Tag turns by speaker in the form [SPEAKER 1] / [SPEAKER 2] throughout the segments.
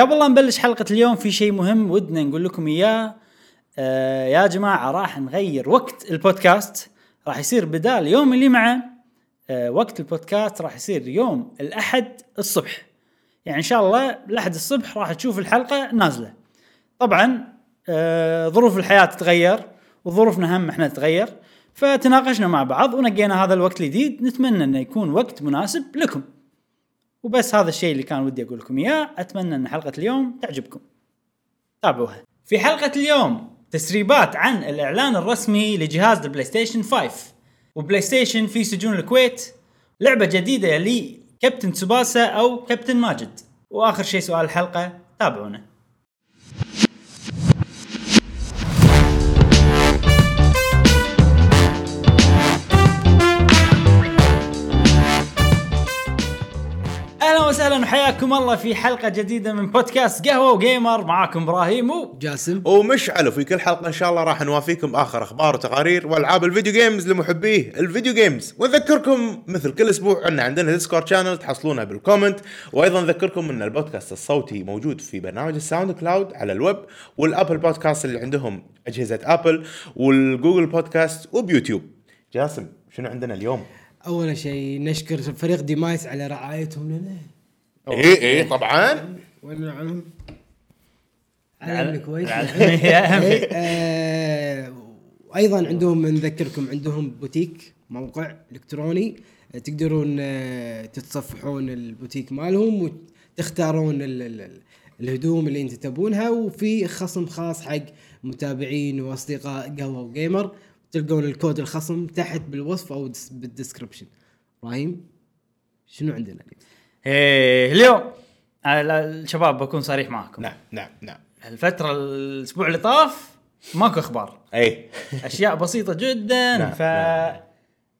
[SPEAKER 1] قبل لا نبلش حلقة اليوم في شيء مهم ودنا نقول لكم اياه آه يا جماعة راح نغير وقت البودكاست راح يصير بدال يوم اللي معه آه وقت البودكاست راح يصير يوم الأحد الصبح يعني إن شاء الله الأحد الصبح راح تشوف الحلقة نازلة طبعا آه ظروف الحياة تتغير وظروفنا هم احنا تتغير فتناقشنا مع بعض ونقينا هذا الوقت الجديد نتمنى انه يكون وقت مناسب لكم وبس هذا الشيء اللي كان ودي اقول لكم اياه اتمنى ان حلقه اليوم تعجبكم تابعوها في حلقه اليوم تسريبات عن الاعلان الرسمي لجهاز البلاي ستيشن 5 وبلاي ستيشن في سجون الكويت لعبه جديده لكابتن سوباسا او كابتن ماجد واخر شيء سؤال الحلقه تابعونا اهلا وسهلا وحياكم الله في حلقه جديده من بودكاست قهوه وجيمر معاكم ابراهيم و
[SPEAKER 2] جاسم
[SPEAKER 3] ومشعل وفي كل حلقه ان شاء الله راح نوافيكم اخر اخبار وتقارير والعاب الفيديو جيمز لمحبيه الفيديو جيمز ونذكركم مثل كل اسبوع ان عندنا ديسكورد شانل تحصلونها بالكومنت وايضا نذكركم ان البودكاست الصوتي موجود في برنامج الساوند كلاود على الويب والابل بودكاست اللي عندهم اجهزه ابل والجوجل بودكاست وبيوتيوب جاسم شنو عندنا اليوم؟
[SPEAKER 2] اول شيء نشكر فريق ديمايس على رعايتهم لنا
[SPEAKER 3] اي اي طبعا
[SPEAKER 2] ونعم علمنا كويس
[SPEAKER 1] العالم.
[SPEAKER 2] إيه، آه، وايضا عندهم نذكركم عندهم بوتيك موقع الكتروني آه، تقدرون آه، تتصفحون البوتيك مالهم وتختارون ال- ال- ال- الهدوم اللي انت تبونها وفي خصم خاص حق متابعين واصدقاء قهوه وجيمر تلقون الكود الخصم تحت بالوصف او دس- بالدسكربشن ابراهيم شنو عندنا اليوم؟
[SPEAKER 1] ايه اليوم أنا لا- الشباب بكون صريح معاكم
[SPEAKER 3] نعم نعم نعم
[SPEAKER 1] الفترة الأسبوع اللي طاف ماكو أخبار
[SPEAKER 3] اي
[SPEAKER 1] أشياء بسيطة جدا
[SPEAKER 3] نعم،
[SPEAKER 1] ف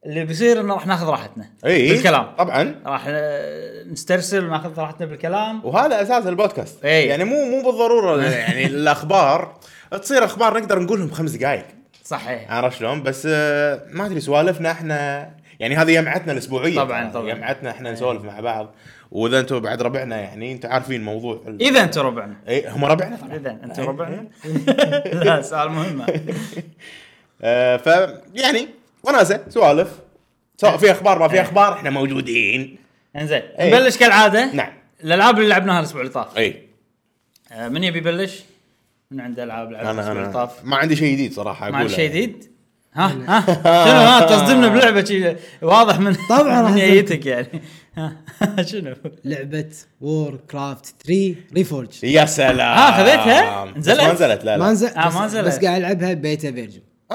[SPEAKER 1] اللي بيصير إنه راح ناخذ راحتنا
[SPEAKER 3] اي
[SPEAKER 1] بالكلام
[SPEAKER 3] طبعا
[SPEAKER 1] راح آه، نسترسل وناخذ راحتنا بالكلام
[SPEAKER 3] وهذا اساس البودكاست
[SPEAKER 1] إيه.
[SPEAKER 3] يعني مو مو بالضروره يعني الاخبار تصير اخبار نقدر نقولهم خمس دقائق
[SPEAKER 1] صحيح
[SPEAKER 3] عرفت شلون بس آه، ما ادري سوالفنا احنا يعني هذه يمعتنا الاسبوعيه
[SPEAKER 1] طبعاً،
[SPEAKER 3] ترى.
[SPEAKER 1] طبعاً. إيه.
[SPEAKER 3] يمعتنا احنا نسولف مع بعض واذا انتم بعد ربعنا يعني انتم عارفين موضوع ال...
[SPEAKER 1] إذا أنتم ربعنا
[SPEAKER 3] اي هم ربعنا طبعاً.
[SPEAKER 1] إذا أنتم
[SPEAKER 3] إيه،
[SPEAKER 1] ربعنا
[SPEAKER 3] إيه.
[SPEAKER 1] لا سؤال مهم
[SPEAKER 3] آه ف يعني وناسه سوالف سواء في اخبار
[SPEAKER 1] إيه.
[SPEAKER 3] ما في اخبار احنا موجودين
[SPEAKER 1] انزين
[SPEAKER 3] إيه.
[SPEAKER 1] نبلش كالعادة
[SPEAKER 3] نعم. إيه.
[SPEAKER 1] الألعاب اللي لعبناها الأسبوع اللي طاف
[SPEAKER 3] اي
[SPEAKER 1] آه، من يبي يبلش؟ من عنده ألعاب لعبناها
[SPEAKER 3] انا
[SPEAKER 1] الأسبوع اللي
[SPEAKER 3] انا
[SPEAKER 1] طاف
[SPEAKER 3] ما عندي شيء جديد صراحه
[SPEAKER 1] ما عاد
[SPEAKER 3] أقوله.
[SPEAKER 1] شيء جديد؟ ها ها شنو ها تصدمنا بلعبه شي واضح من
[SPEAKER 2] طبعاً راح
[SPEAKER 1] من
[SPEAKER 2] أصدم.
[SPEAKER 1] نيتك يعني ها شنو؟
[SPEAKER 2] لعبة وور كرافت 3 ريفورج
[SPEAKER 3] يا سلام
[SPEAKER 1] ها، خذيتها؟
[SPEAKER 3] بس
[SPEAKER 1] نزلت؟
[SPEAKER 3] ما نزلت لا لا
[SPEAKER 2] ما نزل
[SPEAKER 1] آه،
[SPEAKER 2] بس,
[SPEAKER 1] ما نزلت.
[SPEAKER 2] بس قاعد العبها بيتا فيرجن
[SPEAKER 1] آه،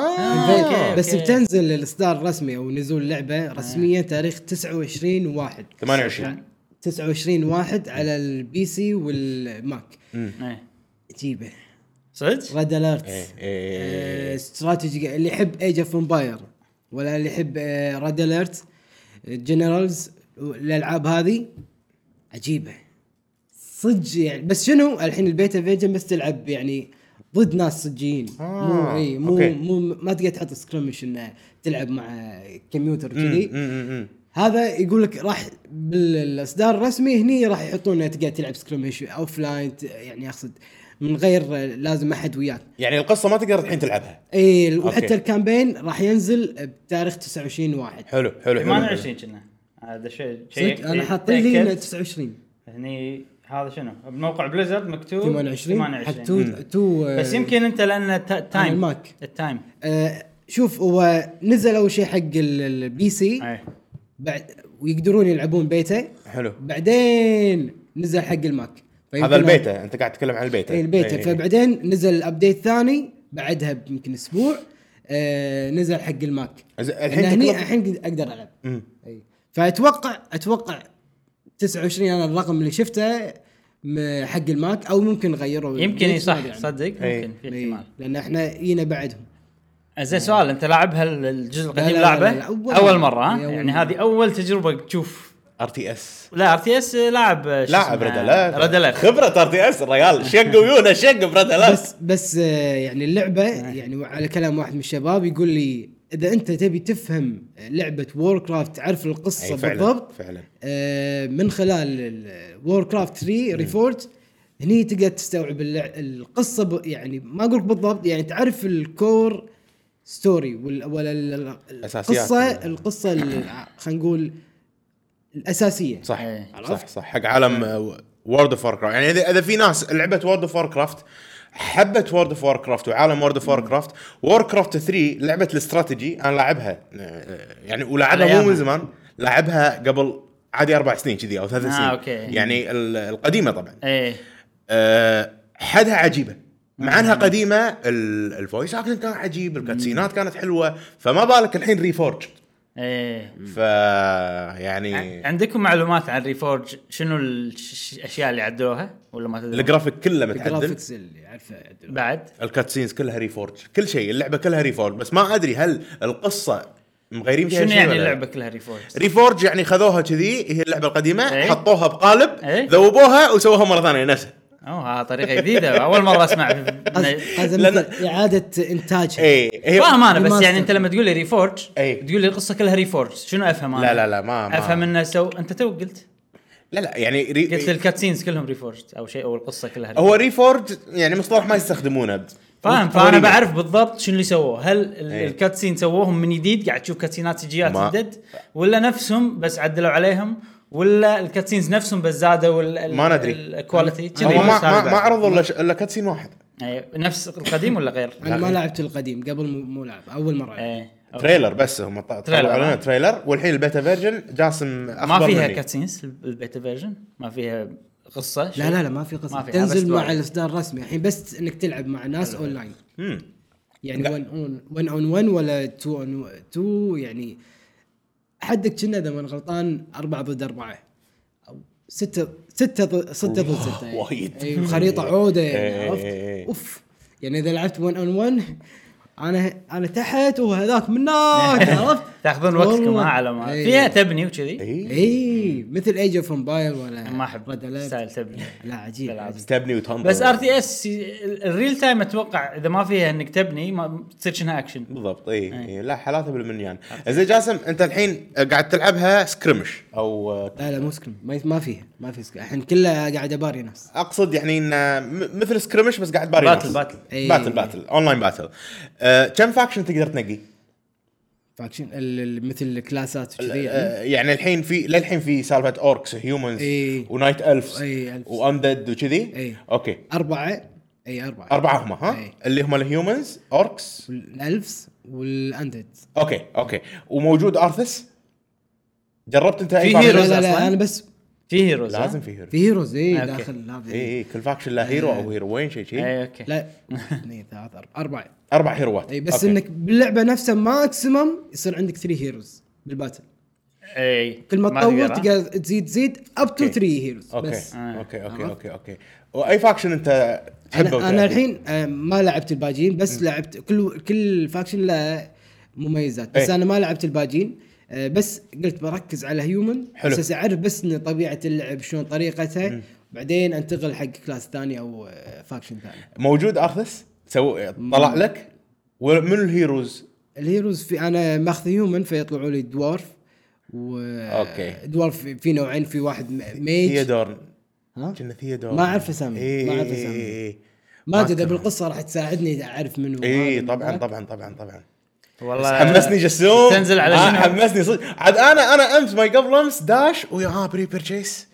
[SPEAKER 1] أوكي، آه.
[SPEAKER 2] بس
[SPEAKER 1] أوكي.
[SPEAKER 2] بتنزل الاصدار الرسمي او نزول اللعبه رسميا تاريخ 29 واحد
[SPEAKER 3] 28
[SPEAKER 2] 29 واحد على البي سي والماك
[SPEAKER 1] إيه.
[SPEAKER 2] جيبه
[SPEAKER 1] صدق؟
[SPEAKER 2] ريد
[SPEAKER 3] إيه،
[SPEAKER 2] اليرت
[SPEAKER 3] إيه.
[SPEAKER 2] استراتيجي اللي يحب ايج اوف امباير ولا اللي يحب إيه، ريد اليرت جنرالز الالعاب هذه عجيبه صدق يعني بس شنو الحين البيتا فيجن بس تلعب يعني ضد ناس صجيين مو
[SPEAKER 3] آه،
[SPEAKER 2] اي مو
[SPEAKER 3] أوكي.
[SPEAKER 2] مو ما تقدر تحط سكرمش انه تلعب مع كمبيوتر
[SPEAKER 3] إيه. مم،
[SPEAKER 2] كذي
[SPEAKER 3] مم، مم.
[SPEAKER 2] هذا يقول لك راح بالاصدار الرسمي هني راح يحطون تقدر تلعب سكرمش اوف لاين يعني اقصد من غير آه، لازم احد وياك
[SPEAKER 3] يعني القصه ما تقدر الحين تلعبها
[SPEAKER 2] اي
[SPEAKER 3] أوكي.
[SPEAKER 2] وحتى إيه، الكامبين راح ينزل بتاريخ 29 واحد
[SPEAKER 3] حلو حلو حلو
[SPEAKER 1] 28 كنا هذا شيء شيء إيه،
[SPEAKER 2] صدق انا حاطين لي إنه
[SPEAKER 1] تأكد.
[SPEAKER 2] 29
[SPEAKER 1] هني هذا شنو؟ بموقع بليزرد مكتوب
[SPEAKER 2] 28 حق
[SPEAKER 1] 28
[SPEAKER 2] تو تو آه،
[SPEAKER 1] بس يمكن انت لان تا- تايم
[SPEAKER 2] الماك.
[SPEAKER 1] التايم
[SPEAKER 2] آه، شوف هو نزل اول شيء حق ال- البي سي
[SPEAKER 1] إيه.
[SPEAKER 2] بعد ويقدرون يلعبون بيته
[SPEAKER 3] حلو
[SPEAKER 2] بعدين نزل حق الماك فيمكن
[SPEAKER 3] هذا البيتا انت قاعد تتكلم عن البيتا إيه،
[SPEAKER 2] اي إيه، البيتا فبعدين نزل ابديت ثاني بعدها يمكن اسبوع آه، نزل حق الماك
[SPEAKER 3] ز- الحين
[SPEAKER 2] الحين هني
[SPEAKER 3] تكلم-
[SPEAKER 2] الحين اقدر العب
[SPEAKER 3] مم.
[SPEAKER 2] اي فاتوقع اتوقع 29 انا الرقم اللي شفته م- حق الماك او ممكن غيروا
[SPEAKER 1] يمكن إي،
[SPEAKER 2] ما أدري
[SPEAKER 1] صح
[SPEAKER 2] عنه.
[SPEAKER 1] صدق
[SPEAKER 3] إيه.
[SPEAKER 1] يمكن في
[SPEAKER 2] إي،
[SPEAKER 1] احتمال إيه.
[SPEAKER 2] لان احنا جينا بعدهم
[SPEAKER 1] زين سؤال انت لاعبها الجزء القديم
[SPEAKER 2] لا، لا،
[SPEAKER 1] لاعبه
[SPEAKER 2] لا، لا، أول
[SPEAKER 1] اول
[SPEAKER 2] مرة.
[SPEAKER 1] مره ها؟
[SPEAKER 2] إي، أول
[SPEAKER 1] يعني
[SPEAKER 2] مرة.
[SPEAKER 1] هذه اول تجربه تشوف
[SPEAKER 3] ار تي اس
[SPEAKER 1] لا ار تي اس لاعب
[SPEAKER 3] لاعب ردلات
[SPEAKER 1] ردلات
[SPEAKER 3] خبره ار تي اس الرجال شق ويونه شق بردلات
[SPEAKER 2] بس بس آه، يعني اللعبه
[SPEAKER 1] أه.
[SPEAKER 2] يعني على كلام واحد من الشباب يقول لي اذا انت تبي تفهم لعبه وور كرافت تعرف
[SPEAKER 3] إيه،
[SPEAKER 2] القصه
[SPEAKER 3] أي، فعلا،
[SPEAKER 2] بالضبط
[SPEAKER 3] فعلا.
[SPEAKER 1] إيه.
[SPEAKER 2] آه، من خلال وور كرافت 3 ريفورج هني تقدر تستوعب اللع- القصه ب... يعني ما اقول بالضبط يعني تعرف الكور ستوري وال... ولا ال- ال-
[SPEAKER 3] أساسيات.
[SPEAKER 2] القصه القصه ال- خلينا نقول الاساسيه
[SPEAKER 3] صح
[SPEAKER 1] إيه.
[SPEAKER 3] صح صح حق عالم آه، وورد اوف كرافت يعني اذا اذا في ناس لعبت وورد اوف كرافت حبت وورد اوف كرافت وعالم وورد اوف كرافت وور كرافت 3 لعبه الاستراتيجي انا لاعبها آه، يعني
[SPEAKER 1] على
[SPEAKER 3] ولاعبها مو
[SPEAKER 1] أيامها.
[SPEAKER 3] من زمان لاعبها قبل عادي اربع سنين كذي او ثلاث
[SPEAKER 1] آه،
[SPEAKER 3] سنين
[SPEAKER 1] أوكي.
[SPEAKER 3] يعني ال- القديمه طبعا
[SPEAKER 1] ايه
[SPEAKER 3] أه، حدها عجيبه مع انها قديمه ال- الفويس اكشن كان عجيب الكاتسينات كانت حلوه فما بالك الحين ريفورج
[SPEAKER 1] ايه
[SPEAKER 3] ف يعني
[SPEAKER 1] عندكم معلومات عن ريفورج شنو ال- ش- ش- الاشياء اللي عدلوها ولا ما تدري
[SPEAKER 3] الجرافيك كله متعدل
[SPEAKER 2] الجرافكس اللي اعرفها
[SPEAKER 1] بعد
[SPEAKER 3] الكاتسينز كلها ريفورج كل شيء اللعبه كلها ريفورج بس ما ادري هل القصه مغيرين فيها
[SPEAKER 1] شنو
[SPEAKER 3] شيء
[SPEAKER 1] يعني
[SPEAKER 3] ولا لا؟
[SPEAKER 1] اللعبه كلها ريفورج
[SPEAKER 3] ريفورج يعني خذوها كذي هي اللعبه القديمه
[SPEAKER 1] إيه.
[SPEAKER 3] حطوها بقالب
[SPEAKER 1] إيه.
[SPEAKER 3] ذوبوها وسووها مره ثانيه نفسها
[SPEAKER 1] اوه ها طريقه جديده اول مره اسمع
[SPEAKER 2] هذا
[SPEAKER 3] لأن-
[SPEAKER 2] مثل اعاده انتاجها
[SPEAKER 3] اي إيه، هي
[SPEAKER 1] إيه. فاهم انا بس
[SPEAKER 2] ريماستر.
[SPEAKER 1] يعني انت لما تقول لي ريفورج
[SPEAKER 3] إيه.
[SPEAKER 1] تقول لي القصه كلها ريفورج شنو افهم انا؟
[SPEAKER 3] لا لا لا ما, ما
[SPEAKER 1] افهم انه سو انت تو قلت
[SPEAKER 3] لا لا يعني ري...
[SPEAKER 1] قلت الكاتسينز كلهم ريفورج او شيء او القصه كلها
[SPEAKER 3] هو ريفورج يعني مصطلح ما يستخدمونه
[SPEAKER 1] فاهم
[SPEAKER 3] هو
[SPEAKER 1] فانا
[SPEAKER 3] remake.
[SPEAKER 1] بعرف بالضبط شنو اللي سووه هل ال-
[SPEAKER 3] إيه.
[SPEAKER 1] الكاتسين سووهم من جديد قاعد تشوف كاتسينات سيجيات
[SPEAKER 3] ما-
[SPEAKER 1] جدد ولا نفسهم بس عدلوا عليهم ولا الكاتسينز نفسهم بس زادوا ال- ال-
[SPEAKER 3] ما ندري.
[SPEAKER 1] الكواليتي كذي
[SPEAKER 3] هو ما
[SPEAKER 1] بس هذا
[SPEAKER 3] ما, ما
[SPEAKER 1] بعد.
[SPEAKER 3] عرضوا الا- الا كاتسين واحد
[SPEAKER 1] إيه، نفس القديم ولا غير؟
[SPEAKER 2] انا ما لعبت القديم قبل مو- مو لعب اول مره ألعب.
[SPEAKER 1] ايه أوكي.
[SPEAKER 3] تريلر بس هم ط-
[SPEAKER 1] تريلر،
[SPEAKER 3] طلعوا لنا
[SPEAKER 1] آه.
[SPEAKER 3] تريلر والحين البيتا فيرجن جاسم
[SPEAKER 1] ما
[SPEAKER 3] اخبر
[SPEAKER 1] فيها
[SPEAKER 3] مني.
[SPEAKER 1] كاتسينز البيتا فيرجن ما فيها قصه
[SPEAKER 2] لا لا لا ما في قصه
[SPEAKER 1] ما في، هذا
[SPEAKER 2] تنزل
[SPEAKER 1] استوى.
[SPEAKER 2] مع الاصدار الرسمي الحين بس انك تلعب مع ناس اونلاين
[SPEAKER 3] مم.
[SPEAKER 2] يعني
[SPEAKER 3] لا.
[SPEAKER 2] 1 اون 1 اون 1 ولا 2 اون 2 يعني حدك كنا اذا ما أنا غلطان 4 ضد 4 او 6 6 ضد 6 ضد يعني. 6
[SPEAKER 3] وايد.
[SPEAKER 2] اي خريطه عوده يعني
[SPEAKER 3] إيه.
[SPEAKER 2] عرفت اوف يعني اذا لعبت 1 اون 1 انا انا تحت وهذاك من هناك عرفت
[SPEAKER 1] تاخذون وقتكم
[SPEAKER 2] والله.
[SPEAKER 1] ها على ما
[SPEAKER 2] إيه.
[SPEAKER 1] فيها تبني وكذي
[SPEAKER 3] اي
[SPEAKER 2] اي مثل ايج اوف امباير ولا
[SPEAKER 1] ما احب
[SPEAKER 2] Red Alert.
[SPEAKER 1] ستايل تبني
[SPEAKER 2] لا عجيب
[SPEAKER 1] بالعكس.
[SPEAKER 2] عجيب.
[SPEAKER 3] تبني وتنطر
[SPEAKER 1] بس ار تي اس الريل تايم اتوقع اذا ما فيها انك تبني ما تصير شنها اكشن
[SPEAKER 3] بالضبط اي
[SPEAKER 1] إيه.
[SPEAKER 3] إي، لا حالاتها بالمنيان زين جاسم انت الحين قاعد تلعبها سكرمش او
[SPEAKER 2] لا لا مو سكريم ما ما فيها ما في سكريم الحين كله قاعد اباري ناس
[SPEAKER 3] اقصد يعني انه م- مثل سكرمش بس قاعد باري
[SPEAKER 1] باتل،
[SPEAKER 3] ناس.
[SPEAKER 1] باتل.
[SPEAKER 2] إي.
[SPEAKER 3] باتل باتل اونلاين باتل آه، كم فاكشن تقدر تنقي؟
[SPEAKER 2] فاكشن ال- ال- مثل الكلاسات
[SPEAKER 1] طيب.
[SPEAKER 2] وكذي يعني
[SPEAKER 3] آه، يعني الحين في للحين في سالفه اوركس هيومنز
[SPEAKER 1] إيه.
[SPEAKER 2] إي.
[SPEAKER 3] ونايت الفز
[SPEAKER 2] إي، ألفز.
[SPEAKER 3] واندد وكذي
[SPEAKER 2] إي.
[SPEAKER 3] اوكي
[SPEAKER 2] اربعه اي اربعه
[SPEAKER 3] اربعه هم ها
[SPEAKER 1] إيه.
[SPEAKER 2] إي.
[SPEAKER 3] اللي هم الهيومنز اوركس
[SPEAKER 2] الالفز والاندد
[SPEAKER 3] اوكي اوكي وموجود ارثس جربت انت اي
[SPEAKER 1] في
[SPEAKER 2] لا
[SPEAKER 1] هيروز
[SPEAKER 3] فاكشن؟
[SPEAKER 2] لا
[SPEAKER 1] أصلاً؟
[SPEAKER 2] لا انا بس
[SPEAKER 1] في هيروز ها؟
[SPEAKER 3] لازم في هيرو
[SPEAKER 2] في هيروز اي
[SPEAKER 1] أوكي.
[SPEAKER 2] داخل هذا
[SPEAKER 3] اي اي إيه، كل فاكشن له هيرو
[SPEAKER 2] إيه.
[SPEAKER 3] او هيروين شيء شيء
[SPEAKER 1] اي اوكي
[SPEAKER 2] لا اثنين ثلاث اربعه اربعه
[SPEAKER 3] اربع هيروات
[SPEAKER 2] اي إيه، بس
[SPEAKER 3] أوكي.
[SPEAKER 2] انك باللعبه نفسها ماكسيمم يصير عندك 3 هيروز بالباتل
[SPEAKER 1] اي
[SPEAKER 2] كل ما تطور
[SPEAKER 1] تقدر، ها؟
[SPEAKER 2] تقدر تزيد تزيد اب تو
[SPEAKER 3] أوكي.
[SPEAKER 2] 3 هيروز
[SPEAKER 3] اوكي
[SPEAKER 2] بس
[SPEAKER 1] آه.
[SPEAKER 3] اوكي اوكي
[SPEAKER 2] عرفت؟
[SPEAKER 3] اوكي اوكي واي فاكشن انت تحبه
[SPEAKER 2] انا, أنا
[SPEAKER 3] وتلعبه؟
[SPEAKER 2] الحين آه، ما لعبت الباجين بس لعبت كل كل فاكشن له مميزات بس
[SPEAKER 3] إيه.
[SPEAKER 2] انا ما لعبت الباجين آه، بس قلت بركز على هيومن
[SPEAKER 3] حلو.
[SPEAKER 2] اساس اعرف بس ان طبيعه اللعب شلون طريقتها بعدين انتقل حق كلاس ثاني او آه، فاكشن ثاني
[SPEAKER 3] موجود ارثس سو طلع لك ومن الهيروز
[SPEAKER 2] الهيروز في انا ماخذ هيومن فيطلعوا لي دوارف و
[SPEAKER 3] أوكي.
[SPEAKER 2] دوارف في نوعين في واحد م- ميج
[SPEAKER 3] ثيودورن
[SPEAKER 2] ها؟
[SPEAKER 3] كنا إيه، ثيودورن
[SPEAKER 2] ما أعرف أسامي، ما أعرف أسامي. ما ادري اذا بالقصه راح تساعدني اعرف منو
[SPEAKER 3] اي طبعا طبعا طبعا طبعا
[SPEAKER 1] والله
[SPEAKER 2] آه،
[SPEAKER 3] حمسني جسوم
[SPEAKER 1] تنزل على
[SPEAKER 3] آه
[SPEAKER 1] شنو؟
[SPEAKER 3] حمسني صدق عاد انا انا امس ما قبل امس داش ويا آه، ها بري بيرتشيس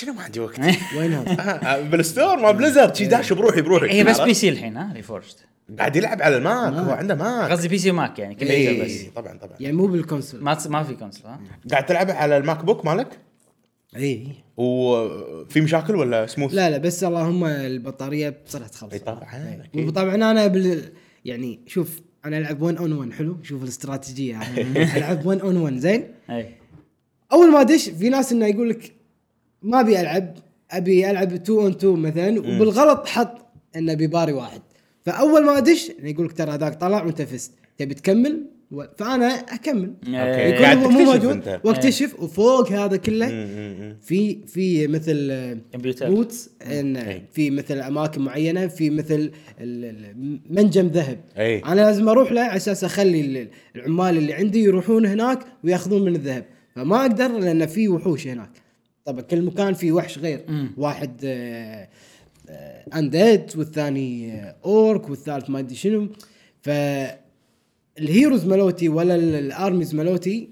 [SPEAKER 3] كنا ما عندي وقت
[SPEAKER 2] وين هذا؟
[SPEAKER 3] آه، بالستور ما بليزرد
[SPEAKER 2] إيه.
[SPEAKER 3] شي داش بروحي بروحي
[SPEAKER 1] هي إيه، بس
[SPEAKER 3] عرفت؟
[SPEAKER 1] بي سي الحين ها ريفورجد
[SPEAKER 3] قاعد يلعب على الماك هو عنده ماك إيه،
[SPEAKER 1] قصدي بي سي وماك يعني كل
[SPEAKER 3] إي،
[SPEAKER 1] بس
[SPEAKER 3] طبعا طبعا
[SPEAKER 2] يعني مو بالكونسول
[SPEAKER 1] ما تس- ما في كونسل ها
[SPEAKER 3] قاعد تلعبها على الماك بوك مالك
[SPEAKER 2] اي
[SPEAKER 3] وفي مشاكل ولا سموث؟ إيه،
[SPEAKER 2] لا لا بس اللهم البطاريه بسرعه تخلص
[SPEAKER 3] اي طبعا اكيد
[SPEAKER 2] طبعا انا بال... يعني شوف انا العب 1 اون 1 حلو شوف الاستراتيجيه هذه. العب 1 اون 1 زين
[SPEAKER 1] اي
[SPEAKER 2] اول ما ادش في ناس انه يقول لك ما ابي العب ابي العب 2 اون 2 مثلا وبالغلط حط انه بباري واحد فاول ما ادش إنه يقول لك ترى هذاك طلع وانت فزت تبي تكمل و... فانا اكمل
[SPEAKER 1] إيه،
[SPEAKER 3] أوكي.
[SPEAKER 2] يكون
[SPEAKER 3] قاعد
[SPEAKER 2] هو مو
[SPEAKER 3] تكتشف
[SPEAKER 2] موجود
[SPEAKER 3] أنت.
[SPEAKER 2] واكتشف وفوق هذا
[SPEAKER 3] مم،
[SPEAKER 2] كله
[SPEAKER 3] مم، مم.
[SPEAKER 2] في في مثل
[SPEAKER 1] كمبيوتر.
[SPEAKER 2] بوتس ان في مثل اماكن معينه في مثل ال- ال- منجم ذهب
[SPEAKER 3] أي.
[SPEAKER 2] انا لازم اروح له على اساس اخلي ال- العمال اللي عندي يروحون هناك وياخذون من الذهب فما اقدر لان في وحوش هناك طبعا كل مكان في وحش غير واحد آه، انديد والثاني اورك والثالث ما ادري شنو ف الهيروز مالوتي ولا ال- الارميز مالوتي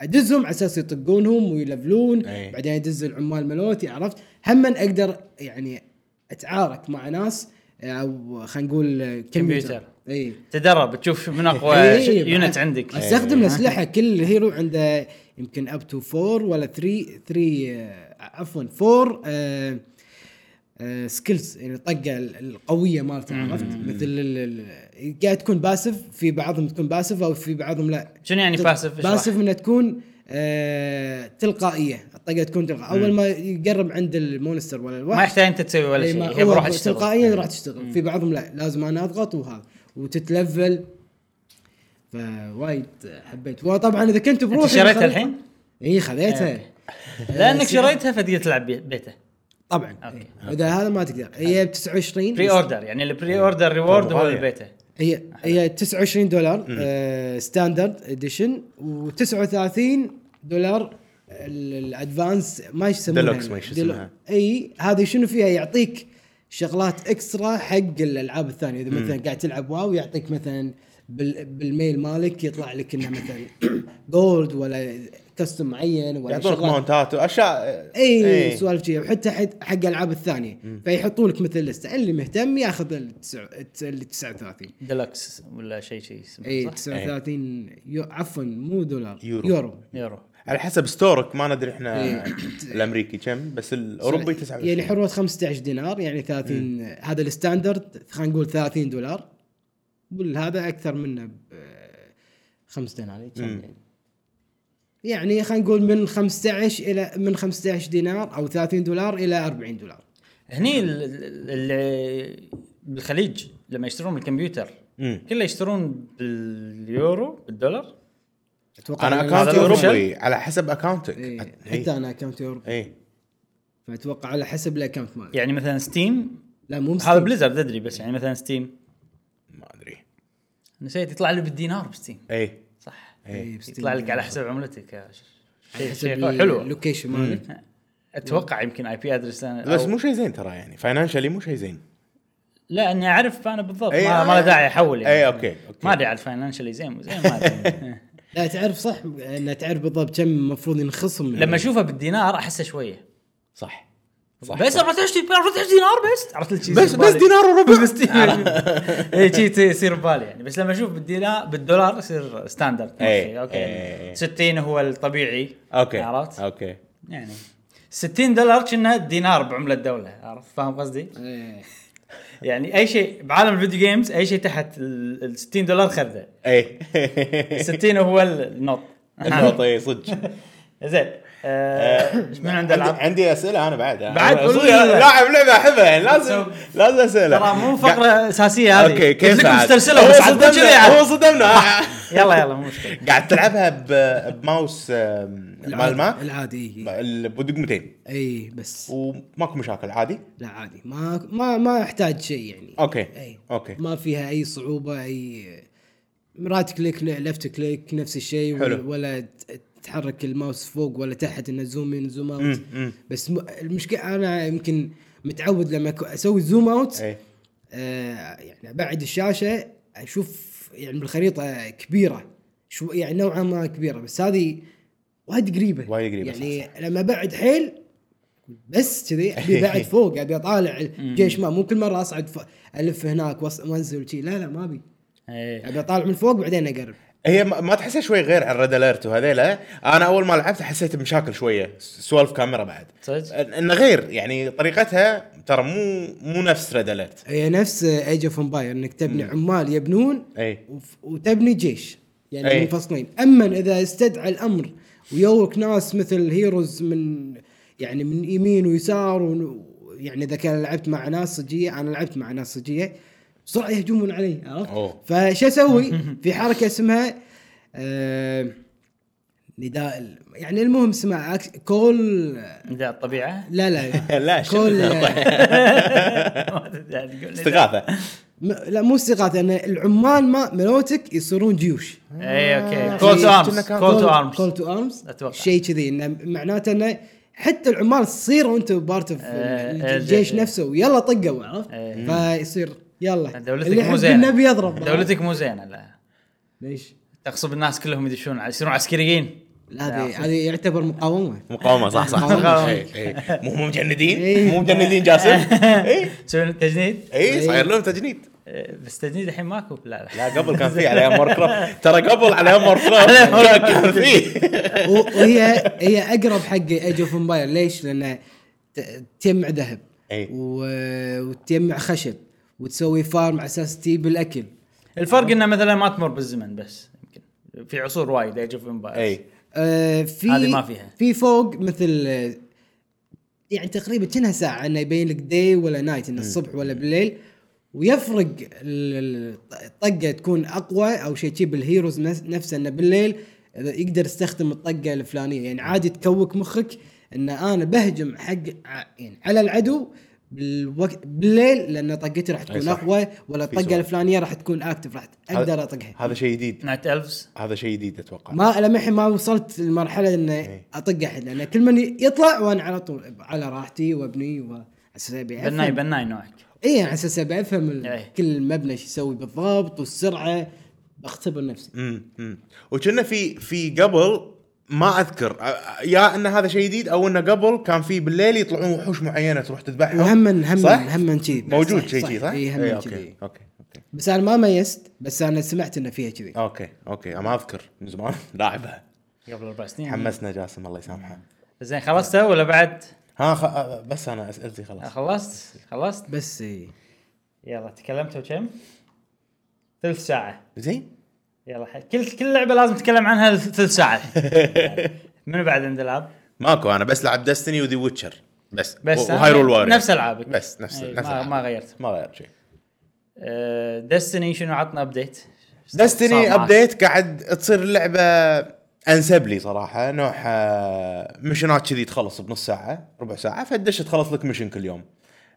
[SPEAKER 2] ادزهم على اساس يطقونهم ويلفلون
[SPEAKER 3] أي.
[SPEAKER 2] بعدين ادز العمال مالوتي عرفت هم اقدر يعني اتعارك مع ناس او خلينا نقول كمبيوتر إيه.
[SPEAKER 1] كمبيوتر.
[SPEAKER 2] اي
[SPEAKER 1] تدرب تشوف من اقوى
[SPEAKER 2] إيه،
[SPEAKER 1] ش- يونت
[SPEAKER 2] بعد
[SPEAKER 1] عندك إيه.
[SPEAKER 2] استخدم الاسلحه كل هيرو عنده يمكن اب تو 4 ولا 3 3 آه، عفوا 4 آه، آه، سكيلز يعني الطقه ال- القويه مالته عرفت مثل ال- ال- قاعد تكون باسف في بعضهم تكون باسف او في بعضهم لا
[SPEAKER 1] شنو يعني باسف؟
[SPEAKER 2] باسف انها تكون آه تلقائيه الطقه تكون تلقائيه اول ما يقرب عند المونستر ولا الوحش
[SPEAKER 1] ما يحتاج انت تسوي ولا
[SPEAKER 2] إي،
[SPEAKER 1] شيء
[SPEAKER 2] إيه، ما-
[SPEAKER 1] هي
[SPEAKER 2] هو
[SPEAKER 1] بروحها تشتغل
[SPEAKER 2] تلقائيا راح تشتغل في بعضهم لا لازم انا اضغط وهذا وتتلفل فوايد حبيت وطبعا اذا كنت بروحي
[SPEAKER 1] شريتها
[SPEAKER 2] خذ-
[SPEAKER 1] الحين؟
[SPEAKER 2] اي خذيتها
[SPEAKER 1] لانك
[SPEAKER 2] سيارة.
[SPEAKER 1] شريتها فتقدر تلعب بي- بيته
[SPEAKER 2] إيه، طبعا
[SPEAKER 1] أوكي.
[SPEAKER 2] إي. اذا هذا ما تقدر هي ب 29
[SPEAKER 1] بري اوردر يعني البري اوردر
[SPEAKER 3] طيب.
[SPEAKER 1] ريورد هو
[SPEAKER 3] غالية.
[SPEAKER 1] اللي بيته
[SPEAKER 2] هي هي 29 دولار آه ستاندرد اديشن و39 دولار ال- الادفانس ما يسمونها
[SPEAKER 3] Deluxe ما
[SPEAKER 2] يعني.
[SPEAKER 3] يسمونها.
[SPEAKER 2] Delu- اي هذه شنو فيها يعطيك شغلات اكسترا حق الالعاب الثانيه اذا مثلا قاعد تلعب واو يعطيك مثلا بال- بالميل مالك يطلع لك انه مثلا جولد ولا كاستم معين ولا
[SPEAKER 3] يعطونك
[SPEAKER 2] شغلات.
[SPEAKER 3] ماونتات واشياء
[SPEAKER 2] اي
[SPEAKER 3] إيه.
[SPEAKER 2] سوالف كذي وحتى حق حق العاب الثانيه فيحطوا لك مثل لسته اللي مهتم ياخذ ال 39
[SPEAKER 1] ديلكس ولا شيء شيء اسمه،
[SPEAKER 2] اي
[SPEAKER 1] صح؟
[SPEAKER 2] 39 إيه، يو... عفوا مو دولار
[SPEAKER 3] يورو.
[SPEAKER 2] يورو
[SPEAKER 1] يورو
[SPEAKER 3] على حسب ستورك ما ندري احنا
[SPEAKER 2] إيه.
[SPEAKER 3] الامريكي كم بس الاوروبي 29
[SPEAKER 2] يعني حروه 15 دينار يعني 30 هذا الستاندرد خلينا نقول 30 دولار والهذا اكثر منه ب 5 دينار كم يعني يعني خلينا نقول من 15 الى من 15 دينار او 30 دولار الى 40 دولار
[SPEAKER 1] هني ال- ال- ال- بالخليج لما يشترون الكمبيوتر
[SPEAKER 3] مم.
[SPEAKER 1] كله يشترون باليورو بالدولار
[SPEAKER 2] اتوقع
[SPEAKER 3] انا
[SPEAKER 2] إن-
[SPEAKER 3] اكونتي
[SPEAKER 1] هذا
[SPEAKER 3] اوروبي على حسب اكونتك
[SPEAKER 2] إيه،
[SPEAKER 3] إيه.
[SPEAKER 2] حتى انا اكونت يورو
[SPEAKER 3] اي
[SPEAKER 2] فاتوقع على حسب الاكونت مالي
[SPEAKER 1] يعني مثلا ستيم
[SPEAKER 2] لا مو
[SPEAKER 1] هذا
[SPEAKER 2] مستوى.
[SPEAKER 1] بليزرد ادري بس يعني مثلا ستيم
[SPEAKER 3] ما ادري
[SPEAKER 1] نسيت يطلع لي بالدينار بستيم
[SPEAKER 3] اي
[SPEAKER 1] صح
[SPEAKER 2] إيه، بستيم.
[SPEAKER 1] يطلع لك على حسب عملتك يا ش- شيء
[SPEAKER 2] حسب
[SPEAKER 1] شيء حلو
[SPEAKER 2] اللوكيشن مالك
[SPEAKER 1] اتوقع يمكن اي بي ادرس
[SPEAKER 3] بس مو شيء زين ترى يعني فاينانشالي مو شيء زين
[SPEAKER 1] لا اني اعرف انا بالضبط
[SPEAKER 3] إي،
[SPEAKER 1] ما,
[SPEAKER 3] آه.
[SPEAKER 1] ما له داعي احول يعني
[SPEAKER 3] إي، أوكي، أوكي.
[SPEAKER 1] ما ادري على الفاينانشال زين مو زين ما أدري.
[SPEAKER 2] لا تعرف صح انه تعرف بالضبط كم المفروض ينخصم من-
[SPEAKER 1] لما اشوفه بالدينار احسه شويه
[SPEAKER 3] صح
[SPEAKER 1] بس 14 14 دينار بس عرفت لك شي
[SPEAKER 3] بس
[SPEAKER 1] يصير
[SPEAKER 3] بس
[SPEAKER 1] ببالي.
[SPEAKER 3] دينار وربع
[SPEAKER 1] بس اي شي يصير ببالي يعني بس لما اشوف بالدينار بالدولار يصير ستاندرد
[SPEAKER 3] إي،
[SPEAKER 1] ماشي، اوكي
[SPEAKER 3] إي،
[SPEAKER 1] يعني
[SPEAKER 3] إي.
[SPEAKER 1] 60 هو الطبيعي
[SPEAKER 3] اوكي
[SPEAKER 1] عرفت
[SPEAKER 3] اوكي
[SPEAKER 1] يعني 60 دولار كنا دينار بعمله الدوله عرفت فاهم قصدي؟
[SPEAKER 2] إيه.
[SPEAKER 1] يعني اي شيء بعالم الفيديو جيمز اي شيء تحت ال 60 دولار خذه
[SPEAKER 3] اي
[SPEAKER 1] 60 هو النط
[SPEAKER 3] النقطة اي طيب، صدق
[SPEAKER 1] زين آه، ايش من عند
[SPEAKER 3] عندي-
[SPEAKER 1] العاب؟
[SPEAKER 3] عندي اسئله انا بعد
[SPEAKER 1] بعد؟
[SPEAKER 3] أنا
[SPEAKER 1] قول
[SPEAKER 3] صدق
[SPEAKER 1] لي.
[SPEAKER 3] لاعب لعبه احبها يعني لازم لازم اسئله
[SPEAKER 1] ترى مو فقره اساسيه هذه
[SPEAKER 3] اوكي كيف
[SPEAKER 1] قلت لكم
[SPEAKER 3] عاد؟
[SPEAKER 1] مسترسله
[SPEAKER 3] هو
[SPEAKER 1] بس عاد يعني؟ كذي
[SPEAKER 3] صدمنا هو
[SPEAKER 1] عاد.
[SPEAKER 3] صدمنا
[SPEAKER 1] يلا يلا مو مشكله
[SPEAKER 3] قاعد تلعبها ب- بماوس آم، مال ماك
[SPEAKER 2] العادي إيه.
[SPEAKER 3] ال- بدقمتين
[SPEAKER 2] اي بس
[SPEAKER 3] وماكو مشاكل عادي
[SPEAKER 2] لا عادي ما ما ما احتاج شيء يعني
[SPEAKER 3] اوكي
[SPEAKER 1] إيه.
[SPEAKER 2] اي
[SPEAKER 3] اوكي
[SPEAKER 2] ما فيها اي صعوبه اي مرات كليك لفت كليك نفس الشيء ولا-
[SPEAKER 3] حلو.
[SPEAKER 2] ولا ت- تحرك الماوس فوق ولا تحت انه زوم ان زوم اوت
[SPEAKER 3] مم.
[SPEAKER 2] بس م- المشكله انا يمكن متعود لما أكو- اسوي زوم اوت
[SPEAKER 3] اي
[SPEAKER 2] آه، يعني ابعد الشاشه اشوف يعني بالخريطه كبيره شو يعني نوعا ما كبيره بس هذه وايد قريبه
[SPEAKER 3] وايد قريبة،
[SPEAKER 2] يعني
[SPEAKER 3] صح،
[SPEAKER 2] لما ابعد حيل بس كذي ابي بعد فوق ابي اطالع الجيش ما مو كل مره اصعد ف... الف هناك وأص- وانزل شي لا لا ما ابي
[SPEAKER 1] إيه.
[SPEAKER 2] ابي اطالع من فوق بعدين اقرب
[SPEAKER 3] هي ما ما تحسها شوي غير عن ريد اليرت وهذيلا انا اول ما لعبت حسيت بمشاكل شويه سوالف كاميرا بعد
[SPEAKER 1] صدق؟
[SPEAKER 3] إن- انه غير يعني طريقتها ترى مو مو نفس ريد اليرت
[SPEAKER 2] هي نفس ايج اوف امباير انك تبني عمال يبنون
[SPEAKER 3] اي
[SPEAKER 2] وف- وتبني جيش يعني
[SPEAKER 3] أي.
[SPEAKER 2] منفصلين اما اذا استدعى الامر ويوك ناس مثل هيروز من يعني من يمين ويسار ون- يعني اذا كان لعبت مع ناس صجيه انا لعبت مع ناس صجيه بسرعه يهجمون علي عرفت؟
[SPEAKER 3] أوه.
[SPEAKER 2] فش اسوي؟ في حركه اسمها آه نداء ال- يعني المهم اسمها أكس- كول
[SPEAKER 1] نداء الطبيعه
[SPEAKER 2] لا لا
[SPEAKER 3] لا
[SPEAKER 2] كول
[SPEAKER 3] شو
[SPEAKER 2] آه،
[SPEAKER 3] استغاثه
[SPEAKER 2] م- لا مو استغاثه ان العمال ما ملوتك يصيرون جيوش
[SPEAKER 1] إيه، آه،
[SPEAKER 2] آه، إيه،
[SPEAKER 1] اي اوكي كول تو ارمز كول تو ارمز
[SPEAKER 2] كول تو ارمز
[SPEAKER 1] أتوقع.
[SPEAKER 2] شيء كذي انه معناته انه حتى العمال تصيروا انتم بارت اوف
[SPEAKER 1] آه،
[SPEAKER 2] الجيش
[SPEAKER 1] آه،
[SPEAKER 2] نفسه ويلا طقوا عرفت
[SPEAKER 1] آه.
[SPEAKER 2] فيصير يلا
[SPEAKER 1] دولتك
[SPEAKER 2] اللي
[SPEAKER 1] مو
[SPEAKER 2] يحب
[SPEAKER 1] زينه
[SPEAKER 2] النبي يضرب
[SPEAKER 1] دولتك مو زينه لا
[SPEAKER 2] ليش؟
[SPEAKER 1] تغصب الناس كلهم يدشون ع- يصيرون عسكريين
[SPEAKER 2] لا هذه هذه يعتبر مقاومه
[SPEAKER 3] مقاومه صح صح
[SPEAKER 2] مقاومة.
[SPEAKER 3] إي، إي. مو مو مجندين
[SPEAKER 2] إي.
[SPEAKER 3] مو مجندين جاسم اي
[SPEAKER 1] يسوون تجنيد
[SPEAKER 3] اي صاير لهم تجنيد
[SPEAKER 1] آه، بس تجنيد الحين ماكو لا لا
[SPEAKER 3] لا قبل كان في على ايام ووركرافت ترى قبل على ايام ووركرافت كان كان في
[SPEAKER 2] و- وهي هي اقرب حق ايج اوف امباير ليش؟ لان ت- تجمع ذهب
[SPEAKER 3] إي.
[SPEAKER 2] و- وتجمع خشب وتسوي فارم على اساس تجيب الاكل
[SPEAKER 1] الفرق انه مثلا ما تمر بالزمن بس يمكن في عصور وايد ايج اوف
[SPEAKER 3] اي
[SPEAKER 2] آه، في
[SPEAKER 1] هذه ما فيها.
[SPEAKER 2] في فوق مثل آه، يعني تقريبا كأنها ساعه انه يبين لك داي ولا نايت انه الصبح ولا بالليل ويفرق ال- ال- الطقه تكون اقوى او شيء شي بالهيروز نفس- نفسه انه بالليل إذا يقدر يستخدم الطقه الفلانيه يعني عادي تكوك مخك ان انا بهجم حق ع- يعني على العدو بالوقت بالليل لان طقتي راح تكون
[SPEAKER 3] صح.
[SPEAKER 2] اقوى ولا
[SPEAKER 3] في
[SPEAKER 2] الطقه
[SPEAKER 3] سؤال.
[SPEAKER 2] الفلانيه راح تكون اكتف راح اقدر اطقها
[SPEAKER 3] هذا شيء جديد
[SPEAKER 1] نايت الفز
[SPEAKER 3] هذا شيء جديد اتوقع
[SPEAKER 2] ما لمحي ما وصلت للمرحله اني
[SPEAKER 3] إيه.
[SPEAKER 2] اطق احد لان كل من يطلع وانا على طول على راحتي وابني وعلى اساس ابي افهم
[SPEAKER 1] بناي بناي نوعك
[SPEAKER 2] اي إيه، على اساس ابي افهم ال-
[SPEAKER 1] إيه.
[SPEAKER 2] كل مبنى شو يسوي بالضبط والسرعه بختبر نفسي
[SPEAKER 3] امم أمم. وكنا في في قبل ما اذكر أ- يا ان هذا شيء جديد او انه قبل كان في بالليل يطلعون وحوش معينه تروح تذبحهم
[SPEAKER 2] وهم هم
[SPEAKER 3] صح؟
[SPEAKER 2] هم كذي
[SPEAKER 3] موجود شيء كذي صح؟ إيه،
[SPEAKER 2] اي
[SPEAKER 3] إي،
[SPEAKER 2] إيه، هم
[SPEAKER 3] اوكي
[SPEAKER 2] كذي
[SPEAKER 3] اوكي اوكي
[SPEAKER 2] بس انا ما ميزت بس انا سمعت انه فيها كذي
[SPEAKER 3] اوكي اوكي انا ما اذكر من زمان لاعبها
[SPEAKER 1] قبل اربع سنين
[SPEAKER 3] حمسنا جاسم الله يسامحه
[SPEAKER 1] زين خلصتها ولا بعد؟
[SPEAKER 3] ها خ... أ- بس انا اسئلتي خلاص
[SPEAKER 1] خلصت؟ خلصت؟
[SPEAKER 2] بس إيه. إي.
[SPEAKER 1] يلا تكلمتوا كم؟ ثلث ساعة
[SPEAKER 3] زين
[SPEAKER 1] يلا ح- كل كل لعبة لازم نتكلم عنها ثلث ساعة منو بعد عند العاب؟
[SPEAKER 3] ماكو انا بس لعب دستني وذي ويتشر بس
[SPEAKER 1] بس
[SPEAKER 3] و- وهايرول
[SPEAKER 1] أنا-
[SPEAKER 3] وارير
[SPEAKER 1] نفس العابك
[SPEAKER 3] بس نفس
[SPEAKER 1] أي،
[SPEAKER 3] نفس
[SPEAKER 1] ما,
[SPEAKER 3] العاب.
[SPEAKER 1] ما غيرت
[SPEAKER 3] ما غير شيء
[SPEAKER 1] دستني شنو عطنا ابديت؟
[SPEAKER 3] دستني ابديت قاعد تصير اللعبه انسب لي صراحه نوعها مشنات آه، كذي تخلص بنص ساعه ربع ساعه فدش تخلص لك مشن كل يوم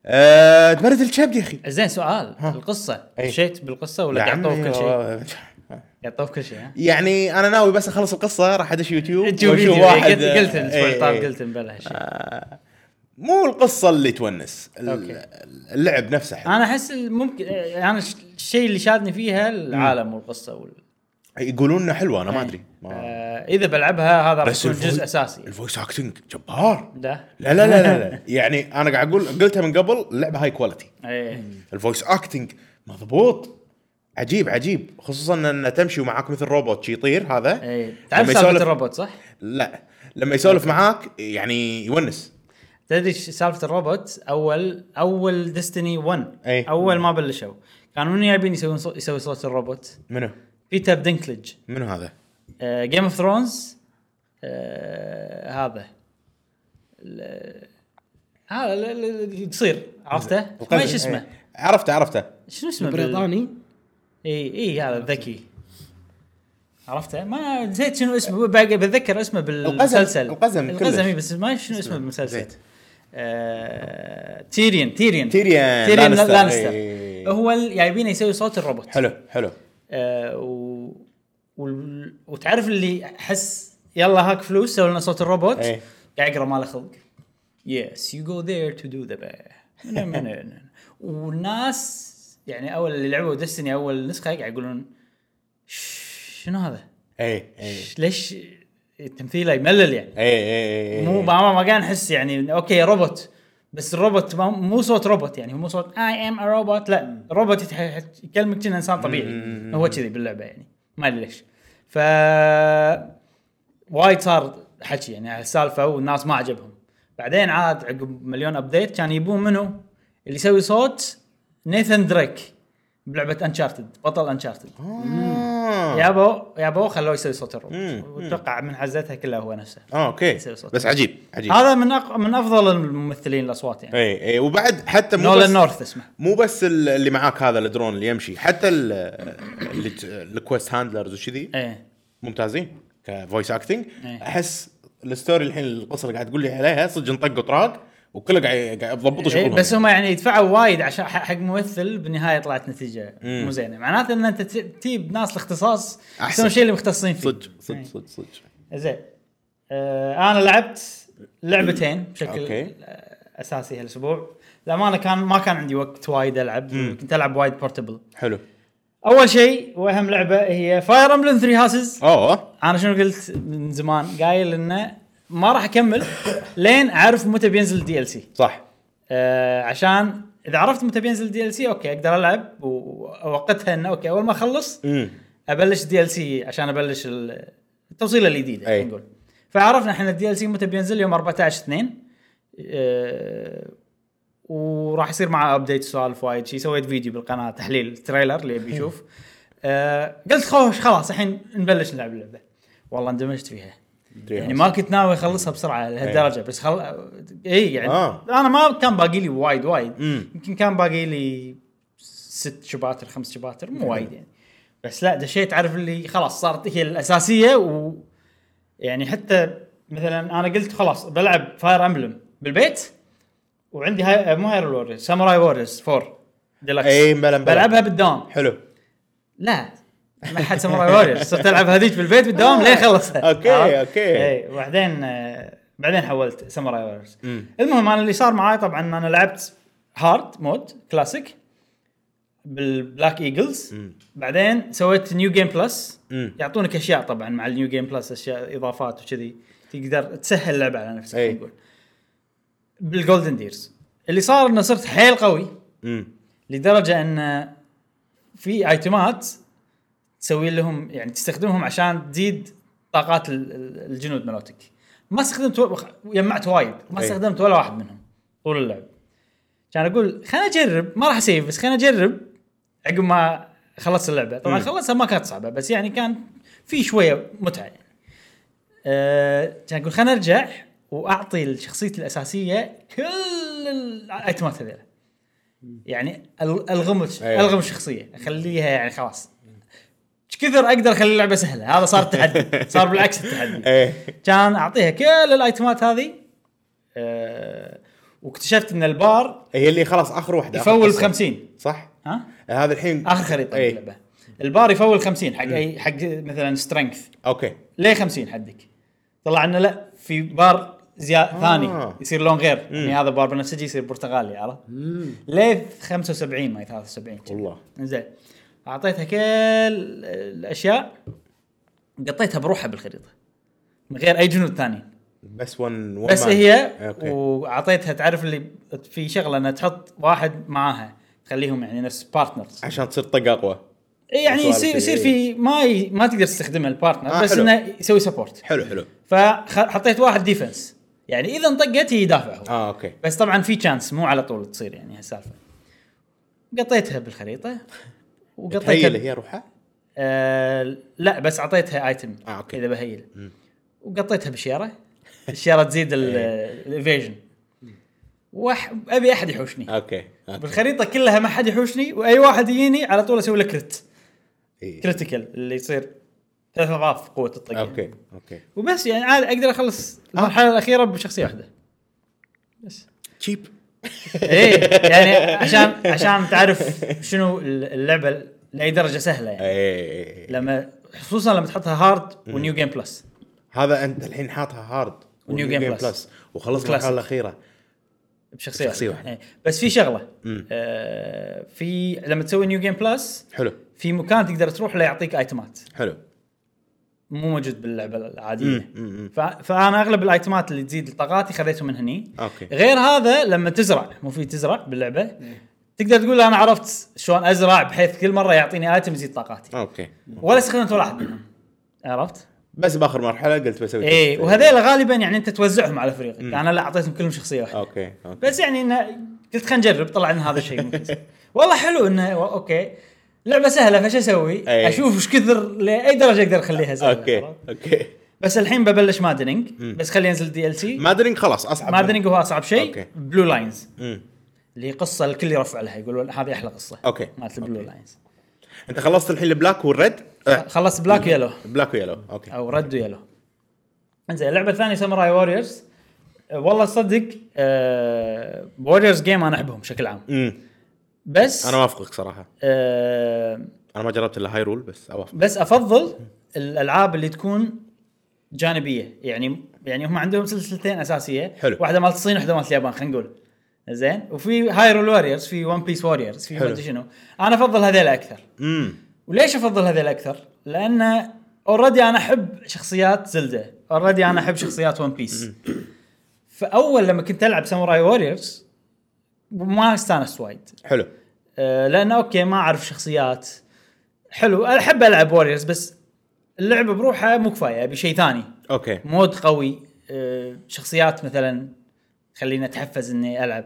[SPEAKER 3] أه تمرد الشبد يا اخي
[SPEAKER 1] زين سؤال القصة
[SPEAKER 3] أي.
[SPEAKER 1] مشيت بالقصة ولا
[SPEAKER 3] إيه. يا
[SPEAKER 1] يعطوك
[SPEAKER 3] عمي،
[SPEAKER 1] كل شيء؟
[SPEAKER 3] آه،
[SPEAKER 1] يعطوك كل شيء ها؟
[SPEAKER 3] يعني انا ناوي بس اخلص القصه راح ادش يوتيوب
[SPEAKER 1] تشوف
[SPEAKER 3] واشوف
[SPEAKER 1] فيديو
[SPEAKER 3] واحد
[SPEAKER 1] قلت قلت الاسبوع
[SPEAKER 3] آه، إي،
[SPEAKER 1] اللي طاف
[SPEAKER 3] إي.
[SPEAKER 1] قلت مبلا هالشيء
[SPEAKER 3] مو القصه اللي تونس ال-
[SPEAKER 1] أوكي. آه.
[SPEAKER 3] اللعب نفسه حلو.
[SPEAKER 1] انا احس ممكن انا ش- الشيء اللي شادني فيها العالم والقصه وال...
[SPEAKER 3] يقولون انه حلو انا ما ادري ما-
[SPEAKER 1] آه اذا بلعبها هذا راح يكون
[SPEAKER 3] الفوي-
[SPEAKER 1] جزء اساسي
[SPEAKER 3] الفويس اكتنج جبار
[SPEAKER 1] ده
[SPEAKER 3] لا لا لا لا, لا. يعني انا قاعد اقول قلتها من قبل اللعبه هاي كواليتي
[SPEAKER 1] ايه
[SPEAKER 3] الفويس اكتنج مضبوط عجيب عجيب خصوصا انه تمشي ومعاك مثل روبوت شي يطير هذا
[SPEAKER 1] ايه
[SPEAKER 3] لما
[SPEAKER 1] تعرف سالفه
[SPEAKER 3] يسولف-
[SPEAKER 1] الروبوت صح؟
[SPEAKER 3] لا لما يسولف معاك يعني يونس
[SPEAKER 1] تدري ش- سالفه الروبوت اول اول ديستني 1
[SPEAKER 3] إيه.
[SPEAKER 1] اول ما بلشوا كانوا من يبين يسوون صو- يسوي صوت الروبوت
[SPEAKER 3] منو
[SPEAKER 1] بيتر آه، دينكلج
[SPEAKER 3] منو هذا
[SPEAKER 1] جيم اوف ثرونز آه، هذا ال- هذا ال- ال- اللي تصير عرفته؟ ما
[SPEAKER 3] القزم.
[SPEAKER 1] ايش اسمه؟
[SPEAKER 3] إيه. عرفته عرفته
[SPEAKER 1] شنو اسمه؟ بال-
[SPEAKER 2] بريطاني
[SPEAKER 1] اي اي هذا ذكي عرفته ما نسيت شنو اسمه باقي بتذكر اسمه بالمسلسل
[SPEAKER 3] القزم كلش.
[SPEAKER 1] القزم إي، بس ما شنو اسمه بالمسلسل
[SPEAKER 3] نسيت.
[SPEAKER 1] آه... تيريان تيريان
[SPEAKER 3] تيريان
[SPEAKER 1] تيريان
[SPEAKER 3] لانستر.
[SPEAKER 1] لانستر
[SPEAKER 3] إي.
[SPEAKER 1] هو ال- جايبينه يسوي صوت الروبوت
[SPEAKER 3] حلو حلو
[SPEAKER 1] آه و... وال... وتعرف اللي احس يلا هاك فلوس سوي لنا صوت الروبوت
[SPEAKER 3] إي.
[SPEAKER 1] قاعد يقرا ماله خلق يس يو جو ذير تو دو ذا والناس يعني اول اللي لعبوا دستني اول نسخه قاعد يقولون "ش- شنو هذا؟
[SPEAKER 3] اي اي
[SPEAKER 1] ش- ليش تمثيله يملل يعني
[SPEAKER 3] اي اي اي
[SPEAKER 1] مو ما ما ما قاعد نحس يعني اوكي روبوت بس الروبوت ما- مو صوت روبوت يعني مو صوت اي ام ا روبوت لا روبوت يتح- يكلمك كأنه انسان طبيعي
[SPEAKER 3] مم.
[SPEAKER 1] هو كذي باللعبه يعني ما ادري ليش ف وايد صار حكي يعني على السالفه والناس ما عجبهم بعدين عاد عقب مليون ابديت كان يبون منو اللي يسوي صوت نيثن دريك بلعبه انشارتد بطل انشارتد
[SPEAKER 3] آه.
[SPEAKER 1] يابو يابو خلوه يسوي صوت الروبوت
[SPEAKER 3] مم.
[SPEAKER 1] واتوقع من حزتها كلها هو نفسه
[SPEAKER 3] اه اوكي
[SPEAKER 1] يسوي صوت.
[SPEAKER 3] بس عجيب عجيب
[SPEAKER 1] هذا من أق... من افضل الممثلين الاصوات يعني
[SPEAKER 3] اي اي وبعد حتى مو
[SPEAKER 1] نولان
[SPEAKER 3] بس
[SPEAKER 1] نورث اسمه
[SPEAKER 3] مو بس ال- اللي معاك هذا الدرون اللي يمشي حتى ال- اللي ت- الكويست هاندلرز وكذي
[SPEAKER 1] ايه
[SPEAKER 3] ممتازين كفويس اكتنج
[SPEAKER 1] إيه.
[SPEAKER 3] احس الستوري الحين القصه اللي قاعد تقول لي عليها صدق انطق طراق وكله قاعد قاعد يضبطوا
[SPEAKER 1] إيه
[SPEAKER 3] شغلهم
[SPEAKER 1] بس هم يعني يدفعوا وايد عشان ح- حق ممثل بالنهايه طلعت نتيجه
[SPEAKER 3] مم.
[SPEAKER 1] مو زينه معناته ان انت ت- تجيب ناس الاختصاص
[SPEAKER 3] أحسن.
[SPEAKER 1] إيه. يسوون الشيء اللي مختصين فيه
[SPEAKER 3] صدق صدق صدق صدق
[SPEAKER 1] زين آه انا لعبت لعبتين بشكل
[SPEAKER 3] أوكي.
[SPEAKER 1] آه، اساسي هالاسبوع للامانه كان ما كان عندي وقت وايد العب كنت العب وايد بورتبل
[SPEAKER 3] حلو
[SPEAKER 1] اول شيء واهم لعبه هي فاير امبلم 3 هاسز
[SPEAKER 3] اوه
[SPEAKER 1] انا شنو قلت من زمان قايل انه ما راح اكمل لين اعرف متى بينزل دي ال سي
[SPEAKER 3] صح
[SPEAKER 1] آه عشان اذا عرفت متى بينزل دي ال سي اوكي اقدر العب و- واوقتها انه اوكي اول ما اخلص
[SPEAKER 3] امم
[SPEAKER 1] ابلش دي ال سي عشان ابلش ال- التوصيله الجديده
[SPEAKER 3] أي.
[SPEAKER 1] خلينا نقول فعرفنا احنا الدي ال سي متى بينزل يوم 14 2 أه وراح يصير معه ابديت سوالف وايد شي سويت فيديو بالقناه تحليل تريلر اللي يبي يشوف أه قلت خوش خلاص الحين نبلش نلعب اللعبه والله اندمجت فيها يعني ما كنت ناوي اخلصها بسرعه لهالدرجه بس خل اي يعني
[SPEAKER 3] إيه. آه.
[SPEAKER 1] آه. انا ما كان باقي لي وايد وايد
[SPEAKER 3] مم.
[SPEAKER 1] يمكن كان باقي لي ست شباتر خمس شباتر مو وايد يعني بس لا دشيت عارف اللي خلاص صارت هي الاساسيه و يعني حتى مثلا انا قلت خلاص بلعب فاير امبلم بالبيت وعندي هاي مو هاير ووريرز ساموراي ووريرز 4 ديلكس
[SPEAKER 3] إي، إيه، بلا- بلا.
[SPEAKER 1] بلعبها بالدوام
[SPEAKER 3] حلو
[SPEAKER 1] لا ما حد ساموراي ووريرز صرت العب هذيك بالبيت بالدوام لين خلصتها
[SPEAKER 3] أوكي،
[SPEAKER 1] عرفت؟
[SPEAKER 3] أوكي.
[SPEAKER 1] اي وبعدين آه، بعدين حولت ساموراي ووريرز
[SPEAKER 3] مم.
[SPEAKER 1] المهم انا اللي صار معاي طبعا انا لعبت هارد مود كلاسيك بالبلاك ايجلز
[SPEAKER 3] مم.
[SPEAKER 1] بعدين سويت نيو جيم بلس
[SPEAKER 3] مم.
[SPEAKER 1] يعطونك اشياء طبعا مع النيو جيم بلس اشياء اضافات وكذي تقدر تسهل اللعبه على نفسك
[SPEAKER 3] أي.
[SPEAKER 1] خلينا نقول بالجولدن ديرز اللي صار انه صرت حيل قوي
[SPEAKER 3] امم
[SPEAKER 1] لدرجه ان في ايتمات تسوي لهم يعني تستخدمهم عشان تزيد طاقات ال- ال- الجنود مالتك ما استخدمت و- وخ- جمعت وايد ما
[SPEAKER 3] أي.
[SPEAKER 1] استخدمت ولا واحد منهم طول اللعب كان اقول خليني اجرب ما راح اسيف بس خليني اجرب عقب ما خلصت اللعبه طبعا
[SPEAKER 3] مم.
[SPEAKER 1] خلصها ما كانت صعبه بس يعني كان في شويه متعه يعني. أه كان اقول خليني ارجع واعطي لشخصيتي الاساسيه كل الايتمات هذيلا يعني أل- الغم الش-
[SPEAKER 3] أيوة.
[SPEAKER 1] الغم الشخصيه اخليها يعني خلاص إيش كثر اقدر اخلي اللعبه سهله هذا صار التحدي صار بالعكس التحدي
[SPEAKER 3] ايه
[SPEAKER 1] كان اعطيها كل الايتمات هذه أه واكتشفت ان البار
[SPEAKER 3] هي اللي خلاص اخر واحده آخر
[SPEAKER 1] يفول ب
[SPEAKER 3] قصة.
[SPEAKER 1] 50
[SPEAKER 3] صح
[SPEAKER 1] ها
[SPEAKER 3] هذا الحين
[SPEAKER 1] اخر خريطه
[SPEAKER 3] إيه.
[SPEAKER 1] أيه. اللعبه البار يفول 50 حق اي حق مثلا سترينث
[SPEAKER 3] اوكي
[SPEAKER 1] ليه 50 حدك طلع انه لا في بار زيا آه. ثاني يصير لون غير يعني هذا بار بنفسجي يصير برتقالي عرفت ليه 75 ما هي 73
[SPEAKER 3] والله.
[SPEAKER 1] زين اعطيتها كل الاشياء قطيتها بروحها بالخريطه من غير اي جنود ثاني
[SPEAKER 3] بس ون ون
[SPEAKER 1] بس
[SPEAKER 3] مان.
[SPEAKER 1] هي
[SPEAKER 3] اوكي
[SPEAKER 1] واعطيتها تعرف اللي في شغله انها تحط واحد معاها تخليهم يعني نفس بارتنرز
[SPEAKER 3] عشان تصير طق اقوى
[SPEAKER 1] يعني
[SPEAKER 3] سوالف
[SPEAKER 1] يصير
[SPEAKER 3] كذي.
[SPEAKER 1] يصير في ما ي... ما تقدر تستخدمها البارتنر
[SPEAKER 3] آه،
[SPEAKER 1] بس
[SPEAKER 3] حلو.
[SPEAKER 1] انه يسوي سبورت
[SPEAKER 3] حلو حلو
[SPEAKER 1] فحطيت واحد ديفنس يعني اذا انطقت هي يدافع هو
[SPEAKER 3] اه اوكي
[SPEAKER 1] بس طبعا في تشانس مو على طول تصير يعني هالسالفه قطيتها بالخريطه
[SPEAKER 3] تهيل
[SPEAKER 1] وقطيتها
[SPEAKER 3] هي روحها
[SPEAKER 1] آه لا بس اعطيتها ايتم
[SPEAKER 3] آه، أوكي.
[SPEAKER 1] اذا بهيل وقطيتها بشيره الشيره تزيد
[SPEAKER 3] إيه.
[SPEAKER 1] الايفيجن وح... ابي احد يحوشني
[SPEAKER 3] اوكي اوكي
[SPEAKER 1] بالخريطه كلها ما حد يحوشني واي واحد يجيني على طول اسوي له كريت
[SPEAKER 3] إيه.
[SPEAKER 1] كريتيكال اللي يصير ثلاث اضعاف قوه الطق يعني.
[SPEAKER 3] اوكي اوكي
[SPEAKER 1] وبس يعني عادي اقدر اخلص
[SPEAKER 3] آه.
[SPEAKER 1] المرحله الاخيره بشخصيه واحده بس
[SPEAKER 3] تشيب
[SPEAKER 1] ايه يعني عشان عشان تعرف شنو اللعبه لاي درجه سهله يعني
[SPEAKER 3] ايه
[SPEAKER 1] لما خصوصا لما تحطها هارد ونيو جيم بلس
[SPEAKER 3] هذا انت الحين حاطها هارد
[SPEAKER 1] ونيو جيم بلس.
[SPEAKER 3] وخلصت
[SPEAKER 1] وكلاسيك.
[SPEAKER 3] المرحله الاخيره
[SPEAKER 1] بشخصيه
[SPEAKER 3] شخصية
[SPEAKER 1] واحده
[SPEAKER 3] واحدة.
[SPEAKER 1] إيه. بس في شغله
[SPEAKER 3] مم.
[SPEAKER 1] آه في لما تسوي نيو جيم بلس
[SPEAKER 3] حلو
[SPEAKER 1] في مكان تقدر تروح له يعطيك ايتمات
[SPEAKER 3] حلو
[SPEAKER 1] مو موجود باللعبه العاديه
[SPEAKER 3] مم، مم، مم.
[SPEAKER 1] ف... فانا اغلب الايتمات اللي تزيد طاقاتي خذيتهم من هني
[SPEAKER 3] أوكي.
[SPEAKER 1] غير هذا لما تزرع مو في تزرع باللعبه تقدر تقول انا عرفت شلون ازرع بحيث كل مره يعطيني ايتم يزيد طاقاتي
[SPEAKER 3] اوكي
[SPEAKER 1] ولا استخدمت ولا واحد منهم عرفت؟
[SPEAKER 3] بس باخر مرحله قلت بسوي
[SPEAKER 1] اي
[SPEAKER 3] تست.
[SPEAKER 1] وهذيل غالبا يعني انت توزعهم على فريقك انا لا اعطيتهم كلهم شخصيه واحده
[SPEAKER 3] اوكي اوكي
[SPEAKER 1] بس يعني انه قلت خلينا نجرب طلع ان هذا الشيء ممكن يصير. والله حلو انه و- اوكي لعبه سهله فش اسوي؟
[SPEAKER 3] إي.
[SPEAKER 1] اشوف ايش كثر لاي درجه اقدر اخليها سهله
[SPEAKER 3] اوكي
[SPEAKER 1] عرفت؟
[SPEAKER 3] اوكي
[SPEAKER 1] بس الحين ببلش مادنينج بس خلي ينزل دي ال سي
[SPEAKER 3] مادرينج خلاص اصعب
[SPEAKER 1] مادنينج هو اصعب
[SPEAKER 3] أوكي.
[SPEAKER 1] شيء بلو لاينز
[SPEAKER 3] مم.
[SPEAKER 1] اللي هي قصه الكل يرفع لها يقول ولا- هذه احلى قصه
[SPEAKER 3] أوكي.
[SPEAKER 1] مالت البلو لاينز
[SPEAKER 3] انت خلصت الحين البلاك والريد آه،
[SPEAKER 1] خلص بلاك يلو
[SPEAKER 3] بلاك ويلو اوكي
[SPEAKER 1] او رد يلو انزين اللعبه الثانيه ساموراي ووريرز والله صدق أه ووريرز جيم انا احبهم بشكل عام
[SPEAKER 3] امم
[SPEAKER 1] بس
[SPEAKER 3] انا وافقك صراحه
[SPEAKER 1] أه
[SPEAKER 3] انا ما جربت الا هايرول بس اوافق
[SPEAKER 1] بس افضل الالعاب اللي تكون جانبيه يعني يعني هم عندهم سلسلتين اساسيه
[SPEAKER 3] حلو.
[SPEAKER 1] واحده مال الصين واحده مال اليابان خلينا نقول زين وفي هايرول واريورز في ون بيس واريورز في ما
[SPEAKER 3] حلو.
[SPEAKER 1] ادري شنو انا افضل هذيل اكثر
[SPEAKER 3] امم
[SPEAKER 1] وليش افضل هذيل اكثر؟ لان اوريدي انا احب شخصيات زلدة اوريدي انا احب شخصيات ون بيس فاول لما كنت العب ساموراي واريورز ما استانست وايد
[SPEAKER 3] حلو
[SPEAKER 1] آه، لانه اوكي ما اعرف شخصيات حلو أنا احب العب واريورز بس اللعبه بروحها مو كفايه ابي شيء ثاني
[SPEAKER 3] اوكي
[SPEAKER 1] مود قوي آه، شخصيات مثلا خليني اتحفز اني العب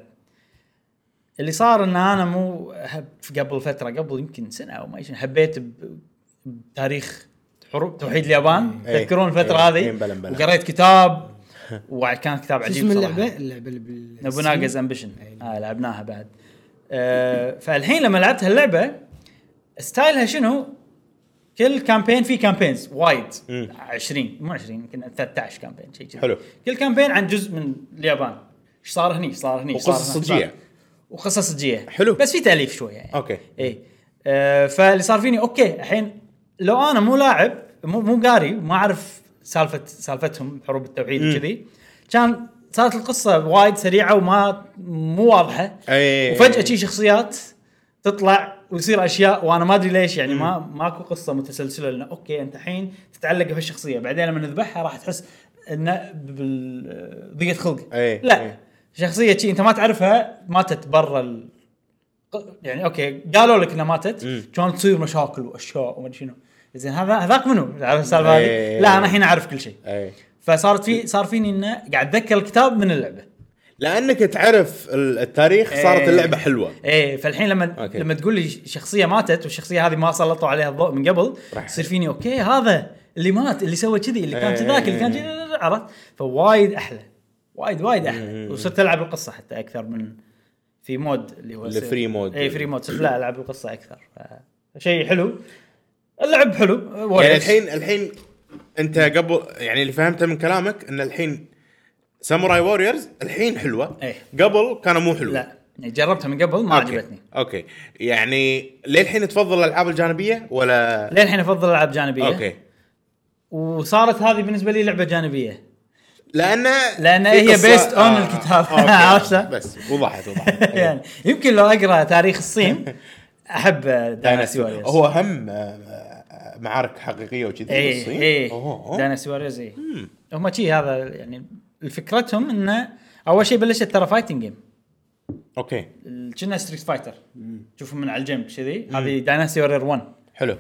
[SPEAKER 1] اللي صار ان انا مو هب قبل فتره قبل يمكن سنه او ما شنو هبيت ب- بتاريخ حروب توحيد اليابان
[SPEAKER 3] إيه.
[SPEAKER 1] تذكرون الفتره
[SPEAKER 3] إيه.
[SPEAKER 1] هذه
[SPEAKER 3] إيه، بلا- بلا.
[SPEAKER 1] وقريت كتاب وكان كتاب
[SPEAKER 2] شو
[SPEAKER 1] عجيب
[SPEAKER 2] اسم
[SPEAKER 1] صراحة.
[SPEAKER 2] اللعبه؟ اللعبه اللي بال-
[SPEAKER 1] نوبوناغاز امبيشن آه لعبناها بعد آه فالحين لما لعبت هاللعبه ستايلها شنو؟ كل كامبين في كامبينز وايد
[SPEAKER 3] مم.
[SPEAKER 1] 20 مو 20 يمكن 13 كامبين شيء كذي
[SPEAKER 3] حلو.
[SPEAKER 1] كل كامبين عن جزء من اليابان ايش صار هني إيش صار هني إيش صار
[SPEAKER 3] وقصص
[SPEAKER 1] هناك، إيش
[SPEAKER 3] صجية.
[SPEAKER 1] صار- وقصص صجيه
[SPEAKER 3] حلو.
[SPEAKER 1] بس في تاليف شويه يعني
[SPEAKER 3] اوكي
[SPEAKER 1] اي آه فاللي صار فيني اوكي الحين لو انا مو لاعب مو مو قاري ما اعرف سالفه سالفتهم حروب التوحيد
[SPEAKER 3] مم.
[SPEAKER 1] وكذي كان صارت القصه وايد سريعه وما مو واضحه
[SPEAKER 3] اي
[SPEAKER 1] وفجاه شي شخصيات تطلع ويصير اشياء وانا ما ادري ليش يعني ما ماكو قصه متسلسله لانه اوكي انت الحين تتعلق بهالشخصيه بعدين لما نذبحها راح تحس انه بال- ضيقه خلق
[SPEAKER 3] إيه،
[SPEAKER 1] لا
[SPEAKER 3] إيه.
[SPEAKER 1] شخصيه شي انت ما تعرفها ماتت برا ال... يعني اوكي قالوا لك انها
[SPEAKER 3] مم.
[SPEAKER 1] ماتت كانت تصير مشاكل واشياء وما أدري شنو زين هذا هذاك منو؟ عارف السالفه
[SPEAKER 3] إيه.
[SPEAKER 1] هذه؟ لا انا الحين اعرف كل شيء
[SPEAKER 3] اي
[SPEAKER 1] فصارت في صار فيني انه قاعد اتذكر الكتاب من اللعبه
[SPEAKER 3] لانك تعرف ال- التاريخ صارت
[SPEAKER 1] إيه.
[SPEAKER 3] اللعبه حلوه
[SPEAKER 1] ايه فالحين لما
[SPEAKER 3] أوكي.
[SPEAKER 1] أوكي. لما تقول لي شخصيه ماتت والشخصيه هذه ما سلطوا عليها الضوء من قبل
[SPEAKER 3] راح.
[SPEAKER 1] يصير فيني اوكي هذا اللي مات اللي سوى كذي اللي كان
[SPEAKER 3] إيه.
[SPEAKER 1] كذاك اللي كان كذي عرفت فوايد احلى وايد وايد
[SPEAKER 3] إيه.
[SPEAKER 1] احلى وصرت العب القصه حتى اكثر من في مود اللي هو
[SPEAKER 3] اللي
[SPEAKER 1] يصير-
[SPEAKER 3] free mode.
[SPEAKER 1] اي فري مود صرت لا العب القصه اكثر ف- شيء حلو اللعب حلو
[SPEAKER 3] يعني
[SPEAKER 1] Warriors.
[SPEAKER 3] الحين الحين انت قبل يعني اللي فهمته من كلامك ان الحين ساموراي ووريرز الحين حلوه
[SPEAKER 1] إيه.
[SPEAKER 3] قبل كانوا مو حلوه
[SPEAKER 1] لا يعني جربتها من قبل ما
[SPEAKER 3] أوكي.
[SPEAKER 1] عجبتني
[SPEAKER 3] اوكي يعني للحين تفضل الالعاب الجانبيه ولا
[SPEAKER 1] للحين افضل العاب جانبيه
[SPEAKER 3] اوكي
[SPEAKER 1] وصارت هذه بالنسبه لي لعبه جانبيه
[SPEAKER 3] لان
[SPEAKER 1] لأن
[SPEAKER 3] في
[SPEAKER 1] هي
[SPEAKER 3] قصة- آه،
[SPEAKER 1] based on الكتاب.
[SPEAKER 3] أوكي.
[SPEAKER 1] عرفته؟
[SPEAKER 3] بس وضحت وضحت
[SPEAKER 1] يعني يمكن لو اقرا تاريخ الصين احب دايناسي
[SPEAKER 3] دايناسي
[SPEAKER 1] واريورز
[SPEAKER 3] هو هم آه، آه، معارك حقيقيه وكذي
[SPEAKER 1] اي
[SPEAKER 3] بالصين؟
[SPEAKER 1] اي
[SPEAKER 3] أوه، أوه.
[SPEAKER 1] إيه، دايناسي واريورز اي هم شي هذا يعني فكرتهم انه اول شيء بلشت ترى فايتنج جيم
[SPEAKER 3] اوكي
[SPEAKER 1] كنا ستريت فايتر تشوفهم من على الجنب كذي هذه دايناسي واريور 1
[SPEAKER 3] حلو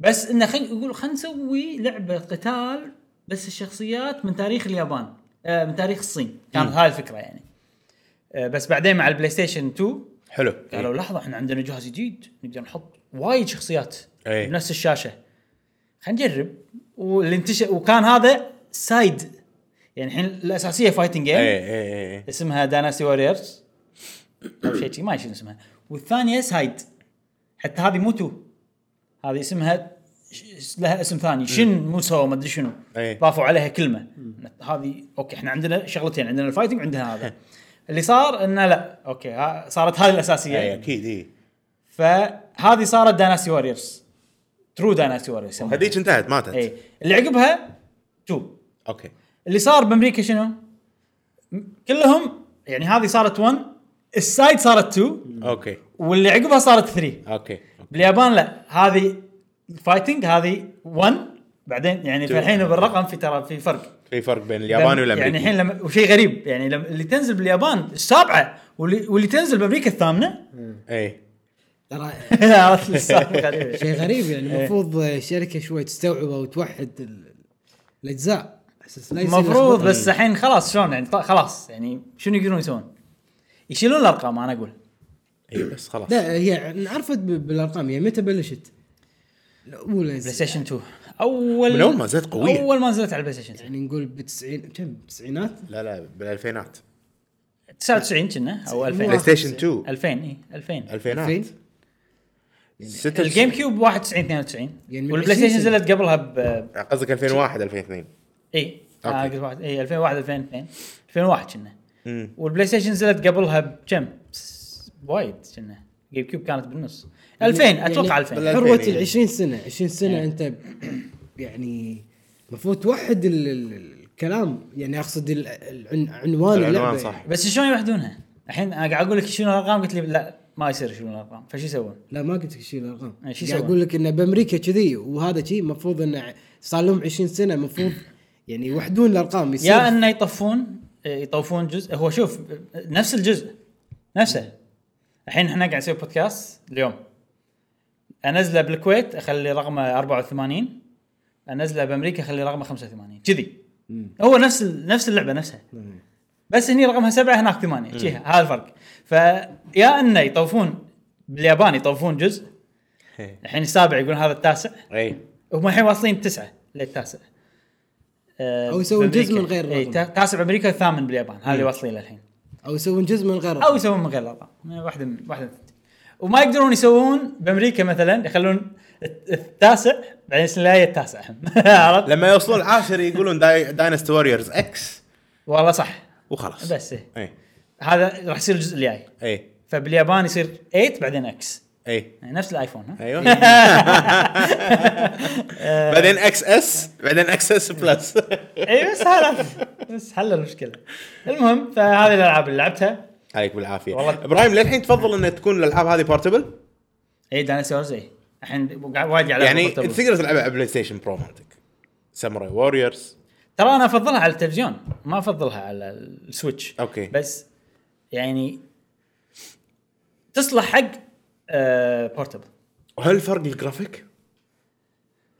[SPEAKER 1] بس انه خل يقول خلينا نسوي لعبه قتال بس الشخصيات من تاريخ اليابان آه من تاريخ الصين كانت هاي الفكره يعني آه بس بعدين مع البلاي ستيشن 2
[SPEAKER 3] حلو
[SPEAKER 1] قالوا لحظه احنا عندنا جهاز جديد نقدر نحط وايد شخصيات
[SPEAKER 3] إيه.
[SPEAKER 1] بنفس الشاشه خلينا نجرب واللي انتشر وكان هذا سايد يعني الحين الاساسيه فايتنج
[SPEAKER 3] اي
[SPEAKER 1] جيم
[SPEAKER 3] اي اي اي
[SPEAKER 1] اسمها داناسي واريورز او شيء شي ما أدري شنو اسمها والثانيه سايد حتى هذه مو تو هذه اسمها ش- لها اسم ثاني شن موسو ما ادري شنو
[SPEAKER 3] إيه.
[SPEAKER 1] ضافوا عليها كلمه هذه اوكي احنا عندنا شغلتين عندنا الفايتنج وعندنا هذا اللي صار انه لا اوكي ها- صارت هذه الاساسيه
[SPEAKER 3] اي اكيد اي
[SPEAKER 1] فهذه صارت داناسي واريورز ترو داناسي واريورز
[SPEAKER 3] هذيك انتهت ماتت
[SPEAKER 1] اي إيه. اللي عقبها تو
[SPEAKER 3] اوكي
[SPEAKER 1] اللي صار بامريكا شنو؟ م- كلهم يعني هذه صارت 1 السايد صارت 2
[SPEAKER 3] اوكي
[SPEAKER 1] واللي عقبها صارت 3
[SPEAKER 3] اوكي
[SPEAKER 1] باليابان لا هذه فايتنج هذه 1 بعدين يعني فالحين بالرقم في ترى في فرق
[SPEAKER 3] في فرق بين الياباني والامريكي
[SPEAKER 1] يعني الحين لما وشيء غريب يعني لما اللي تنزل باليابان السابعه واللي, واللي تنزل بامريكا الثامنه
[SPEAKER 3] اي
[SPEAKER 2] ترى
[SPEAKER 1] عرفت السالفه غريبه
[SPEAKER 2] شيء غريب يعني
[SPEAKER 1] إيه.
[SPEAKER 2] المفروض الشركه شوي تستوعبه وتوحد ال- الاجزاء أساس لا يصير
[SPEAKER 1] المفروض
[SPEAKER 2] لخبطة.
[SPEAKER 1] بس الحين خلاص شلون يعني ط- خلاص يعني شنو يقدرون يسوون؟ يشيلون الارقام انا اقول
[SPEAKER 3] اي إيه، بس خلاص
[SPEAKER 2] لا هي انعرفت ب- بالارقام هي متى بلشت؟ الاولى
[SPEAKER 1] بلاي ستيشن 2 اول
[SPEAKER 3] من أول ما نزلت قوية.
[SPEAKER 1] اول ما نزلت على البلاي ستيشن 2
[SPEAKER 2] يعني نقول بالتسعين كم بالتسعينات؟
[SPEAKER 3] لا لا بالالفينات
[SPEAKER 1] 99 كنا او 2000
[SPEAKER 3] بلاي ستيشن 2
[SPEAKER 1] 2000 اي 2000
[SPEAKER 3] الفينات
[SPEAKER 2] 2000
[SPEAKER 3] ستة
[SPEAKER 1] يعني الجيم كيوب 91 92
[SPEAKER 2] يعني من
[SPEAKER 1] والبلاي
[SPEAKER 2] 20
[SPEAKER 1] ستيشن
[SPEAKER 2] سنة.
[SPEAKER 1] نزلت قبلها ب
[SPEAKER 3] قصدك 2001 2002
[SPEAKER 1] اي
[SPEAKER 3] أوكي.
[SPEAKER 1] آه، قلت واحد- اي 2001 2002 2001 كنا
[SPEAKER 3] امم
[SPEAKER 1] والبلاي ستيشن نزلت قبلها بكم؟ بس- وايد كنا جيم كيوب كانت بالنص 2000 اتوقع
[SPEAKER 2] يعني
[SPEAKER 1] 2000
[SPEAKER 3] بال-
[SPEAKER 2] حروه
[SPEAKER 1] إيه.
[SPEAKER 3] يعني.
[SPEAKER 2] ال 20 سنه 20 سنه انت ب- يعني المفروض توحد ال- ال- ال- الكلام يعني اقصد ال- العن- عنوان
[SPEAKER 3] العنوان
[SPEAKER 2] اللعبه
[SPEAKER 3] صح
[SPEAKER 2] يعني.
[SPEAKER 1] بس شلون يوحدونها؟ الحين انا قاعد اقول لك شنو الارقام قلت لي لا ما يصير شنو الارقام فشو يسوون؟
[SPEAKER 2] لا ما قلت لك شيء الارقام
[SPEAKER 1] أي شي
[SPEAKER 2] قاعد
[SPEAKER 1] إيه، سوى؟
[SPEAKER 2] اقول لك انه بامريكا كذي وهذا شيء المفروض انه صار لهم 20 سنه المفروض يعني يوحدون الارقام يصير
[SPEAKER 1] يا انه يطفون إيه، يطوفون جزء هو شوف نفس الجزء نفسه الحين احنا قاعد نسوي بودكاست اليوم انزله بالكويت اخلي رقمه 84 انزله بامريكا اخلي رقمه 85 كذي هو نفس ال- نفس اللعبه نفسها بس هني رقمها سبعه هناك ثمانيه شي هذا الفرق فيا انه يطوفون باليابان يطوفون جزء
[SPEAKER 3] إيه.
[SPEAKER 1] الحين السابع يقول هذا التاسع
[SPEAKER 3] اي
[SPEAKER 1] هم الحين واصلين تسعه للتاسع آه،
[SPEAKER 2] أو يسوون
[SPEAKER 1] بأمريكا.
[SPEAKER 2] جزء من غير
[SPEAKER 1] اي
[SPEAKER 2] رقم.
[SPEAKER 1] تا- تاسع بامريكا والثامن باليابان هذا اللي واصلين للحين
[SPEAKER 2] او يسوون جزء من غير
[SPEAKER 1] او يسوون من غير رقم واحده من واحده من الثنتين. وما يقدرون يسوون بامريكا مثلا يخلون الت- التاسع بعدين يصير لا التاسع عرفت؟
[SPEAKER 3] لما يوصلون العاشر يقولون داي داينست واريورز اكس
[SPEAKER 1] والله صح
[SPEAKER 3] وخلاص إيه.
[SPEAKER 1] بس إيه.
[SPEAKER 3] اي
[SPEAKER 1] هذا راح يصير الجزء الجاي
[SPEAKER 3] اي
[SPEAKER 1] فباليابان يصير 8 بعدين اكس
[SPEAKER 3] اي
[SPEAKER 1] يعني نفس الايفون ها
[SPEAKER 3] ايوه بعدين اكس اس بعدين اكس اس بلس
[SPEAKER 1] اي بس هذا بس حل المشكله المهم فهذه الالعاب اللي لعبتها
[SPEAKER 3] عليك بالعافيه
[SPEAKER 1] والله.
[SPEAKER 3] ابراهيم للحين تفضل ان تكون الالعاب هذه بورتبل
[SPEAKER 1] اي داينوسورز اي الحين قاعد- وايد قاعد
[SPEAKER 3] يعني
[SPEAKER 1] ألعب portable.
[SPEAKER 3] تقدر تلعبها على بلاي ستيشن برو مالتك ساموراي ووريرز
[SPEAKER 1] ترى انا افضلها على التلفزيون ما افضلها على السويتش
[SPEAKER 3] أوكي.
[SPEAKER 1] بس يعني تصلح حق آه بورتبل
[SPEAKER 3] وهل فرق الجرافيك؟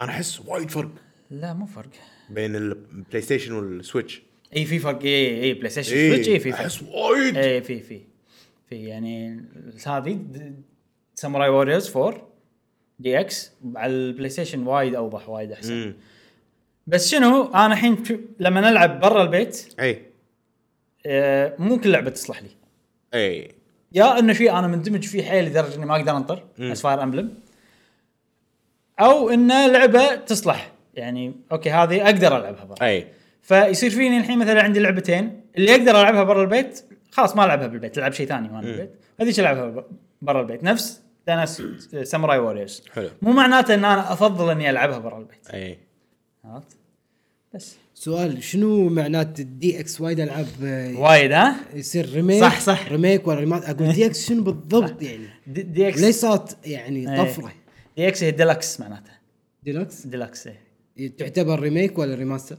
[SPEAKER 3] انا احس وايد فرق
[SPEAKER 1] لا مو فرق
[SPEAKER 3] بين البلاي ستيشن والسويتش
[SPEAKER 1] اي في فرق اي اي بلاي ستيشن
[SPEAKER 3] إيه،
[SPEAKER 1] سويتش اي في فرق إيه.
[SPEAKER 3] احس وايد
[SPEAKER 1] اي في في في يعني هذه ساموراي ووريرز 4 دي اكس على البلاي ستيشن وايد اوضح وايد احسن
[SPEAKER 3] مم.
[SPEAKER 1] بس شنو انا الحين شو- لما نلعب برا البيت
[SPEAKER 3] اي
[SPEAKER 1] آه، مو كل لعبه تصلح لي
[SPEAKER 3] اي
[SPEAKER 1] يا انه شيء انا مندمج فيه حيل لدرجه اني ما اقدر انطر بس فاير امبلم او انه لعبه تصلح يعني اوكي هذه اقدر العبها برا
[SPEAKER 3] اي
[SPEAKER 1] فيصير فيني الحين مثلا عندي لعبتين اللي اقدر العبها برا البيت خلاص ما العبها بالبيت العب شيء ثاني وانا بالبيت هذيك العبها ب- برا البيت نفس دانس ساموراي ووريرز
[SPEAKER 3] حلو.
[SPEAKER 1] مو معناته ان انا افضل اني العبها برا البيت
[SPEAKER 3] اي
[SPEAKER 1] عرفت بس
[SPEAKER 2] سؤال شنو معنات الدي اكس وايد العاب آه،
[SPEAKER 1] وايد ها
[SPEAKER 2] يصير ريميك
[SPEAKER 1] صح، صح. إيه.
[SPEAKER 2] ريميك ولا ريمات اقول دي اكس شنو بالضبط يعني
[SPEAKER 1] دي, دي
[SPEAKER 2] ليش
[SPEAKER 1] اكس
[SPEAKER 2] صارت يعني
[SPEAKER 1] إيه.
[SPEAKER 2] طفره
[SPEAKER 1] دي اكس هي ديلكس معناته
[SPEAKER 2] ديلوكس
[SPEAKER 1] ديلكس إيه.
[SPEAKER 2] تعتبر ريميك ولا ريماستر؟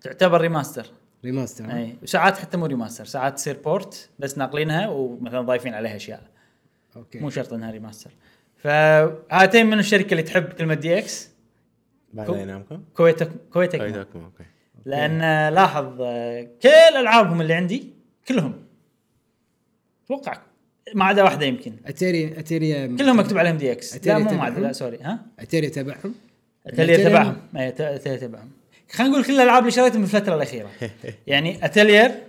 [SPEAKER 1] تعتبر ريماستر
[SPEAKER 2] ريماستر ها؟
[SPEAKER 1] اي ساعات حتى مو ريماستر ساعات تصير بورت بس ناقلينها ومثلا ضايفين عليها اشياء
[SPEAKER 2] اوكي
[SPEAKER 1] مو شرط انها ريماستر فهاتين من الشركه اللي تحب كلمه دي اكس
[SPEAKER 3] بعدين إيه، نامكم
[SPEAKER 1] كويتا كويتا
[SPEAKER 3] ايدكم اوكي
[SPEAKER 1] لان آه، لاحظ آه، كل العابهم اللي عندي كلهم اتوقع ما عدا واحده يمكن
[SPEAKER 2] اتيريا اتيريا
[SPEAKER 1] كلهم مكتوب عليهم دي اكس لا
[SPEAKER 2] أتاري
[SPEAKER 1] مو ما
[SPEAKER 2] تبعهم؟
[SPEAKER 1] عدا لا سوري ها
[SPEAKER 2] اتيريا تبعهم
[SPEAKER 1] اتليا تبعهم اي أت- اتليا تبعهم خلينا نقول كل الالعاب اللي شريتهم بالفتره الاخيره يعني اتليا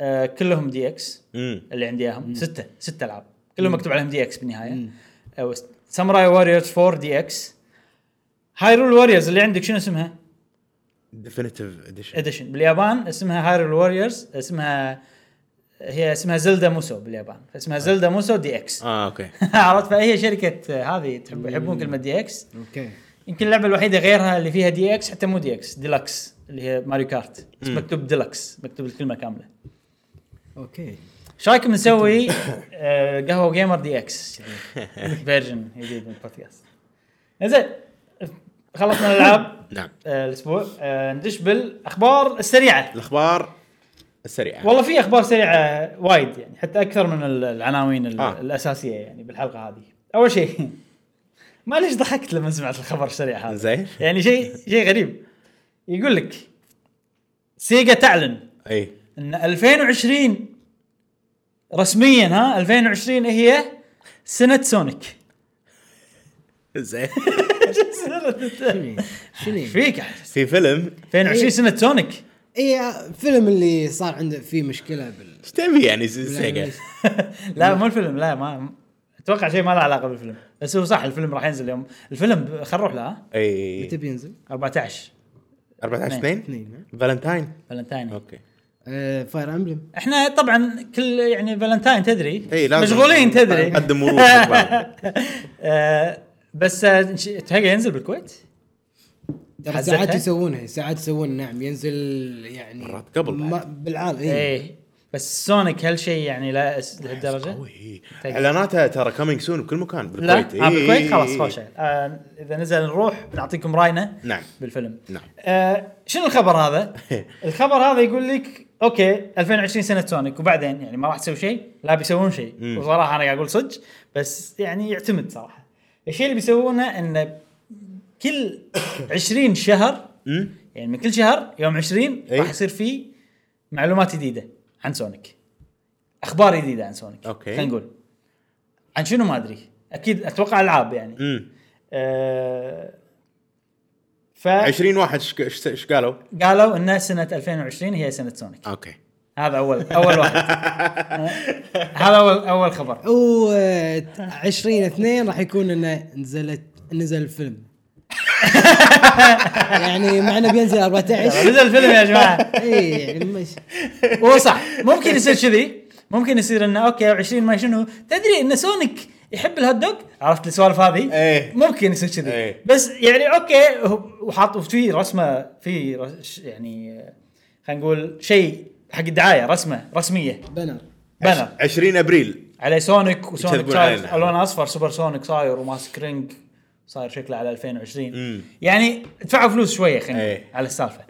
[SPEAKER 1] آه، كلهم دي اكس
[SPEAKER 3] امم
[SPEAKER 1] اللي عندي اياهم سته سته العاب كلهم مكتوب عليهم دي اكس بالنهايه أو س- ساموراي واريورز 4 دي اكس هايرول واريورز اللي عندك شنو اسمها؟
[SPEAKER 3] ديفينيتيف اديشن
[SPEAKER 1] اديشن باليابان اسمها هايرول واريورز اسمها هي اسمها زلدا موسو باليابان اسمها زلدا موسو دي اكس
[SPEAKER 3] اه اوكي
[SPEAKER 1] عرفت فهي شركه آه، هذه تحب يحبون كلمه دي اكس
[SPEAKER 2] اوكي
[SPEAKER 1] يمكن اللعبه الوحيده غيرها اللي فيها دي اكس حتى مو دي اكس ديلكس اللي هي ماريو كارت بس مكتوب ديلكس مكتوب الكلمه كامله
[SPEAKER 2] اوكي
[SPEAKER 1] ايش رايكم نسوي آه، قهوه جيمر دي اكس فيرجن إيه، جديد من البودكاست زين خلصنا الالعاب
[SPEAKER 3] نعم
[SPEAKER 1] آه، الاسبوع آه، ندش بالاخبار السريعه
[SPEAKER 3] الاخبار السريعه
[SPEAKER 1] والله في اخبار سريعه وايد يعني حتى اكثر من ال- العناوين ال-
[SPEAKER 3] آه.
[SPEAKER 1] الاساسيه يعني بالحلقه هذه اول شيء ما ليش ضحكت لما سمعت الخبر السريع هذا
[SPEAKER 3] زين
[SPEAKER 1] يعني شيء شيء غريب يقول لك سيجا تعلن
[SPEAKER 3] اي
[SPEAKER 1] ان 2020 رسميا ها 2020 هي سنه سونيك
[SPEAKER 3] زين
[SPEAKER 2] شنو شنو
[SPEAKER 1] ايش فيك
[SPEAKER 3] في فيلم
[SPEAKER 1] 2020 سنه سونيك
[SPEAKER 2] اي إيه، فيلم اللي صار عنده فيه مشكله بال
[SPEAKER 3] ايش تبي يعني سيجا؟
[SPEAKER 1] لا مو الفيلم لا ما اتوقع شيء ما له علاقه بالفيلم بس هو صح الفيلم راح ينزل يوم الفيلم خل نروح له ها
[SPEAKER 2] متى
[SPEAKER 3] اي
[SPEAKER 2] بينزل؟
[SPEAKER 1] 14
[SPEAKER 3] 14 2
[SPEAKER 2] اثنين
[SPEAKER 3] فالنتاين
[SPEAKER 1] فالنتاين
[SPEAKER 3] اوكي
[SPEAKER 2] فاير امبلم
[SPEAKER 1] احنا طبعا كل يعني فالنتاين تدري
[SPEAKER 3] اي إيه، لازم
[SPEAKER 1] مشغولين تدري
[SPEAKER 3] نقدم ورود حق بعض.
[SPEAKER 1] آه، بس آه، نش- تهيأ ينزل بالكويت
[SPEAKER 2] ترى
[SPEAKER 1] حزتها؟
[SPEAKER 2] ساعات يسوونها ساعات يسوون نعم ينزل يعني
[SPEAKER 3] مرات قبل بعد. إيه.
[SPEAKER 2] ما- إيه. بالعاده اي
[SPEAKER 1] ايه بس سونيك هالشيء يعني لا أس- لهالدرجه
[SPEAKER 3] قوي
[SPEAKER 1] طيب.
[SPEAKER 3] اعلاناتها إيه، ترى كامينج سون بكل مكان
[SPEAKER 1] لا
[SPEAKER 3] بالكويت إيه.
[SPEAKER 1] آه
[SPEAKER 3] إي، إي،
[SPEAKER 1] بالكويت
[SPEAKER 3] إي،
[SPEAKER 1] خلاص
[SPEAKER 3] إي.
[SPEAKER 1] خوش آه اذا نزل نروح نعطيكم راينا
[SPEAKER 3] نعم
[SPEAKER 1] بالفيلم
[SPEAKER 3] نعم.
[SPEAKER 1] آه شنو الخبر هذا؟ الخبر هذا يقول لك اوكي 2020 سنه سونيك وبعدين يعني ما راح تسوي شيء لا بيسوون شيء وصراحه انا قاعد اقول صدق بس يعني يعتمد صراحه الشيء اللي بيسوونه انه كل 20 شهر
[SPEAKER 3] أمم.
[SPEAKER 1] يعني من كل شهر يوم 20
[SPEAKER 3] أي.
[SPEAKER 1] راح يصير فيه معلومات جديده عن سونيك اخبار جديده عن سونيك
[SPEAKER 3] أوكي.
[SPEAKER 1] خلينا نقول عن شنو ما ادري اكيد اتوقع العاب يعني
[SPEAKER 3] امم
[SPEAKER 1] آه ف
[SPEAKER 3] 20 واحد إيش- ايش إيش قالوا؟
[SPEAKER 1] قالوا ان سنه 2020 هي سنه سونيك
[SPEAKER 3] اوكي
[SPEAKER 1] هذا اول اول واحد آه، هذا اول اول خبر
[SPEAKER 2] و 20 2 راح يكون انه نزلت نزل الفيلم يعني معنا بينزل 14
[SPEAKER 1] نزل الفيلم يا جماعه
[SPEAKER 2] اي يعني مش
[SPEAKER 1] هو صح ممكن يصير كذي ممكن يصير انه اوكي 20 ما شنو تدري ان سونيك يحب الهوت دوغ عرفت السوالف هذه؟
[SPEAKER 3] إيه.
[SPEAKER 1] ممكن يصير كذي
[SPEAKER 3] إيه.
[SPEAKER 1] بس يعني اوكي هو- وحاط في رسمه في رس- يعني آه، خلينا نقول شيء حق الدعايه رسمه رسميه
[SPEAKER 2] بنر
[SPEAKER 1] بانر
[SPEAKER 3] 20 ابريل
[SPEAKER 1] على سونيك وسونيك
[SPEAKER 3] يكذبون
[SPEAKER 1] صاير
[SPEAKER 3] علينا.
[SPEAKER 1] لون اصفر سوبر سونيك صاير وماسك رينج صاير شكله على 2020
[SPEAKER 3] مم.
[SPEAKER 1] يعني دفعوا فلوس شويه خلينا
[SPEAKER 3] إيه.
[SPEAKER 1] نقول على السالفه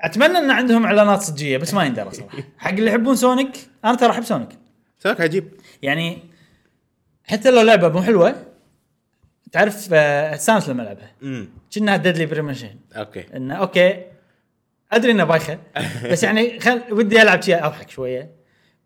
[SPEAKER 1] اتمنى ان عندهم اعلانات صجيه بس ما يندرى صراحه حق اللي يحبون سونيك انا ترى احب سونيك
[SPEAKER 3] سالك عجيب
[SPEAKER 1] يعني حتى لو لعبه مو حلوه تعرف آه، استانس لما العبها
[SPEAKER 3] امم
[SPEAKER 1] كأنها ديدلي بريمشن
[SPEAKER 3] اوكي
[SPEAKER 1] انه اوكي ادري انه بايخه بس يعني خل ودي العب شيء اضحك شويه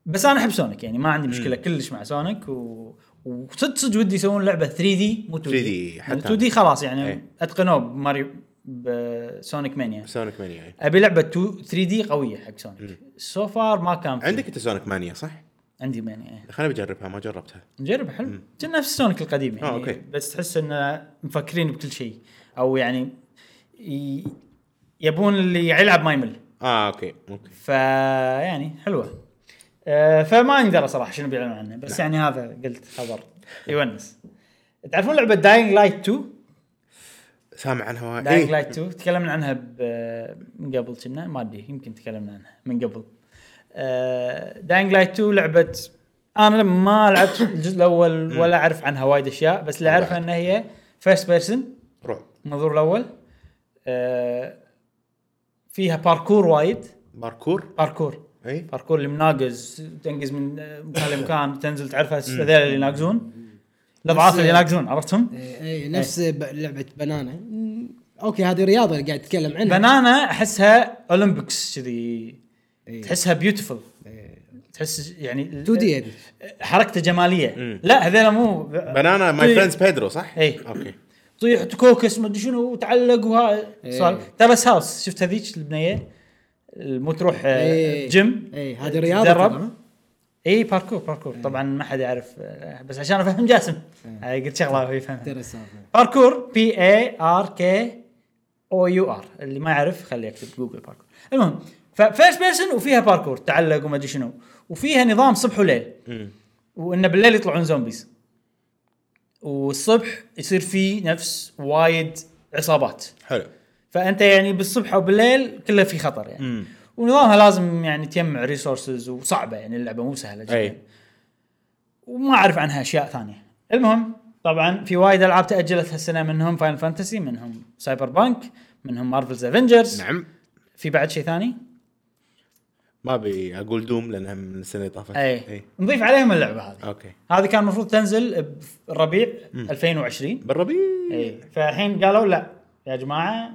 [SPEAKER 1] بس انا احب سونيك يعني ما عندي مشكله كلش مع سونيك و... وصدق صدق ودي يسوون لعبه 3 دي مو 2
[SPEAKER 3] 3D
[SPEAKER 1] 2
[SPEAKER 3] حتى أنا.
[SPEAKER 1] دي خلاص يعني
[SPEAKER 3] إيه.
[SPEAKER 1] اتقنوه بماريو بسونيك مانيا
[SPEAKER 3] سونيك مانيا
[SPEAKER 1] ابي لعبه 2 3 دي قويه حق سونيك سو فار ما كان في.
[SPEAKER 3] عندك انت سونيك مانيا صح؟
[SPEAKER 1] عندي مانيا إيه.
[SPEAKER 3] خليني بجربها ما جربتها
[SPEAKER 1] نجرب حلو كان نفس سونيك القديم يعني
[SPEAKER 3] آه، أوكي.
[SPEAKER 1] بس تحس انه مفكرين بكل شيء او يعني ي... يبون اللي يلعب ما يمل
[SPEAKER 3] اه اوكي اوكي
[SPEAKER 1] فيعني حلوه آه، فما يندرى صراحه شنو بيعلنوا عنه بس يعني هذا قلت خبر يونس تعرفون لعبه داينج لايت 2
[SPEAKER 3] سامع عنها وايد
[SPEAKER 1] داينج
[SPEAKER 3] إيه.
[SPEAKER 1] لايت 2 تكلمنا عنها ب- من قبل كنا ما ادري يمكن تكلمنا عنها من قبل آه، داينج لايت 2 لعبه انا ما لعبت الجزء الاول ولا اعرف عنها وايد اشياء بس اللي
[SPEAKER 3] ولا
[SPEAKER 1] اعرفه
[SPEAKER 3] أعرف.
[SPEAKER 1] انها هي فيرست بيرسون
[SPEAKER 3] روح
[SPEAKER 1] المنظور الاول آه، فيها باركور وايد
[SPEAKER 3] باركور إيه.
[SPEAKER 1] باركور
[SPEAKER 3] اي
[SPEAKER 1] باركور اللي مناقز تنقز من مكان لمكان تنزل تعرف هذول اللي يناقزون الاضعاف اللي يناقزون عرفتهم؟
[SPEAKER 2] اي إيه، نفس
[SPEAKER 3] إيه.
[SPEAKER 2] ب- لعبه بنانا مم، اوكي هذه رياضه اللي قاعد تتكلم عنها
[SPEAKER 1] بنانا احسها اولمبيكس كذي تحسها بيوتيفول تحس يعني ال-
[SPEAKER 2] 2 إيه. دي هذه
[SPEAKER 1] حركته جماليه
[SPEAKER 3] مم.
[SPEAKER 1] لا هذول مو
[SPEAKER 3] بنانا ماي
[SPEAKER 1] طيب.
[SPEAKER 3] فريندز بيدرو صح؟
[SPEAKER 1] إيه.
[SPEAKER 3] اوكي
[SPEAKER 1] تطيح تكوكس ما ادري شنو وتعلق وها
[SPEAKER 2] إيه.
[SPEAKER 1] سؤال ترس هاوس شفت هذيك البنيه مو تروح آه،
[SPEAKER 2] إيه.
[SPEAKER 1] جيم إيه،
[SPEAKER 2] إيه، هذه رياضة
[SPEAKER 1] تتدرب.
[SPEAKER 2] ترى.
[SPEAKER 1] اي باركور باركور طبعا ما حد يعرف آه، بس عشان افهم جاسم
[SPEAKER 2] إيه.
[SPEAKER 1] آه، قلت شغله هو يفهمها
[SPEAKER 2] ترى السالفه
[SPEAKER 1] باركور بي اي ار كي او يو ار اللي ما يعرف خليه يكتب جوجل باركور المهم ففيرست بيرسون وفيها باركور تعلق وما ادري شنو وفيها نظام صبح وليل
[SPEAKER 3] امم
[SPEAKER 1] وانه بالليل يطلعون زومبيز والصبح يصير فيه نفس وايد عصابات
[SPEAKER 3] حلو
[SPEAKER 1] فانت يعني بالصبح او بالليل كله في خطر يعني
[SPEAKER 3] امم
[SPEAKER 1] ونظامها لازم يعني تجمع ريسورسز وصعبه يعني اللعبه مو سهله جدا
[SPEAKER 3] أي.
[SPEAKER 1] وما اعرف عنها اشياء ثانيه المهم طبعا في وايد العاب تاجلت هالسنه منهم فاين فانتسي منهم سايبر بانك منهم مارفلز افنجرز
[SPEAKER 3] نعم
[SPEAKER 1] في بعد شيء ثاني
[SPEAKER 3] ما ابي اقول دوم لانها من السنه اللي طافت إيه.
[SPEAKER 2] إيه.
[SPEAKER 1] اي إيه. نضيف عليهم اللعبه
[SPEAKER 2] آه.
[SPEAKER 1] هذه
[SPEAKER 3] اوكي
[SPEAKER 1] هذه كان المفروض تنزل بالربيع 2020
[SPEAKER 3] بالربيع
[SPEAKER 1] اي إيه. فالحين قالوا لا يا جماعه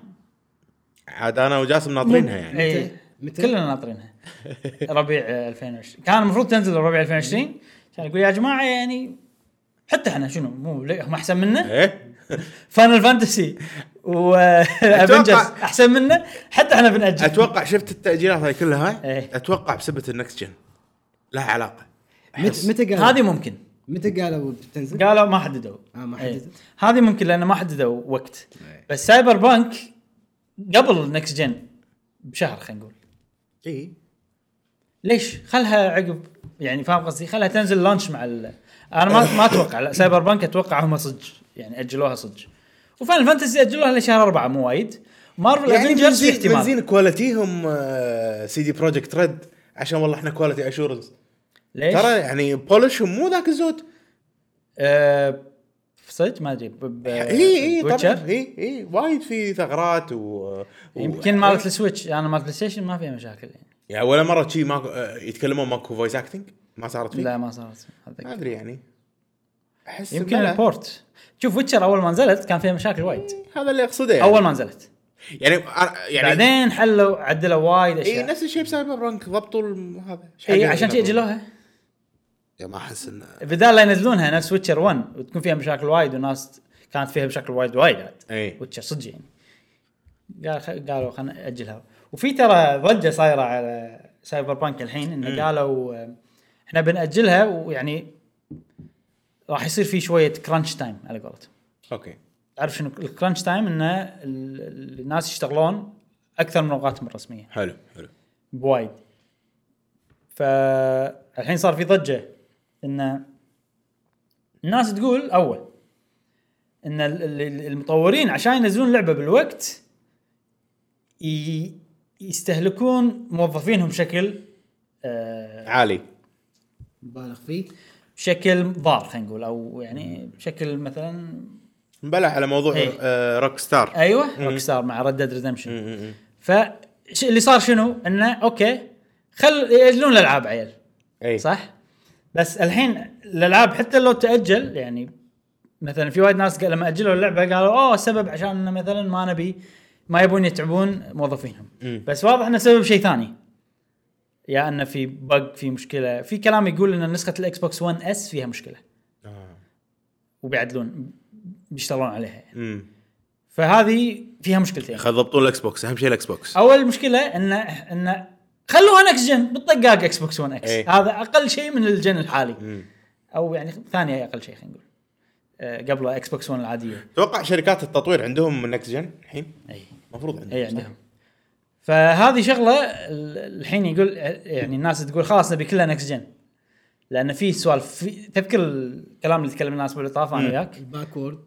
[SPEAKER 3] عاد انا وجاسم ناطرينها يعني
[SPEAKER 1] اي
[SPEAKER 2] متى؟
[SPEAKER 1] إيه. كلنا ناطرينها ربيع آه، 2020 كان المفروض تنزل ربيع 2020 كان يقول يا جماعه يعني حتى احنا شنو مو ليه هم احسن
[SPEAKER 2] إيه.
[SPEAKER 1] منا
[SPEAKER 3] ايه
[SPEAKER 1] فاينل فانتسي وافنجرز احسن منا حتى احنا بنأجل
[SPEAKER 3] اتوقع شفت التاجيلات هاي كلها هاي
[SPEAKER 1] إيه.
[SPEAKER 3] اتوقع بسبه النكست جن لها علاقه
[SPEAKER 2] متى متى قالوا
[SPEAKER 1] هذه ممكن
[SPEAKER 2] متى قالوا بتنزل؟
[SPEAKER 1] قالوا ما حددوا
[SPEAKER 2] آه، ما
[SPEAKER 1] إيه.
[SPEAKER 2] حددوا.
[SPEAKER 1] هذه ممكن لان ما حددوا وقت
[SPEAKER 2] إيه.
[SPEAKER 1] بس سايبر بانك قبل نكست جن بشهر خلينا نقول
[SPEAKER 3] اي
[SPEAKER 1] ليش؟ خلها عقب يعني فاهم قصدي؟ خلها تنزل لانش مع ال... انا ما ما اتوقع لا سايبر بانك اتوقع هم صدق يعني اجلوها صدق وفاينل فانتسي اجلوها لشهر اربعه مو وايد مارفل
[SPEAKER 3] يعني
[SPEAKER 1] افنجرز في
[SPEAKER 3] بنزين
[SPEAKER 1] احتمال
[SPEAKER 3] بنزين كواليتيهم آه، سي دي بروجكت ريد عشان والله احنا كواليتي اشورنس
[SPEAKER 1] ليش؟
[SPEAKER 3] ترى يعني بولشهم مو ذاك الزود
[SPEAKER 1] آه، صدق ما ادري ب- ب-
[SPEAKER 3] يعني، اي اي طبعا
[SPEAKER 1] بوتشر؟
[SPEAKER 3] اي اي إيه، وايد في ثغرات و
[SPEAKER 1] يمكن مالت السويتش انا مالت بلاي ستيشن ما فيها مشاكل يعني
[SPEAKER 3] يعني ولا مره شي ماكو آه، يتكلمون ماكو فويس اكتنج ما صارت فيه
[SPEAKER 1] لا ما صارت
[SPEAKER 3] ما
[SPEAKER 1] هذا
[SPEAKER 3] ادري يعني احس
[SPEAKER 1] يمكن
[SPEAKER 3] بلا.
[SPEAKER 1] البورت شوف ويتشر اول ما نزلت كان فيها مشاكل وايد
[SPEAKER 3] هذا اللي اقصده يعني
[SPEAKER 1] اول ما نزلت
[SPEAKER 3] يعني أنا- يعني
[SPEAKER 1] بعدين حلوا عدلوا وايد
[SPEAKER 3] اي
[SPEAKER 1] اشياء
[SPEAKER 3] نفس الشيء بسايبر بانك ضبطوا الم- هذا إيش
[SPEAKER 1] اي
[SPEAKER 3] حق
[SPEAKER 1] إيه، عشان شي
[SPEAKER 3] يعني
[SPEAKER 1] اجلوها
[SPEAKER 3] يا ما احس انه
[SPEAKER 1] بدال لا ينزلونها نفس ويتشر 1 وتكون فيها مشاكل وايد وناس كانت فيها مشاكل وايد وايد عاد
[SPEAKER 3] اي
[SPEAKER 1] ويتشر صدق يعني قال خ... قالوا خلينا ناجلها وفي ترى ضجه صايره على سايبر بانك الحين انه قالوا آه، احنا بناجلها ويعني راح يصير في شويه كرانش تايم على قولتهم
[SPEAKER 3] اوكي
[SPEAKER 1] تعرف شنو الكرانش تايم انه ال- ال- الناس يشتغلون اكثر من اوقاتهم الرسميه
[SPEAKER 3] حلو حلو
[SPEAKER 1] بوايد فالحين صار في ضجه ان الناس تقول اول ان ال- ال- ال- المطورين عشان ينزلون لعبه بالوقت ي- يستهلكون موظفينهم بشكل آه،
[SPEAKER 3] عالي
[SPEAKER 2] مبالغ فيه
[SPEAKER 1] بشكل ضار خلينا نقول او يعني بشكل مثلا
[SPEAKER 3] مبلع على موضوع
[SPEAKER 1] إي.
[SPEAKER 3] آه، روك ستار
[SPEAKER 1] ايوه روك ستار مع ريد ديد ريدمشن
[SPEAKER 3] م- م-
[SPEAKER 1] ف اللي صار شنو؟ انه اوكي خل ياجلون الالعاب عيل
[SPEAKER 3] اي
[SPEAKER 1] صح بس الحين الالعاب حتى لو تاجل يعني مثلا في وايد ناس قال- لما اجلوا اللعبه قالوا اوه سبب عشان إنه مثلا ما نبي ما يبون يتعبون موظفينهم
[SPEAKER 3] مم.
[SPEAKER 1] بس واضح انه سبب شيء ثاني يا انه في بق في مشكله في كلام يقول ان نسخه الاكس بوكس 1 اس فيها مشكله
[SPEAKER 3] آه.
[SPEAKER 1] وبيعدلون بيشتغلون عليها يعني.
[SPEAKER 3] مم.
[SPEAKER 1] فهذه فيها مشكلتين
[SPEAKER 3] خل ضبطوا الاكس بوكس اهم شيء الاكس بوكس
[SPEAKER 1] اول مشكله ان ان خلوها نكس جن بالطقاق اكس بوكس 1 اكس
[SPEAKER 3] إيه.
[SPEAKER 1] هذا اقل شيء من الجن الحالي
[SPEAKER 3] مم.
[SPEAKER 1] او يعني ثانيه اقل شيء خلينا نقول آه، قبل اكس بوكس 1 العاديه
[SPEAKER 3] اتوقع شركات التطوير عندهم نكس جن الحين
[SPEAKER 1] اي
[SPEAKER 3] المفروض عندهم
[SPEAKER 1] اي
[SPEAKER 3] صح؟
[SPEAKER 1] عندهم إيه، يعني. فهذه شغله ال- الحين يقول يعني الناس تقول خلاص نبي كلها نكس جن لان في سوالف في تذكر الكلام اللي تكلم الناس بالاطاف انا وياك
[SPEAKER 2] الباكورد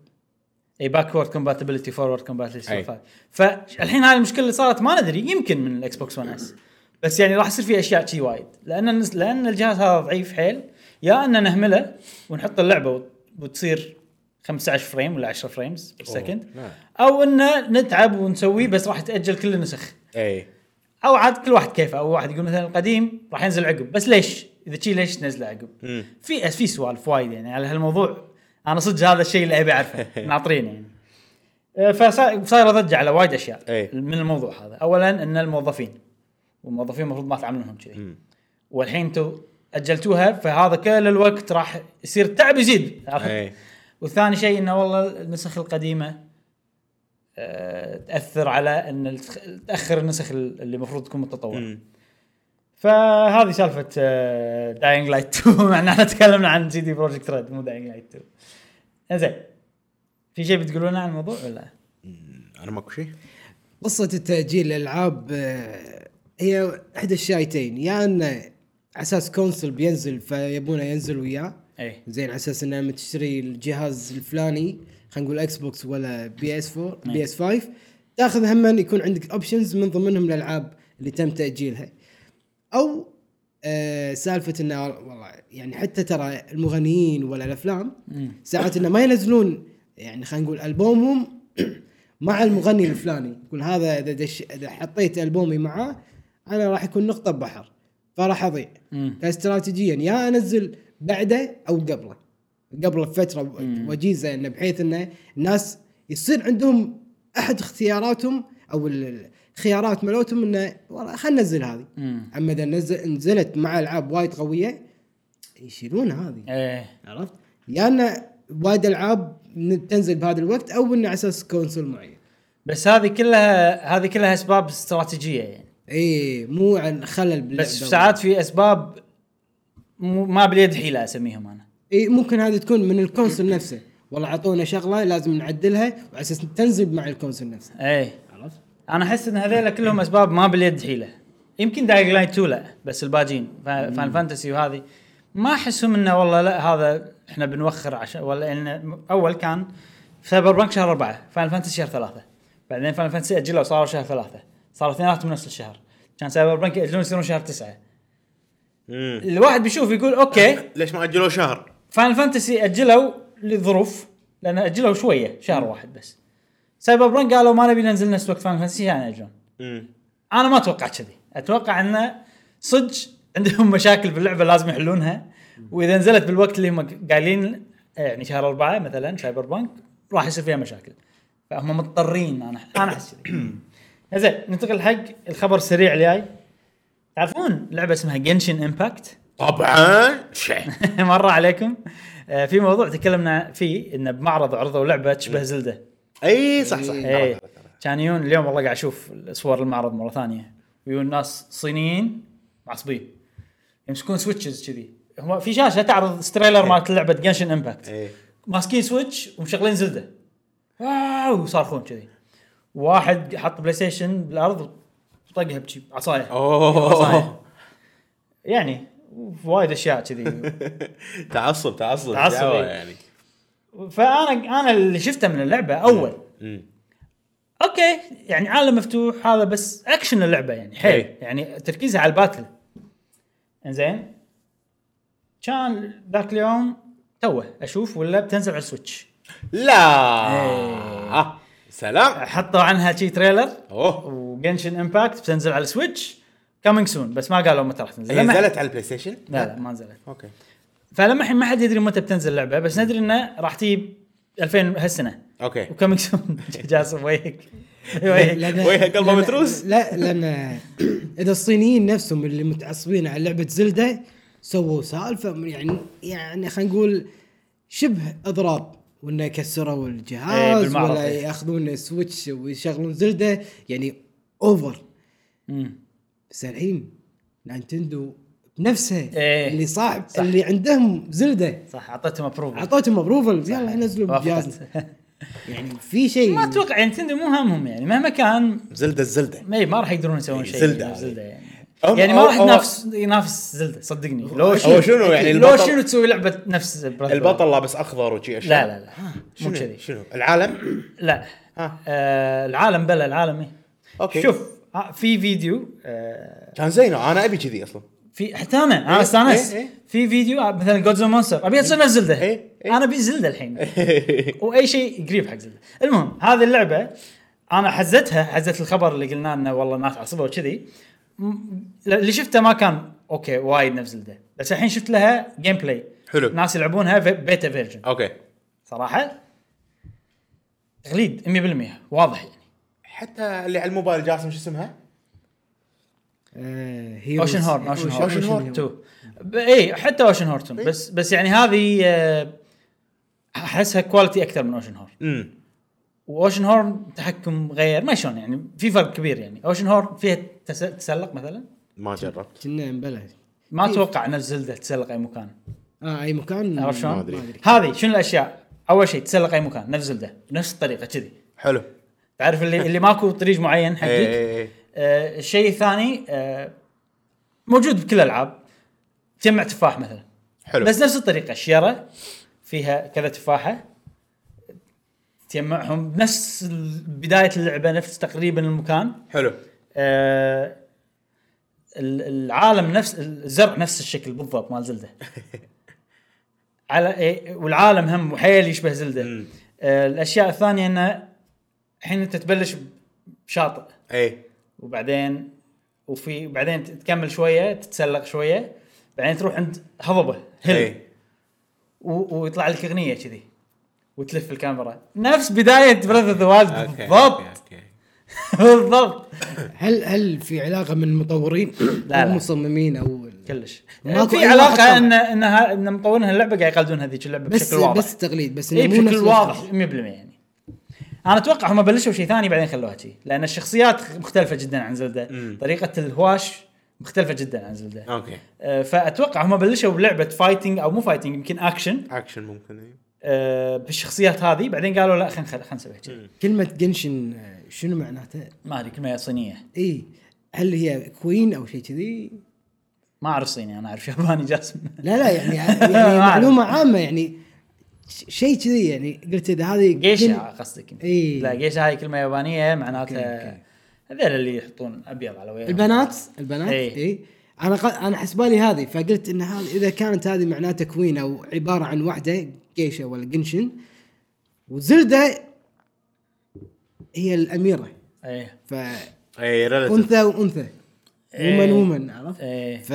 [SPEAKER 1] اي باكورد كومباتبلتي فورورد
[SPEAKER 3] أي.
[SPEAKER 1] كومباتبلتي فالحين هذه المشكله اللي صارت ما ندري يمكن من الاكس بوكس 1 اس بس يعني راح يصير في اشياء شي وايد لان النس- لان الجهاز هذا ضعيف حيل يا ان نهمله ونحط اللعبه وت- وتصير 15 فريم ولا 10 فريمز بير سكند
[SPEAKER 3] نعم.
[SPEAKER 1] او ان نتعب ونسويه بس راح تاجل كل النسخ
[SPEAKER 3] اي
[SPEAKER 1] او عاد كل واحد كيفه او واحد يقول مثلا القديم راح ينزل عقب بس ليش؟ اذا شي ليش تنزله عقب؟
[SPEAKER 3] مم.
[SPEAKER 1] في في سوالف وايد يعني على هالموضوع انا صدق هذا الشيء اللي ابي اعرفه ناطرين يعني آه، فصا- صايره ضجه على وايد اشياء
[SPEAKER 3] إيه.
[SPEAKER 1] من الموضوع هذا اولا ان الموظفين والموظفين المفروض ما تعاملونهم كذي
[SPEAKER 3] مم.
[SPEAKER 1] والحين انتم اجلتوها فهذا كل الوقت راح يصير تعب يزيد عرفت؟
[SPEAKER 3] اي
[SPEAKER 1] وثاني شيء انه والله النسخ القديمه آه، تاثر على ان التخ- تاخر النسخ اللي المفروض تكون متطوره
[SPEAKER 3] مم.
[SPEAKER 1] فهذه آه، سالفه داينج لايت 2 مع ان احنا تكلمنا عن سي دي بروجكت ريد مو داينج لايت 2 زين في شيء بتقولونه عن الموضوع ولا؟
[SPEAKER 3] انا ماكو شيء
[SPEAKER 2] قصة التأجيل الألعاب آه، هي إحدى الشايتين يا إنه على أساس كونسل بينزل فيبونه ينزل وياه
[SPEAKER 1] ايه
[SPEAKER 2] زين على أساس إنه لما تشتري الجهاز الفلاني خلينا نقول إكس بوكس ولا بي إس 4 بي إس 5 تاخذ هم يكون عندك أوبشنز من ضمنهم الألعاب اللي تم تأجيلها أو آه سالفة إنه والله يعني حتى ترى المغنيين ولا الأفلام ساعات إنه ما ينزلون يعني خلينا نقول ألبومهم مع المغني الفلاني يقول هذا اذا دش اذا حطيت البومي معاه انا راح يكون نقطه بحر فراح اضيع
[SPEAKER 1] مم.
[SPEAKER 2] فاستراتيجيا يا انزل بعده او قبله قبله بفتره و- وجيزه انه بحيث انه الناس يصير عندهم احد اختياراتهم او ال- ال- الخيارات مالتهم انه والله خلينا ننزل هذه
[SPEAKER 1] مم.
[SPEAKER 2] اما اذا نزل نزلت مع العاب وايد قويه يشيلون هذه
[SPEAKER 1] ايه
[SPEAKER 2] عرفت؟ يا انه وايد العاب ن- تنزل بهذا الوقت او انه على اساس كونسول معين
[SPEAKER 1] بس هذه كلها هذه كلها اسباب استراتيجيه يعني
[SPEAKER 2] ايه مو عن خلل باللعبه
[SPEAKER 1] بس ساعات في اسباب مو ما باليد حيله اسميهم انا
[SPEAKER 2] اي ممكن هذه تكون من الكونسول نفسه والله اعطونا شغله لازم نعدلها وعلى اساس تنزل مع الكونسول نفسه
[SPEAKER 1] ايه
[SPEAKER 2] عرفت؟
[SPEAKER 1] انا احس ان هذيلا كلهم اسباب ما باليد حيله يمكن دايج لايت 2 لا بس الباجين فا- فان فانتسي وهذه ما احسهم انه والله لا هذا احنا بنوخر عشان ولا انه اول كان سايبر بانك شهر أربعة فاينل فانتسي شهر ثلاثة بعدين فاينل فانتسي أجلوا صاروا شهر ثلاثة صاروا اثنيناتهم نفس الشهر كان سايبر بانك يأجلون يصيرون شهر تسعة
[SPEAKER 3] مم.
[SPEAKER 1] الواحد بيشوف يقول أوكي
[SPEAKER 3] ليش ما اجلوه شهر؟
[SPEAKER 1] فاينل فانتسي أجلوا لظروف لأن أجلوا شوية شهر واحد بس سايبر بانك قالوا ما نبي ننزل نفس وقت فاينل فانتسي يعني أجلون
[SPEAKER 3] مم.
[SPEAKER 1] انا ما اتوقع كذي اتوقع انه صدق عندهم مشاكل باللعبه لازم يحلونها واذا نزلت بالوقت اللي هم قايلين يعني شهر أربعة مثلا سايبر بانك راح يصير فيها مشاكل فهم مضطرين انا انا احس كذي. زين ننتقل حق الخبر السريع اللي جاي تعرفون لعبه اسمها جنشن امباكت
[SPEAKER 3] طبعا شيء
[SPEAKER 1] مره عليكم آه، في موضوع تكلمنا فيه انه بمعرض عرضوا لعبه تشبه زلده
[SPEAKER 3] اي صح صح
[SPEAKER 1] ايه كان يون اليوم والله قاعد اشوف صور المعرض مره ثانيه ويون ناس صينيين معصبين يمسكون سويتشز كذي هم في شاشه تعرض ستريلر مالت لعبه جنشن امباكت
[SPEAKER 3] ايه
[SPEAKER 1] ماسكين سويتش ومشغلين زلده واو صارخون كذي واحد حط بلاي ستيشن بالارض وطقها بشي عصايه
[SPEAKER 3] اوه
[SPEAKER 1] يعني وايد اشياء كذي
[SPEAKER 3] تعصب تعصب
[SPEAKER 1] تعصب،
[SPEAKER 3] دعوة
[SPEAKER 1] إيه.
[SPEAKER 3] يعني
[SPEAKER 1] فانا انا اللي شفته من اللعبه اول
[SPEAKER 3] مم.
[SPEAKER 1] اوكي يعني عالم مفتوح هذا بس اكشن اللعبه يعني حيل
[SPEAKER 3] إيه.
[SPEAKER 1] يعني تركيزها على الباتل انزين كان ذاك اليوم توه اشوف ولا بتنزل على السويتش إيه.
[SPEAKER 3] لا آه. سلام
[SPEAKER 1] حطوا عنها شي تريلر
[SPEAKER 3] اوه
[SPEAKER 1] وجنشن امباكت بتنزل على السويتش كامينج سون بس ما قالوا متى راح تنزل
[SPEAKER 3] هي
[SPEAKER 1] لما-
[SPEAKER 3] إيه، نزلت على البلاي ستيشن؟
[SPEAKER 1] لا لا ما نزلت
[SPEAKER 3] اوكي
[SPEAKER 1] فلما الحين ما حد يدري متى بتنزل اللعبه بس ندري انه راح تجيب 2000 هالسنه
[SPEAKER 3] اوكي
[SPEAKER 1] وكامينج سون جاسم ويك ويك
[SPEAKER 2] لأن-
[SPEAKER 3] وجهه قلبه
[SPEAKER 2] لأن-
[SPEAKER 3] متروس.
[SPEAKER 2] لا لان اذا الصينيين نفسهم اللي متعصبين على لعبه زلده سووا سالفه من- يعني يعني خلينا نقول شبه اضراب وانه كسروا
[SPEAKER 1] إيه،
[SPEAKER 2] الجهاز
[SPEAKER 1] بالمعرض،
[SPEAKER 2] ولا
[SPEAKER 1] إيه.
[SPEAKER 2] ياخذون سويتش ويشغلون زلده يعني اوفر
[SPEAKER 1] مم.
[SPEAKER 2] بس الحين نينتندو بنفسها
[SPEAKER 1] إيه.
[SPEAKER 2] اللي صاحب
[SPEAKER 1] صح.
[SPEAKER 2] اللي عندهم زلده
[SPEAKER 1] صح اعطيتهم ابروفل
[SPEAKER 2] اعطوتهم ابروفل يلا نزلوا بجهازنا يعني في شيء
[SPEAKER 1] ما اتوقع يعني نتندو مو همهم يعني مهما كان
[SPEAKER 3] زلده الزلده
[SPEAKER 1] ما ما راح يقدرون يسوون
[SPEAKER 3] إيه،
[SPEAKER 1] شيء
[SPEAKER 3] زلدة
[SPEAKER 1] يعني
[SPEAKER 3] هذه.
[SPEAKER 1] زلده يعني
[SPEAKER 3] أم-
[SPEAKER 1] يعني ما
[SPEAKER 3] أو-
[SPEAKER 1] راح
[SPEAKER 3] أو-
[SPEAKER 1] ينافس ينافس زلده صدقني لو
[SPEAKER 3] هو شنو يعني
[SPEAKER 1] لو
[SPEAKER 3] البطل-
[SPEAKER 1] شنو تسوي لعبه نفس Breath of the Wild.
[SPEAKER 3] البطل لابس اخضر وشي
[SPEAKER 1] لا
[SPEAKER 3] اشياء
[SPEAKER 1] لا لا مو
[SPEAKER 3] شنو
[SPEAKER 1] كذي
[SPEAKER 3] شنو العالم
[SPEAKER 1] لا
[SPEAKER 3] ها.
[SPEAKER 1] آه العالم بلا العالم إيه.
[SPEAKER 3] أوكي.
[SPEAKER 1] شوف آه، في فيديو آه
[SPEAKER 3] كان زينه انا ابي كذي اصلا
[SPEAKER 1] في حتى انا انا
[SPEAKER 3] إيه،
[SPEAKER 1] استانست
[SPEAKER 3] إيه، إيه.
[SPEAKER 1] في فيديو آه، مثلا جودز مونستر ابي اصير نفس زلده
[SPEAKER 3] إيه، إيه.
[SPEAKER 1] انا ابي زلده الحين واي شيء قريب حق زلده المهم هذه اللعبه انا حزتها حزت الخبر اللي قلنا انه والله الناس عصبوا وكذي م- اللي شفته ما كان اوكي وايد نفس زلده بس الحين شفت لها جيم بلاي
[SPEAKER 3] حلو.
[SPEAKER 1] ناس يلعبونها في- بيتا فيرجن
[SPEAKER 3] اوكي
[SPEAKER 1] صراحه تقليد 100% واضح يعني
[SPEAKER 3] حتى اللي على الموبايل جاسم شو اسمها؟
[SPEAKER 2] آه،
[SPEAKER 1] اوشن هورن اوشن هورن
[SPEAKER 3] Ocean Horn. إيه.
[SPEAKER 1] 2 ب- اي حتى اوشن هورتون بس بس يعني هذه آه، احسها كواليتي اكثر من اوشن هورن
[SPEAKER 3] امم
[SPEAKER 1] واوشن هورن تحكم غير ما شلون يعني في فرق كبير يعني اوشن هورن فيها تس- تسلق مثلا
[SPEAKER 3] ما جربت
[SPEAKER 2] كنا مبلى
[SPEAKER 1] ما اتوقع نفس زلده تسلق اي مكان
[SPEAKER 2] اه اي مكان
[SPEAKER 1] عرفت شلون؟
[SPEAKER 3] ما أدري.
[SPEAKER 1] هذه شنو الاشياء؟ اول شيء تسلق اي مكان نفس زلده بنفس الطريقه كذي
[SPEAKER 3] حلو
[SPEAKER 1] تعرف اللي اللي ماكو طريق معين
[SPEAKER 3] إيه،
[SPEAKER 1] حقك
[SPEAKER 3] إيه، إيه.
[SPEAKER 1] آه الشيء الثاني آه موجود بكل الالعاب تجمع تفاح مثلا
[SPEAKER 3] حلو
[SPEAKER 1] بس نفس الطريقه شيره فيها كذا تفاحه تجمعهم بنفس ال- بدايه اللعبه نفس تقريبا المكان
[SPEAKER 3] حلو
[SPEAKER 1] آه، ال- العالم نفس الزرع نفس الشكل بالضبط مال زلده على إيه، والعالم هم حيل يشبه زلده
[SPEAKER 3] مم.
[SPEAKER 1] آه، الاشياء الثانيه انه الحين انت تبلش بشاطئ
[SPEAKER 3] اي
[SPEAKER 1] وبعدين وفي بعدين تكمل شويه تتسلق شويه بعدين تروح عند هضبه هل
[SPEAKER 3] اي
[SPEAKER 1] و- ويطلع لك اغنيه كذي وتلف الكاميرا نفس بدايه بريث اوف ذا وايلد
[SPEAKER 3] أوكي،
[SPEAKER 1] بالضبط
[SPEAKER 3] أوكي، أوكي.
[SPEAKER 1] بالضبط
[SPEAKER 2] هل هل في علاقه من المطورين
[SPEAKER 1] لا.
[SPEAKER 2] او المصممين او
[SPEAKER 1] كلش
[SPEAKER 2] ماكو
[SPEAKER 1] في
[SPEAKER 2] أي
[SPEAKER 1] علاقه
[SPEAKER 2] واحد
[SPEAKER 1] ان انها ان مطورين هاللعبه قاعد يقلدون هذيك اللعبه
[SPEAKER 2] بس
[SPEAKER 1] بشكل واضح
[SPEAKER 2] بس تقليد بس إنه
[SPEAKER 1] اي
[SPEAKER 2] مو
[SPEAKER 1] بشكل
[SPEAKER 2] نفس الخط.
[SPEAKER 1] واضح 100% يعني انا اتوقع هم بلشوا شيء ثاني بعدين خلوها شيء لان الشخصيات مختلفه جدا عن زلده
[SPEAKER 3] مم.
[SPEAKER 1] طريقه الهواش مختلفه جدا عن زلده
[SPEAKER 3] اوكي
[SPEAKER 1] أه فاتوقع هم بلشوا بلعبه فايتنج او مو فايتنج يمكن اكشن
[SPEAKER 3] اكشن ممكن إيه.
[SPEAKER 1] أه بالشخصيات هذه بعدين قالوا لا خلينا خلينا نسويها كذي
[SPEAKER 2] كلمه جنشن آه، شنو معناتها؟
[SPEAKER 1] ما ادري كلمه صينيه
[SPEAKER 2] اي هل هي كوين او شيء كذي؟
[SPEAKER 1] ما اعرف صيني انا اعرف ياباني جاسم
[SPEAKER 2] لا لا يعني
[SPEAKER 1] ما
[SPEAKER 2] يعني
[SPEAKER 1] أعرف.
[SPEAKER 2] معلومه عامه يعني ش- شيء كذي يعني قلت اذا هذه
[SPEAKER 1] جيشا قصدك انت.
[SPEAKER 2] إي.
[SPEAKER 1] لا جيشا هاي كلمه يابانيه
[SPEAKER 2] أوكي، أوكي.
[SPEAKER 1] معناتها هذول اللي يحطون ابيض على وجههم
[SPEAKER 2] البنات البنات
[SPEAKER 1] إي.
[SPEAKER 2] اي إيه؟ انا ق... انا حسبالي هذه فقلت ان هذه اذا كانت هذه معناها تكوين او عباره عن واحده جيشه ولا جنشن وزلده هي الاميره
[SPEAKER 1] ايه
[SPEAKER 2] ف
[SPEAKER 3] اي relative.
[SPEAKER 2] انثى وانثى ومن ومن عرفت؟
[SPEAKER 1] ايه
[SPEAKER 2] ف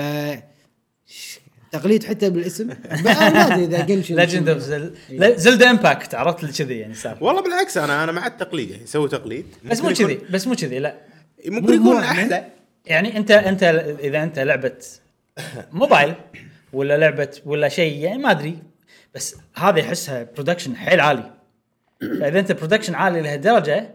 [SPEAKER 2] ش- تقليد حتى بالاسم بقى ما ادري اذا جنشن
[SPEAKER 1] ليجند اوف زلدا امباكت عرفت اللي كذي يعني صار
[SPEAKER 3] والله بالعكس انا انا مع التقليد يعني يسوي تقليد
[SPEAKER 1] بس مو
[SPEAKER 3] ممكن
[SPEAKER 1] كذي
[SPEAKER 3] يكون-
[SPEAKER 1] بس مو كذي لا
[SPEAKER 3] ممكن
[SPEAKER 2] مو- مو
[SPEAKER 3] يكون
[SPEAKER 2] أنا.
[SPEAKER 3] احلى
[SPEAKER 1] يعني انت انت اذا انت لعبه موبايل ولا لعبه ولا شيء يعني ما ادري بس هذه احسها برودكشن حيل عالي فاذا انت برودكشن عالي لهالدرجه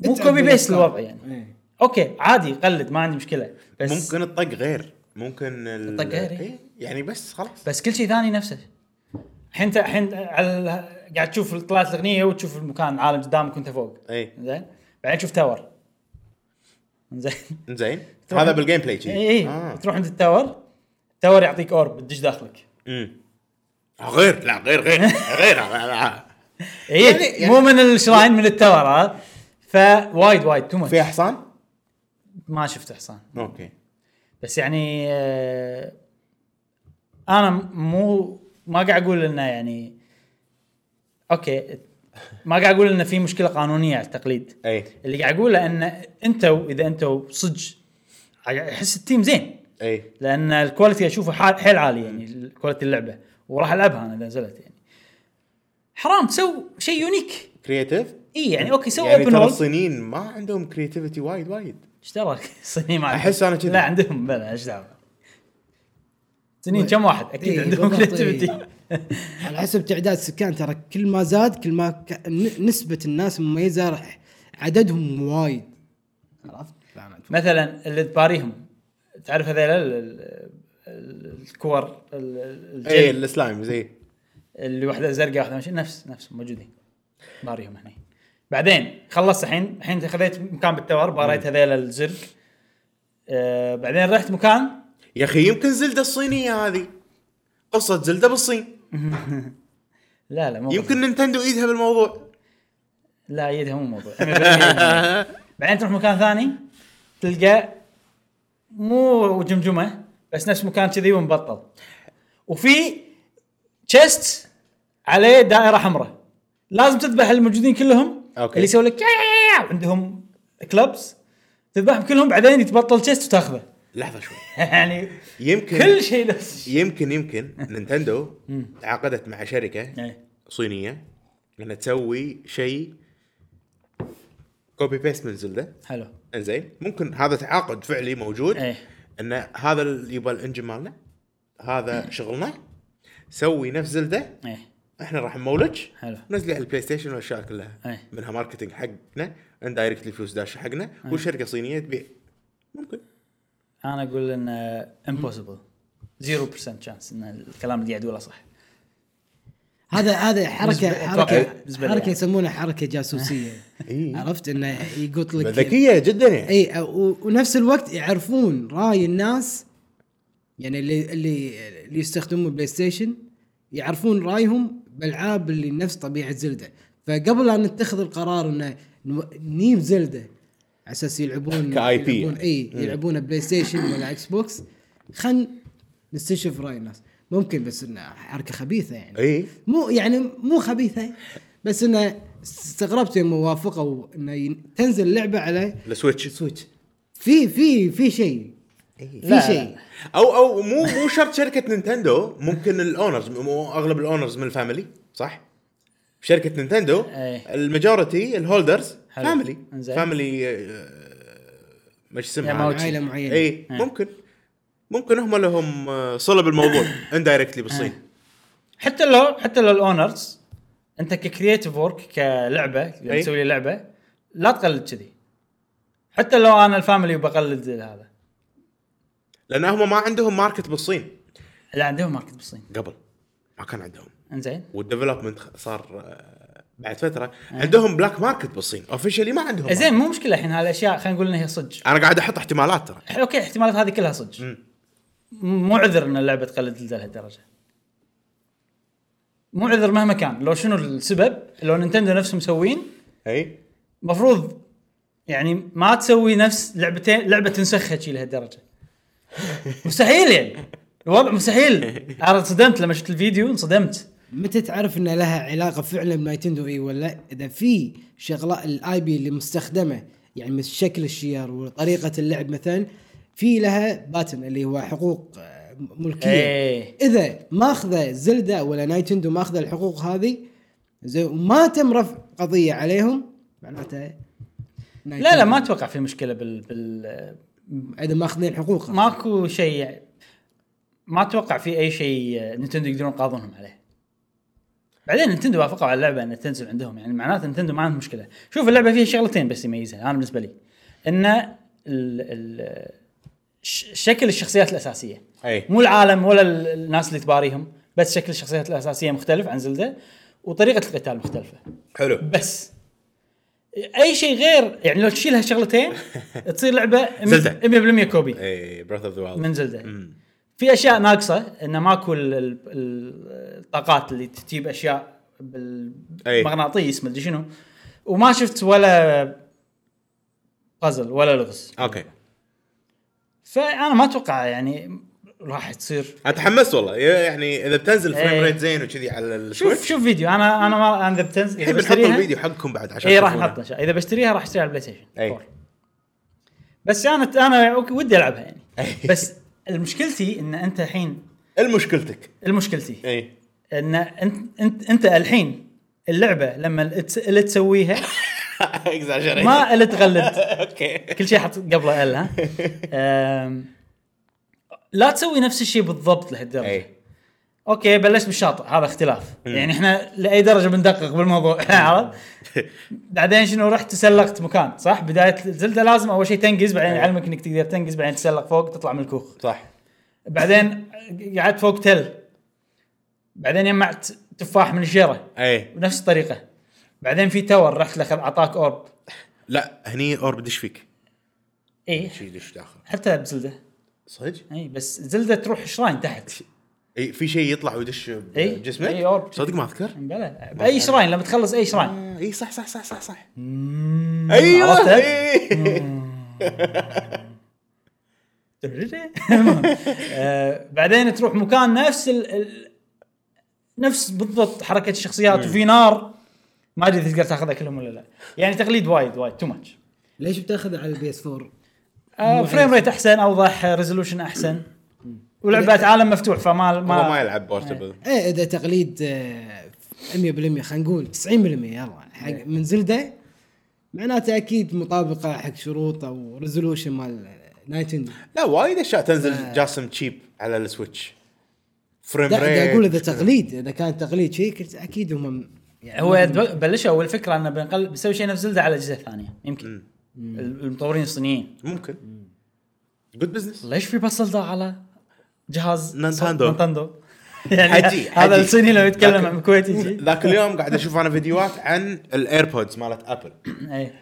[SPEAKER 1] مو كوبي بيست الوضع يعني
[SPEAKER 2] إيه.
[SPEAKER 1] اوكي عادي قلد ما عندي مشكله بس
[SPEAKER 3] ممكن الطق غير ممكن ال-
[SPEAKER 1] الطق غير، إيه.
[SPEAKER 3] إيه، يعني بس خلاص
[SPEAKER 1] بس كل شيء ثاني نفسه الحين انت الحين على قاعد تشوف طلعت الاغنيه وتشوف المكان العالم قدامك وانت فوق
[SPEAKER 3] اي
[SPEAKER 1] زين بعدين تشوف تاور زين
[SPEAKER 3] زين
[SPEAKER 1] تروح-
[SPEAKER 3] هذا بالجيم بلاي شي.
[SPEAKER 1] اي اي
[SPEAKER 3] آه.
[SPEAKER 1] تروح عند التاور التاور يعطيك اورب تدش داخلك
[SPEAKER 3] أمم. آه، غير لا غير غير غير آه، آه.
[SPEAKER 1] اي
[SPEAKER 3] يعني-
[SPEAKER 1] مو من الشراين من التاور ها فوايد وايد تو
[SPEAKER 3] في
[SPEAKER 1] ماتش
[SPEAKER 3] حصان؟
[SPEAKER 1] ما شفت حصان
[SPEAKER 3] اوكي
[SPEAKER 1] بس يعني آه، انا مو ما قاعد اقول انه يعني اوكي ما قاعد اقول انه في مشكله قانونيه على التقليد
[SPEAKER 3] اي
[SPEAKER 1] اللي قاعد اقوله ان انتوا اذا انتوا صدق احس التيم زين
[SPEAKER 3] اي
[SPEAKER 1] لان الكواليتي اشوفه حال- حيل عالي يعني كواليتي اللعبه وراح العبها انا اذا نزلت يعني حرام تسوي شيء يونيك
[SPEAKER 3] كرييتيف
[SPEAKER 1] اي يعني اوكي سوي
[SPEAKER 3] يعني
[SPEAKER 1] اوبن
[SPEAKER 3] ترى
[SPEAKER 1] وورلد
[SPEAKER 3] الصينيين ما عندهم كريتيفيتي وايد وايد
[SPEAKER 1] ايش دراك الصينيين ما عندهم.
[SPEAKER 3] أحس أنا كذي.
[SPEAKER 1] لا عندهم بلا ايش دعوه الصينيين كم واحد اكيد
[SPEAKER 2] إيه،
[SPEAKER 1] عندهم
[SPEAKER 2] بالضبط،
[SPEAKER 1] كريتيفيتي
[SPEAKER 2] إيه. على حسب تعداد السكان ترى كل ما زاد كل ما ك... ن- نسبه الناس المميزه راح عددهم وايد عرفت؟ فأنا أتوقع.
[SPEAKER 1] مثلا اللي تباريهم تعرف هذول ال- ال- ال- الكور ال- الجل
[SPEAKER 3] اي إيه، السلايم زي
[SPEAKER 1] اللي واحده زرقاء واحده ماشي نفس نفس موجودين باريهم هنا بعدين خلصت الحين الحين خذيت مكان بالتور باريت هذيل الزرق آه بعدين رحت مكان
[SPEAKER 3] يا اخي يمكن زلده الصينيه هذه قصه زلده بالصين
[SPEAKER 1] لا لا مو
[SPEAKER 3] يمكن نينتندو ايدها بالموضوع
[SPEAKER 1] لا يدها مو موضوع بعدين تروح مكان ثاني تلقى مو جمجمه بس نفس مكان كذي ومبطل وفي تشست عليه دائره حمراء لازم تذبح الموجودين كلهم
[SPEAKER 3] أوكي.
[SPEAKER 1] اللي يسوي لك يا يا يا يا، عندهم كلبس تذبحهم كلهم بعدين يتبطل تشست وتاخذه
[SPEAKER 3] لحظه شوي
[SPEAKER 1] يعني
[SPEAKER 3] يمكن
[SPEAKER 1] كل شيء نفس الشيء.
[SPEAKER 3] يمكن يمكن نينتندو تعاقدت مع شركه
[SPEAKER 1] إيه.
[SPEAKER 3] صينيه انها تسوي شيء كوبي بيست من زلده
[SPEAKER 1] حلو
[SPEAKER 3] انزين ممكن هذا تعاقد فعلي موجود
[SPEAKER 1] إيه.
[SPEAKER 3] ان هذا اللي يبغى الانجن مالنا
[SPEAKER 1] إيه.
[SPEAKER 3] هذا شغلنا سوي نفس زلده
[SPEAKER 1] ايه
[SPEAKER 3] احنا راح نمولج
[SPEAKER 1] حلو.
[SPEAKER 3] نزله على البلاي ستيشن والاشياء كلها
[SPEAKER 1] إيه.
[SPEAKER 3] منها ماركتنج حقنا اندايركتلي فلوس داشه حقنا
[SPEAKER 1] إيه.
[SPEAKER 3] والشركه صينيه تبيع ممكن
[SPEAKER 1] انا اقول ان امبوسيبل 0% chance ان الكلام اللي قاعد اقوله صح
[SPEAKER 2] هذا هذا حركه
[SPEAKER 1] بالنسبة- أتوقع
[SPEAKER 2] حركه
[SPEAKER 1] بالنسبة لي إيه.
[SPEAKER 2] حركه
[SPEAKER 1] يعني.
[SPEAKER 2] يسمونها حركه جاسوسيه
[SPEAKER 3] إي.
[SPEAKER 2] عرفت انه يقط لك
[SPEAKER 3] ذكيه جدا يعني
[SPEAKER 2] اي أو- ونفس الوقت يعرفون راي الناس يعني اللي اللي اللي يستخدمون بلاي ستيشن يعرفون رايهم بالالعاب اللي نفس طبيعه زلده فقبل لا نتخذ القرار انه نو- نجيب زلده على اساس يلعبون
[SPEAKER 3] كاي بي.
[SPEAKER 2] يلعبون اي
[SPEAKER 1] إيه.
[SPEAKER 2] يلعبون بلاي ستيشن ولا اكس بوكس خل نستشف راي الناس ممكن بس انها حركه خبيثه يعني
[SPEAKER 1] إيه.
[SPEAKER 3] اي
[SPEAKER 2] مو يعني مو خبيثه بس انه استغربت يوم وافقوا انه ين- تنزل لعبه على
[SPEAKER 3] السويتش السويتش
[SPEAKER 2] في في في شيء في
[SPEAKER 1] إيه. لا،
[SPEAKER 2] شيء
[SPEAKER 3] او او مو مو شرط شركه نينتندو ممكن الاونرز مو اغلب الاونرز من الفاميلي صح؟ شركه نينتندو
[SPEAKER 1] إيه.
[SPEAKER 3] الماجورتي الهولدرز
[SPEAKER 1] حلو.
[SPEAKER 3] فاميلي
[SPEAKER 1] إنزين.
[SPEAKER 3] فاميلي آه، ما إيش
[SPEAKER 1] يا
[SPEAKER 3] اسمها
[SPEAKER 1] موجي.
[SPEAKER 2] عائله معينه
[SPEAKER 1] إيه.
[SPEAKER 3] اي ممكن ممكن هم لهم آه، صله بالموضوع اندايركتلي
[SPEAKER 1] إيه.
[SPEAKER 3] بالصين
[SPEAKER 1] حتى لو حتى لو الاونرز انت ككرييتيف ورك كلعبه يعني
[SPEAKER 3] أي.
[SPEAKER 1] تسوي لي لعبه لا تقلد كذي حتى لو انا الفاميلي بقلد هذا
[SPEAKER 3] لان هم ما عندهم ماركت بالصين
[SPEAKER 1] لا عندهم ماركت بالصين
[SPEAKER 3] قبل ما كان عندهم
[SPEAKER 1] انزين
[SPEAKER 3] والديفلوبمنت صار آه، بعد فتره
[SPEAKER 1] إيه.
[SPEAKER 3] عندهم بلاك ماركت بالصين اوفشلي ما عندهم
[SPEAKER 1] زين مو مشكله الحين هالاشياء خلينا نقول انها هي صدق
[SPEAKER 3] ماركت. انا قاعد احط احتمالات ترى
[SPEAKER 1] اوكي احتمالات هذه كلها صدق مو عذر ان اللعبه تقلد لهالدرجه مو عذر مهما كان لو شنو السبب لو نينتندو نفسهم مسوين
[SPEAKER 3] اي
[SPEAKER 1] مفروض يعني ما تسوي نفس لعبتين لعبه تنسخها شي لهالدرجه مستحيل يعني الوضع مستحيل انا انصدمت لما شفت الفيديو انصدمت
[SPEAKER 2] متى تعرف ان لها علاقه فعلا بنايتندو اي ولا اذا في شغله الاي بي اللي مستخدمه يعني مثل شكل الشير وطريقه اللعب مثلا في لها باتن اللي هو حقوق آه، ملكيه
[SPEAKER 1] إيه.
[SPEAKER 2] اذا ماخذه زلدا ولا نايتندو ماخذه الحقوق هذه زي وما تم رفع قضيه عليهم معناته
[SPEAKER 1] لا لا ما اتوقع في مشكله بال, بال...
[SPEAKER 2] اذا ماخذين حقوقها
[SPEAKER 1] ماكو شيء يعني ما اتوقع في اي شيء نينتندو يقدرون يقاضونهم عليه بعدين نينتندو وافقوا على اللعبه انها تنزل عندهم يعني معناته نينتندو ما عندهم مشكله شوف اللعبه فيها شغلتين بس يميزها انا بالنسبه لي ان ال... ال... ش- شكل الشخصيات الاساسيه
[SPEAKER 3] اي
[SPEAKER 1] مو العالم ولا ال- الناس اللي تباريهم بس شكل الشخصيات الاساسيه مختلف عن زلده وطريقه القتال مختلفه
[SPEAKER 3] حلو
[SPEAKER 1] بس اي شيء غير يعني لو تشيل هالشغلتين تصير لعبه 100%
[SPEAKER 3] زلدة.
[SPEAKER 1] كوبي
[SPEAKER 3] اي براذ اوف ذا وايلد
[SPEAKER 1] من زلده في اشياء ناقصه انه ماكو ال- ال- ال- الطاقات اللي تجيب اشياء
[SPEAKER 3] أي.
[SPEAKER 1] بالمغناطيس مدري شنو وما شفت ولا بازل ولا لغز
[SPEAKER 3] اوكي
[SPEAKER 1] فانا ما اتوقع يعني راح تصير
[SPEAKER 3] اتحمست والله يعني اذا بتنزل فريم
[SPEAKER 1] إيه.
[SPEAKER 3] ريت زين وكذي على
[SPEAKER 1] شوف
[SPEAKER 3] السويتش
[SPEAKER 1] شوف فيديو انا انا ما انا اذا بتنزل اذا
[SPEAKER 3] الحين بنحط
[SPEAKER 1] بشتريها
[SPEAKER 3] الفيديو حقكم بعد عشان
[SPEAKER 1] اي إيه، راح
[SPEAKER 3] تشوفونه.
[SPEAKER 1] نحط إن شاء الله. اذا بشتريها راح اشتريها على البلاي ستيشن
[SPEAKER 3] إي.
[SPEAKER 1] فور. بس انا انا ودي العبها يعني بس المشكلتي ان انت الحين
[SPEAKER 3] إيه، المشكلتك
[SPEAKER 1] المشكلتي
[SPEAKER 3] اي
[SPEAKER 1] ان انت انت, انت الحين اللعبه لما اللي تس- اللي تسويها
[SPEAKER 3] اكزاجريت
[SPEAKER 1] ما اللي تغلد
[SPEAKER 3] اوكي
[SPEAKER 1] كل شيء حط قبله ال ها أم، لا تسوي نفس الشيء بالضبط لهالدرجه
[SPEAKER 3] اي
[SPEAKER 1] اوكي بلشت بالشاطئ هذا اختلاف يعني احنا لاي درجه بندقق بالموضوع عرفت بعدين شنو رحت تسلقت مكان صح بدايه الزلده لازم اول شيء تنقز بعدين يعلمك انك تقدر تنقز بعدين تسلق فوق تطلع من الكوخ
[SPEAKER 3] صح
[SPEAKER 1] بعدين قعدت فوق تل بعدين جمعت تفاح من الشيره
[SPEAKER 3] اي
[SPEAKER 1] بنفس الطريقه بعدين في تاور رحت له خذ- اعطاك اورب
[SPEAKER 3] لا هني اور بدش فيك
[SPEAKER 1] اي
[SPEAKER 3] شي دش داخل
[SPEAKER 1] حتى بزلده
[SPEAKER 3] صدق
[SPEAKER 1] اي إيه، بس زلده تروح شراين تحت
[SPEAKER 3] اي في شيء يطلع ويدش
[SPEAKER 1] إي.
[SPEAKER 3] بجسمك
[SPEAKER 1] إي، أورب.
[SPEAKER 3] صدق ما اذكر
[SPEAKER 1] بلا باي شراين لما تخلص اي شراين
[SPEAKER 3] آه، اي صح صح صح صح صح ايوه
[SPEAKER 1] عرفتها؟
[SPEAKER 3] إي.
[SPEAKER 1] آه، بعدين تروح مكان نفس ال... ال... نفس بالضبط حركه الشخصيات وفي نار ما ادري اذا تقدر تاخذها كلهم ولا لا يعني تقليد وايد وايد تو ماتش
[SPEAKER 2] ليش بتاخذها على البي اس 4
[SPEAKER 1] فريم ريت آه، احسن اوضح ريزولوشن احسن ولعبه عالم مفتوح فما
[SPEAKER 3] والله ما
[SPEAKER 1] ما إيه.
[SPEAKER 3] يلعب بورتبل
[SPEAKER 2] ايه اذا تقليد آه، 100% خلينا نقول 90% يلا حق من زلده معناته اكيد مطابقه حق شروط او ريزولوشن مال نايتندو
[SPEAKER 3] لا وايد اشياء
[SPEAKER 1] إيه.
[SPEAKER 3] تنزل جاسم تشيب على السويتش فريم
[SPEAKER 2] لا قاعد اقول
[SPEAKER 3] ريت
[SPEAKER 2] اذا تقليد اذا كان تقليد شيء كنت اكيد هم يعني
[SPEAKER 1] هو يد- بلشوا الفكره انه بنقل بنسوي شيء نفس زلده على اجهزه ثانيه يمكن المطورين الصينيين
[SPEAKER 3] ممكن جود بزنس
[SPEAKER 1] ليش في بس ضاع على جهاز
[SPEAKER 3] نينتندو.
[SPEAKER 1] نينتندو يعني
[SPEAKER 3] حجي،
[SPEAKER 1] هذا
[SPEAKER 3] حجي.
[SPEAKER 1] الصيني لو يتكلم
[SPEAKER 3] لكن-
[SPEAKER 1] عن كويتي شيء.
[SPEAKER 3] ذاك اليوم قاعد اشوف انا فيديوهات عن الايربودز مالت ابل
[SPEAKER 1] اي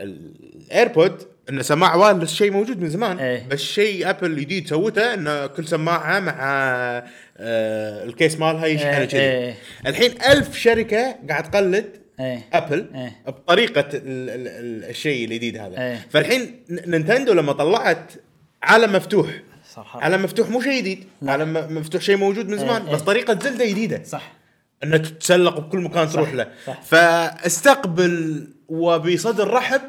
[SPEAKER 3] الايربود انه سماعه وايرلس شيء موجود من زمان
[SPEAKER 1] إيه.
[SPEAKER 3] بس شيء ابل جديد سوته انه كل سماعه مع آه الكيس مالها يشحن
[SPEAKER 1] إيه،
[SPEAKER 3] كذي
[SPEAKER 1] إيه.
[SPEAKER 3] الحين ألف شركه قاعد تقلد
[SPEAKER 1] إيه.
[SPEAKER 3] ابل
[SPEAKER 1] إيه.
[SPEAKER 3] بطريقه ال- ال- ال- الشيء الجديد هذا
[SPEAKER 1] إيه.
[SPEAKER 3] فالحين ن- نينتندو لما طلعت عالم مفتوح
[SPEAKER 1] صراحة.
[SPEAKER 3] عالم مفتوح مو شيء جديد عالم م- مفتوح شيء موجود من زمان
[SPEAKER 1] إيه.
[SPEAKER 3] بس طريقه زلده جديده
[SPEAKER 1] صح
[SPEAKER 3] انه تتسلق بكل مكان تروح له
[SPEAKER 1] صح.
[SPEAKER 3] فاستقبل وبصدر رحب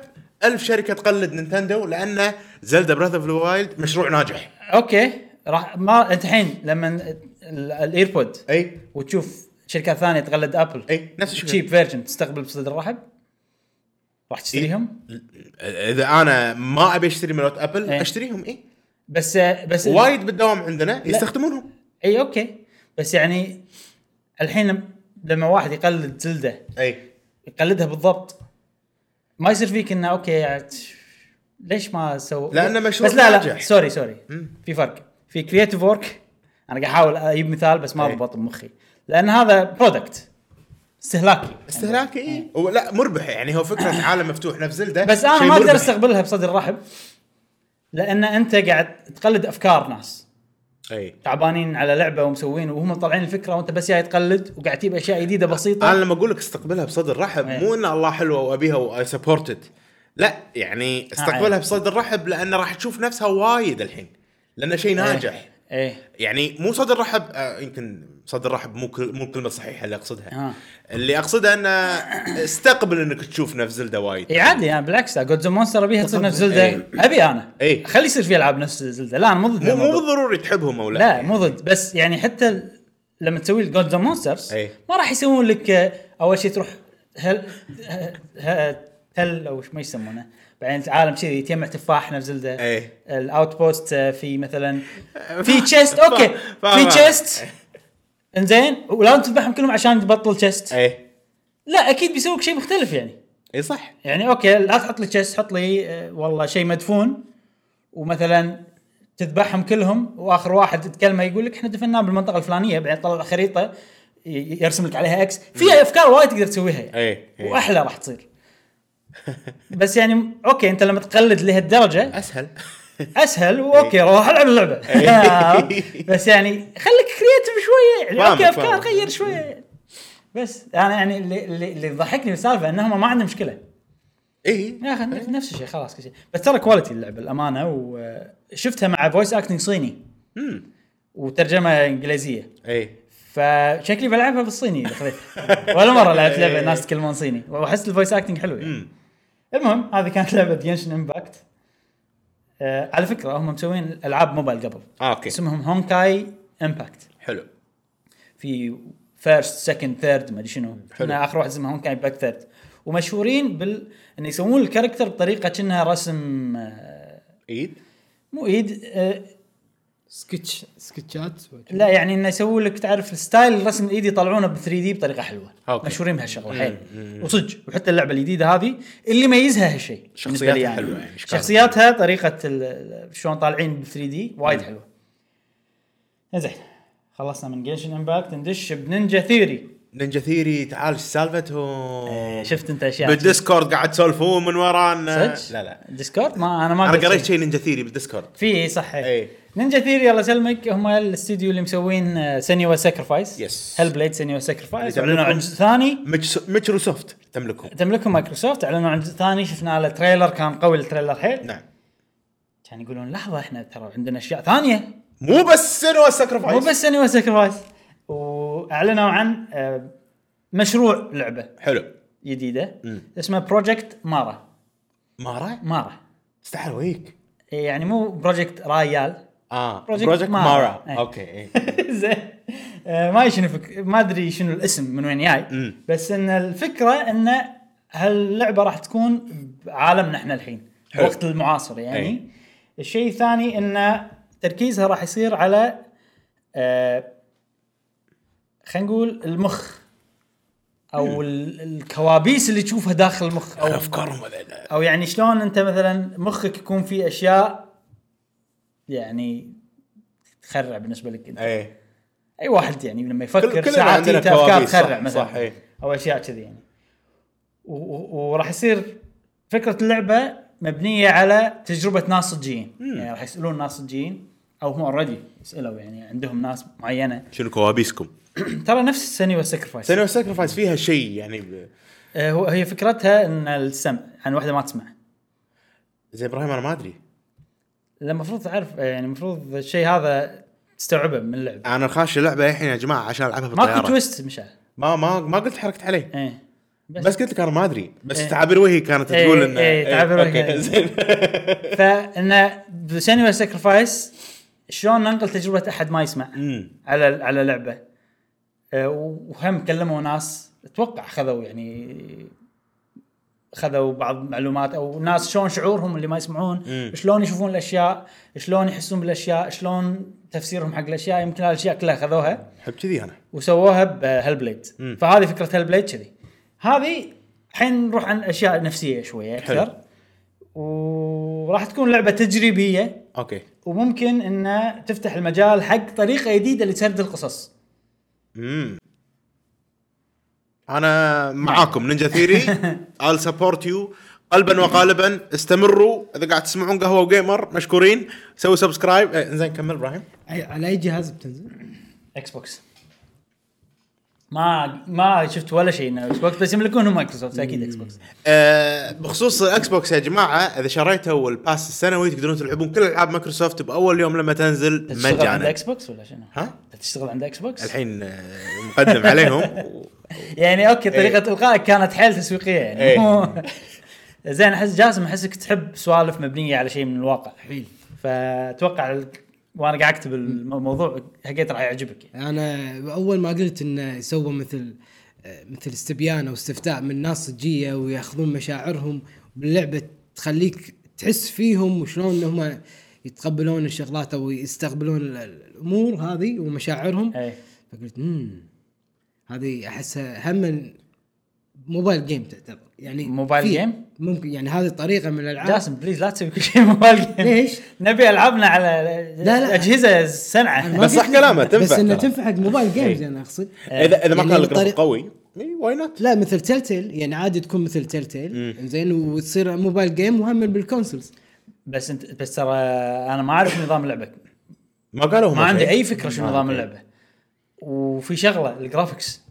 [SPEAKER 3] ألف شركه تقلد نينتندو لان زلدا براذ اوف وايلد مشروع ناجح
[SPEAKER 1] اوكي راح ما انت الحين لما ال- الايربود
[SPEAKER 3] اي
[SPEAKER 1] وتشوف شركه ثانيه تقلد ابل
[SPEAKER 3] اي نفس الشيء
[SPEAKER 1] تشيب فيرجن تستقبل بصدر رحب راح تشتريهم
[SPEAKER 3] إيه. اذا انا ما ابي اشتري ملوت ابل
[SPEAKER 1] إيه.
[SPEAKER 3] اشتريهم اي
[SPEAKER 1] بس بس
[SPEAKER 3] وايد بالدوام عندنا يستخدمونهم
[SPEAKER 1] اي اوكي بس يعني الحين لم- لما واحد يقلد زلده
[SPEAKER 3] اي
[SPEAKER 1] يقلدها بالضبط ما يصير فيك انه اوكي يعني ليش ما سو
[SPEAKER 3] لأنه مشروع
[SPEAKER 1] بس لا لا
[SPEAKER 3] ناجح.
[SPEAKER 1] سوري سوري في فرق في كرييتيف ورك انا قاعد احاول اجيب مثال بس ما
[SPEAKER 3] إيه.
[SPEAKER 1] ضبط بمخي لان هذا برودكت استهلاكي
[SPEAKER 3] استهلاكي اي لا مربح يعني هو فكره عالم مفتوح نفس زلدا
[SPEAKER 1] إيه. بس انا
[SPEAKER 3] شيء
[SPEAKER 1] ما اقدر
[SPEAKER 3] مربح.
[SPEAKER 1] استقبلها بصدر رحب لان انت قاعد تقلد افكار ناس
[SPEAKER 3] اي
[SPEAKER 1] تعبانين على لعبه ومسوين وهم طالعين الفكره وانت بس جاي تقلد وقاعد تجيب اشياء جديده بسيطه
[SPEAKER 3] انا لما اقول لك استقبلها بصدر رحب
[SPEAKER 1] إيه.
[SPEAKER 3] مو ان الله حلوه وابيها وسبورتد لا
[SPEAKER 1] إيه.
[SPEAKER 3] يعني استقبلها بصدر رحب لان راح تشوف نفسها وايد الحين لان شيء
[SPEAKER 1] إيه.
[SPEAKER 3] ناجح
[SPEAKER 1] ايه
[SPEAKER 3] يعني مو صدر رحب آه، يمكن صدر رحب مو كل- مو الكلمه الصحيحه اللي اقصدها
[SPEAKER 1] ها
[SPEAKER 3] اللي اقصدها ان استقبل انك تشوف نفس زلده وايد
[SPEAKER 1] اي عادي يعني بالعكس جودز مونستر ابيها تصير نفس زلده ابي انا
[SPEAKER 3] إيه.
[SPEAKER 1] خلي يصير في العاب نفس زلده لا انا مو ضد
[SPEAKER 3] مو مو
[SPEAKER 1] الموضوع.
[SPEAKER 3] بالضروري تحبهم او لا
[SPEAKER 1] لا مو ضد بس يعني حتى ال- لما تسوي الجولد مونسترز
[SPEAKER 3] أي.
[SPEAKER 1] ما راح يسوون لك آه، اول شيء تروح هل ه- ه- تل او ما يسمونه بعدين عالم كذي يجمع تفاح نفس زلده
[SPEAKER 3] أي.
[SPEAKER 1] الاوت بوست آه، في مثلا في تشيست اوكي
[SPEAKER 3] فاهم. إيه.
[SPEAKER 1] في تشيست انزين ولازم تذبحهم كلهم عشان تبطل تشيست
[SPEAKER 3] اي
[SPEAKER 1] لا اكيد بيسوي لك شيء مختلف يعني
[SPEAKER 3] اي إيه. صح
[SPEAKER 1] يعني اوكي لا تحط لي تشيست حط لي آه، والله شيء مدفون ومثلا تذبحهم كلهم واخر واحد تكلمه يقول لك احنا دفناه بالمنطقه الفلانيه بعدين طلع خريطه ي- يرسم لك عليها اكس في افكار وايد تقدر تسويها يعني
[SPEAKER 3] اي إي.
[SPEAKER 1] واحلى راح تصير بس يعني اوكي انت لما تقلد لهالدرجه
[SPEAKER 3] اسهل
[SPEAKER 1] اسهل واوكي روح العب اللعبه
[SPEAKER 3] إيه.
[SPEAKER 1] بس يعني خليك كرييتف شويه يعني
[SPEAKER 3] فاهمك،
[SPEAKER 1] اوكي افكار
[SPEAKER 3] فاهمك.
[SPEAKER 1] غير شويه يعني. بس انا يعني اللي اللي اللي ضحكني بالسالفه انهم ما عندهم مشكله
[SPEAKER 3] اي
[SPEAKER 1] يا اخي نفس- نفس الشيء خلاص كل شيء بس ترى كواليتي اللعبه الامانه وشفتها مع فويس اكتنج صيني وترجمه انجليزيه
[SPEAKER 3] اي
[SPEAKER 1] فشكلي بلعبها بالصيني اذا خذيتها ولا مره لعبت لعبه ناس تتكلمون صيني واحس الفويس اكتنج حلو يعني
[SPEAKER 3] إيه. مم.
[SPEAKER 1] المهم هذه كانت لعبه جنشن امباكت آه على فكره هم مسوين العاب موبايل قبل
[SPEAKER 3] آه، اوكي
[SPEAKER 1] اسمهم هونكاي امباكت
[SPEAKER 3] حلو
[SPEAKER 1] في فيرست سكند ثيرد ما ادري شنو
[SPEAKER 3] حلو.
[SPEAKER 1] احنا اخر واحد اسمه هون كان باك ثيرد ومشهورين بال ان يسوون الكاركتر بطريقه كأنها رسم آه،
[SPEAKER 3] ايد
[SPEAKER 1] مو ايد آه،
[SPEAKER 2] سكتش سكتشات
[SPEAKER 1] لا يعني انه يسووا لك تعرف الستايل الرسم الايدي يطلعونه ب 3 دي بطريقه حلوه
[SPEAKER 3] أوكي.
[SPEAKER 1] مشهورين بهالشغله حيل وصدق وحتى اللعبه الجديده هذه اللي ميزها هالشيء بالنسبة لي
[SPEAKER 3] شخصياتها حلوة يعني، إشكال.
[SPEAKER 1] شخصياتها طريقه ال- شلون طالعين ب 3 دي وايد حلوه زين خلصنا من جيشن امباكت ندش بنينجا ثيري
[SPEAKER 3] نينجا ثيري تعال ايش سالفتهم
[SPEAKER 1] إيه، شفت انت اشياء
[SPEAKER 3] بالديسكورد قاعد تسولفون من ورانا
[SPEAKER 1] صدق؟
[SPEAKER 3] آه، لا لا
[SPEAKER 1] ديسكورد ما انا ما
[SPEAKER 3] انا
[SPEAKER 1] قلت
[SPEAKER 3] قريت
[SPEAKER 1] شيء.
[SPEAKER 3] شيء نينجا ثيري بالديسكورد
[SPEAKER 1] في صح
[SPEAKER 3] إيه.
[SPEAKER 1] اي نينجا ثيري الله يسلمك هم الاستديو اللي مسوين آه، سنيوا ساكرفايس
[SPEAKER 3] Yes.
[SPEAKER 1] هل بليد سنيوا ساكرفايس
[SPEAKER 3] اللي
[SPEAKER 1] اعلنوا عن
[SPEAKER 3] تعملكم-
[SPEAKER 1] جزء ثاني
[SPEAKER 3] متش- ميكروسوفت تملكهم
[SPEAKER 1] تملكهم مايكروسوفت اعلنوا عن جزء ثاني شفنا له تريلر كان قوي التريلر حيل
[SPEAKER 3] نعم
[SPEAKER 1] كان يقولون لحظه احنا ترى عندنا اشياء ثانيه
[SPEAKER 3] مو بس سنوا
[SPEAKER 1] مو
[SPEAKER 3] ساكرفايس
[SPEAKER 1] بس سنيوا ساكرفايس واعلنوا عن آه، مشروع لعبه
[SPEAKER 3] حلو
[SPEAKER 1] جديده
[SPEAKER 3] مم.
[SPEAKER 1] اسمه بروجكت مارا
[SPEAKER 3] مارا
[SPEAKER 1] مارا
[SPEAKER 3] استحل ويك
[SPEAKER 1] يعني مو بروجكت رايال
[SPEAKER 3] اه
[SPEAKER 1] Project
[SPEAKER 3] بروجكت
[SPEAKER 1] مارا.
[SPEAKER 3] مارا
[SPEAKER 1] إيه.
[SPEAKER 3] اوكي إيه.
[SPEAKER 1] زين آه، ما شنو فك... ما ادري شنو الاسم من وين جاي
[SPEAKER 3] مم.
[SPEAKER 1] بس ان الفكره ان هاللعبه راح تكون بعالمنا احنا الحين
[SPEAKER 3] حلو.
[SPEAKER 1] الوقت المعاصر يعني
[SPEAKER 3] أي.
[SPEAKER 1] الشيء الثاني ان تركيزها راح يصير على آه خلينا نقول المخ او ال- الكوابيس اللي تشوفها داخل المخ او
[SPEAKER 3] افكارهم هذيلا.
[SPEAKER 1] او يعني شلون انت مثلا مخك يكون فيه اشياء يعني تخرع بالنسبه لك انت
[SPEAKER 3] ايه
[SPEAKER 1] اي واحد يعني لما
[SPEAKER 3] كل-
[SPEAKER 1] يفكر
[SPEAKER 3] كلنا
[SPEAKER 1] ساعات
[SPEAKER 3] عندنا
[SPEAKER 1] يجي افكار
[SPEAKER 3] كوابيس، صح-
[SPEAKER 1] تخرع مثلا
[SPEAKER 3] صح، إي.
[SPEAKER 1] او اشياء كذي يعني و- و- وراح يصير فكره اللعبه مبنيه على تجربه ناس صجيين يعني راح يسالون ناس صجيين او هم اوريدي سالوا يعني عندهم ناس معينه
[SPEAKER 3] شنو كوابيسكم
[SPEAKER 1] ترى نفس السني والسكرفايس
[SPEAKER 3] سنوا ساكرفايس فيها شيء يعني ب...
[SPEAKER 1] آه، هو- هي فكرتها ان السمع عن واحده ما تسمع
[SPEAKER 3] زي ابراهيم انا ما ادري
[SPEAKER 1] لا، المفروض تعرف آه، يعني المفروض الشيء هذا تستوعبه من اللعب
[SPEAKER 3] انا خاش اللعبه الحين يا جماعه عشان العبها
[SPEAKER 1] ماكو
[SPEAKER 3] بالطياره
[SPEAKER 1] تويست مشعل
[SPEAKER 3] ما ما ما قلت حركت عليه
[SPEAKER 1] ايه
[SPEAKER 3] بس, بس قلت لك انا ما ادري بس
[SPEAKER 1] إيه.
[SPEAKER 3] تعابير وجهي كانت
[SPEAKER 1] إيه،
[SPEAKER 3] تقول ان
[SPEAKER 1] إيه، تعابير
[SPEAKER 3] إيه،
[SPEAKER 1] وجهي.
[SPEAKER 3] أوكي، زين
[SPEAKER 1] فان بسنيوال ساكرفايس شلون ننقل تجربه احد ما يسمع
[SPEAKER 3] أمم.
[SPEAKER 1] على على لعبه أه، وهم كلموا ناس اتوقع خذوا يعني خذوا بعض معلومات او ناس شلون شعورهم اللي ما يسمعون
[SPEAKER 3] مم.
[SPEAKER 1] شلون يشوفون الاشياء شلون يحسون بالاشياء شلون تفسيرهم حق الاشياء يمكن هالاشياء كلها خذوها
[SPEAKER 3] احب كذي انا
[SPEAKER 1] وسووها بهالبليد
[SPEAKER 3] مم.
[SPEAKER 1] فهذه فكره هالبليد كذي هذه الحين نروح عن اشياء نفسيه شويه
[SPEAKER 3] حلو.
[SPEAKER 1] اكثر وراح تكون لعبه تجريبيه
[SPEAKER 3] اوكي
[SPEAKER 1] وممكن انها تفتح المجال حق طريقه جديده لسرد القصص
[SPEAKER 3] امم انا معاكم نينجا ثيري I'll support you قلبا وقالبا استمروا اذا قاعد تسمعون قهوه وجيمر مشكورين سووا سبسكرايب آه، زين كمل ابراهيم
[SPEAKER 2] أي- على اي جهاز بتنزل؟
[SPEAKER 1] اكس بوكس ما ما شفت ولا شيء انه اكس بوكس بس يملكونهم مايكروسوفت اكيد اكس بوكس
[SPEAKER 3] آه، بخصوص الاكس بوكس يا جماعه اذا شريتوا الباس السنوي تقدرون تلعبون كل العاب مايكروسوفت باول يوم لما تنزل
[SPEAKER 1] تشتغل عند
[SPEAKER 3] مجانا
[SPEAKER 1] اكس بوكس ولا شنو؟
[SPEAKER 3] ها
[SPEAKER 1] تشتغل عند اكس بوكس؟
[SPEAKER 3] الحين آه، مقدم عليهم
[SPEAKER 1] يعني اوكي طريقه القائك كانت حيل تسويقيه يعني
[SPEAKER 3] إيه.
[SPEAKER 1] مو- زين احس جاسم احسك تحب سوالف مبنيه على شيء من الواقع
[SPEAKER 2] حيل
[SPEAKER 1] فاتوقع ال- وانا قاعد اكتب الم- الموضوع حقيت راح يعجبك يعني.
[SPEAKER 2] انا اول ما قلت انه سووا مثل آه، مثل استبيان او استفتاء من ناس صجيه وياخذون مشاعرهم باللعبه تخليك تحس فيهم وشلون ان هم يتقبلون الشغلات او يستقبلون ال- ال- الامور هذه ومشاعرهم
[SPEAKER 3] إيه.
[SPEAKER 1] اي
[SPEAKER 2] فقلت امم هذه احسها هم موبايل جيم تعتبر يعني
[SPEAKER 1] موبايل
[SPEAKER 2] في-
[SPEAKER 1] جيم؟
[SPEAKER 2] ممكن يعني هذه طريقه من الالعاب
[SPEAKER 1] جاسم بليز لا تسوي كل شيء موبايل جيم
[SPEAKER 2] ليش؟
[SPEAKER 1] نبي العابنا على لا
[SPEAKER 2] إيه. لا،
[SPEAKER 1] لا
[SPEAKER 2] لا.
[SPEAKER 1] اجهزه
[SPEAKER 2] أنا
[SPEAKER 1] سنعه
[SPEAKER 2] ما
[SPEAKER 3] بس صح
[SPEAKER 2] قلت-
[SPEAKER 3] كلامه،
[SPEAKER 2] بس
[SPEAKER 3] تنفع
[SPEAKER 2] انه
[SPEAKER 3] ترى.
[SPEAKER 2] تنفع حق موبايل جيمز
[SPEAKER 1] إيه.
[SPEAKER 2] انا اقصد
[SPEAKER 3] اذا اذا ما
[SPEAKER 2] يعني
[SPEAKER 3] كان
[SPEAKER 2] بطريقة-
[SPEAKER 3] الجرافيك قوي واي نوت
[SPEAKER 2] لا مثل تيل تيل يعني عادي تكون مثل تيل تيل زين وتصير موبايل جيم وهم بالكونسولز
[SPEAKER 1] بس انت بس ترى انا ما اعرف نظام لعبك
[SPEAKER 3] ما قالوا هم
[SPEAKER 1] ما عندي
[SPEAKER 3] شيء.
[SPEAKER 1] اي فكره شنو
[SPEAKER 3] آه،
[SPEAKER 1] نظام
[SPEAKER 3] أوكي.
[SPEAKER 1] اللعبه وفي شغله الجرافكس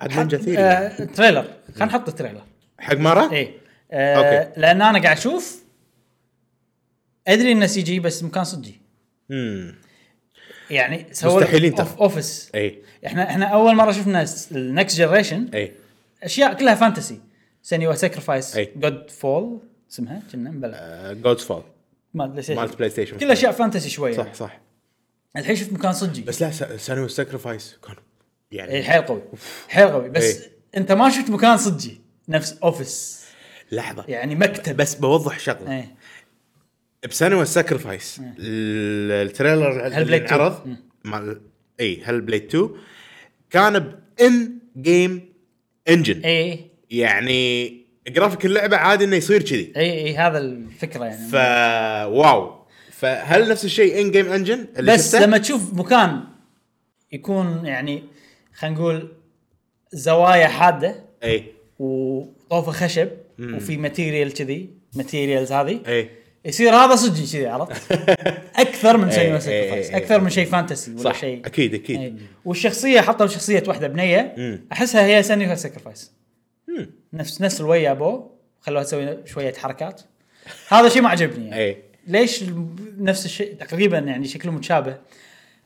[SPEAKER 3] عاد نينجا ثيري
[SPEAKER 1] آه، تريلر خلينا نحط التريلر
[SPEAKER 3] حق مره؟
[SPEAKER 1] ايه آه
[SPEAKER 3] أوكي.
[SPEAKER 1] لان انا قاعد اشوف ادري انه سي جي بس مكان صجي
[SPEAKER 3] امم
[SPEAKER 1] يعني سووا
[SPEAKER 3] مستحيلين ترى.
[SPEAKER 1] أوف اوفيس
[SPEAKER 3] اي
[SPEAKER 1] احنا احنا اول مره شفنا النكست جنريشن
[SPEAKER 3] اي
[SPEAKER 1] اشياء كلها فانتسي سنيوا ساكرفايس
[SPEAKER 3] إيه.
[SPEAKER 1] جود فول اسمها كنا بلا
[SPEAKER 3] جودز فول
[SPEAKER 1] ما بلاي ستيشن
[SPEAKER 3] مالت بلاي ستيشن
[SPEAKER 1] كل اشياء فانتسي شويه
[SPEAKER 3] صح صح
[SPEAKER 1] الحين شفت مكان صجي
[SPEAKER 3] بس لا سانو ساكرفايس كان
[SPEAKER 1] اي
[SPEAKER 3] يعني
[SPEAKER 1] حيل قوي حيل قوي بس
[SPEAKER 3] إيه.
[SPEAKER 1] انت ما شفت مكان صجي نفس اوفيس
[SPEAKER 3] لحظه
[SPEAKER 1] يعني مكتب
[SPEAKER 3] بس بوضح شغله
[SPEAKER 1] ايه
[SPEAKER 3] بسانو ساكرفايس
[SPEAKER 1] إيه.
[SPEAKER 3] التريلر
[SPEAKER 1] هل
[SPEAKER 3] اللي
[SPEAKER 1] بليد 2.
[SPEAKER 3] انعرض مال اي هل بليد 2 كان بان جيم انجن
[SPEAKER 1] اي
[SPEAKER 3] يعني جرافيك اللعبه عادي انه يصير كذي
[SPEAKER 1] اي اي إيه، هذا الفكره يعني
[SPEAKER 3] ف واو فهل نفس الشيء ان جيم انجن اللي
[SPEAKER 1] بس
[SPEAKER 3] شفته؟
[SPEAKER 1] لما تشوف مكان يكون يعني خلينا نقول زوايا حاده
[SPEAKER 3] اي
[SPEAKER 1] وطوفه خشب وفي ماتيريال كذي ماتيريالز هذه
[SPEAKER 3] اي
[SPEAKER 1] يصير هذا صدق كذي عرفت؟ اكثر من
[SPEAKER 3] إيه،
[SPEAKER 1] سينما
[SPEAKER 3] إيه، إيه،
[SPEAKER 1] ساكرفايس
[SPEAKER 3] إيه.
[SPEAKER 1] اكثر من شيء فانتسي ولا
[SPEAKER 3] صح
[SPEAKER 1] شيء
[SPEAKER 3] اكيد اكيد
[SPEAKER 1] إيه. والشخصيه حطوا شخصيه واحده بنيه
[SPEAKER 3] مم.
[SPEAKER 1] احسها هي سينما ساكرفايس
[SPEAKER 3] مم.
[SPEAKER 1] نفس نفس الوي ابو خلوها تسوي شويه حركات هذا شيء ما عجبني يعني.
[SPEAKER 3] اي
[SPEAKER 1] ليش الم- نفس الشيء تقريبا يعني شكلهم متشابه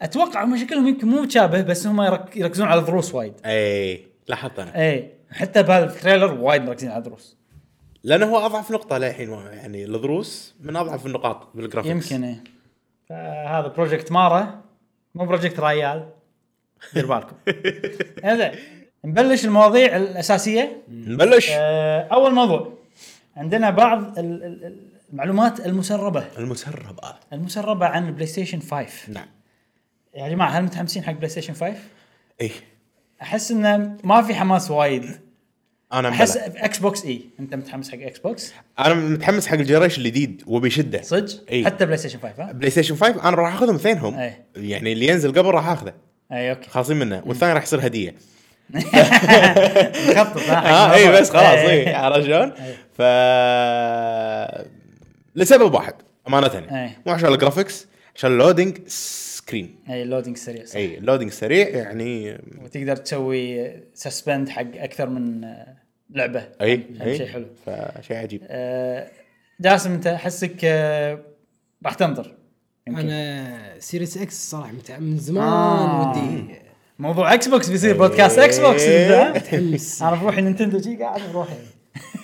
[SPEAKER 1] اتوقع هم شكلهم يمكن مو متشابه بس هم يرك- يركزون على الضروس وايد
[SPEAKER 3] اي إيه. لاحظت انا
[SPEAKER 1] اي حتى بهالتريلر وايد مركزين على الضروس
[SPEAKER 3] لانه هو اضعف نقطه للحين يعني الضروس من اضعف النقاط بالجرافيكس
[SPEAKER 1] يمكن اي فهذا بروجكت مارا مو بروجكت ريال دير بالكم زين نبلش المواضيع الاساسيه
[SPEAKER 3] نبلش
[SPEAKER 1] آه، اول موضوع عندنا بعض ال- ال- ال- المعلومات المسربه
[SPEAKER 3] المسربه
[SPEAKER 1] المسربه عن بلاي ستيشن 5
[SPEAKER 3] نعم
[SPEAKER 1] يا جماعه هل متحمسين حق بلاي ستيشن 5
[SPEAKER 3] اي
[SPEAKER 1] احس انه ما في حماس وايد
[SPEAKER 3] انا
[SPEAKER 1] احس
[SPEAKER 3] مبلى.
[SPEAKER 1] اكس بوكس اي انت متحمس حق اكس بوكس
[SPEAKER 3] انا متحمس حق الجريش الجديد وبشده
[SPEAKER 1] صدق
[SPEAKER 3] اي حتى
[SPEAKER 1] حتى بلاي ستيشن 5 ها
[SPEAKER 3] بلاي ستيشن 5 انا راح اخذهم اثنينهم
[SPEAKER 1] إيه.
[SPEAKER 3] يعني اللي ينزل قبل راح اخذه
[SPEAKER 1] اي اوكي
[SPEAKER 3] خالصين منه والثاني راح يصير هديه
[SPEAKER 1] خطط ها حق
[SPEAKER 3] اه اي
[SPEAKER 1] الموضوع.
[SPEAKER 3] بس خلاص
[SPEAKER 1] إيه.
[SPEAKER 3] اي عرفت شلون؟ ف لسبب واحد امانه
[SPEAKER 1] إيه.
[SPEAKER 3] يعني مو عشان الجرافيكس عشان اللودنج سكرين
[SPEAKER 1] اي اللودينج سريع صح.
[SPEAKER 3] اي اللودنج سريع يعني
[SPEAKER 1] وتقدر تسوي سسبند حق اكثر من آه، لعبه
[SPEAKER 3] اي
[SPEAKER 1] هم
[SPEAKER 3] اي
[SPEAKER 1] شيء حلو.
[SPEAKER 3] إيه، فشيء عجيب
[SPEAKER 1] آه، جاسم انت احسك آه، راح تنطر يمكن
[SPEAKER 2] انا سيريس اكس صراحه متع... من زمان
[SPEAKER 1] آه.
[SPEAKER 2] ودي
[SPEAKER 1] موضوع اكس بوكس بيصير بودكاست اكس بوكس انت،
[SPEAKER 2] متحمس
[SPEAKER 1] ها؟ انا بروحي نينتندو شي قاعد بروحي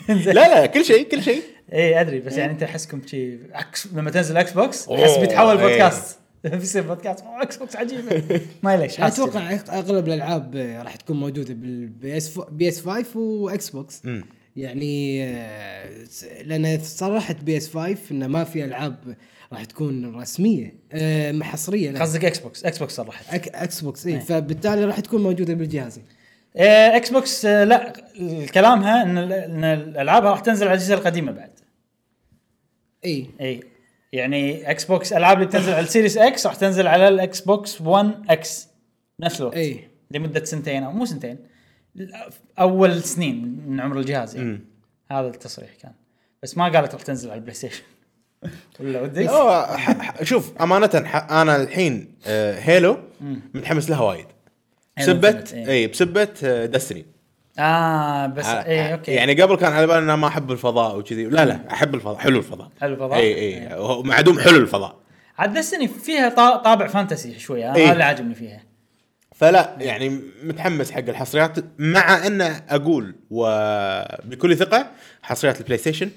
[SPEAKER 3] لا لا كل شيء كل شيء
[SPEAKER 1] إيه. اي ادري بس يعني انت احسكم شي أكس- لما تنزل اكس بوكس احس بيتحول
[SPEAKER 3] أوه، إيه.
[SPEAKER 1] بودكاست بيصير بودكاست أوه، اكس بوكس عجيبه ما ليش
[SPEAKER 2] أنا اتوقع أغ- اغلب الالعاب آه، راح تكون موجوده بالبي اس بي اس 5 واكس بوكس
[SPEAKER 3] مم.
[SPEAKER 2] يعني آه، س- لان صرحت بي اس 5 انه ما في العاب راح تكون رسميه آه، محصريه لا.
[SPEAKER 1] قصدك اكس بوكس اكس بوكس صرحت
[SPEAKER 2] أك- اكس بوكس اي فبالتالي راح تكون موجوده بالجهاز
[SPEAKER 1] آه، اكس بوكس آه، لا كلامها ان ال- ان الالعاب راح تنزل على الاجهزه القديمه بعد
[SPEAKER 2] اي
[SPEAKER 1] اي يعني اكس بوكس الالعاب اللي بتنزل على السيريس اكس راح تنزل على الاكس بوكس 1 اكس نفس الوقت
[SPEAKER 2] إي.
[SPEAKER 1] لمده سنتين او مو سنتين ل- اول سنين من عمر الجهاز يعني هذا التصريح كان بس ما قالت راح تنزل على البلاي ستيشن ولا ودك؟
[SPEAKER 3] هو ح- ح- شوف امانه ح- انا الحين آه، هيلو متحمس لها وايد
[SPEAKER 1] هيلو
[SPEAKER 3] بسبت
[SPEAKER 1] Infinite، إيه.
[SPEAKER 3] اي بسبت دستني
[SPEAKER 1] اه بس اي اوكي يعني
[SPEAKER 3] آه، يعني قبل كان على بالي انا ما احب الفضاء وكذي لا لا احب الفضاء حلو الفضاء
[SPEAKER 1] حلو الفضاء؟
[SPEAKER 3] اي
[SPEAKER 1] إيه.
[SPEAKER 3] اي إيه، هو مع دوم حلو الفضاء
[SPEAKER 1] عاد دستني فيها طا- طابع فانتسي شويه هذا
[SPEAKER 3] إيه.
[SPEAKER 1] اللي عاجبني فيها
[SPEAKER 3] فلا يعني متحمس حق الحصريات مع ان اقول وبكل ثقه حصريات البلاي ستيشن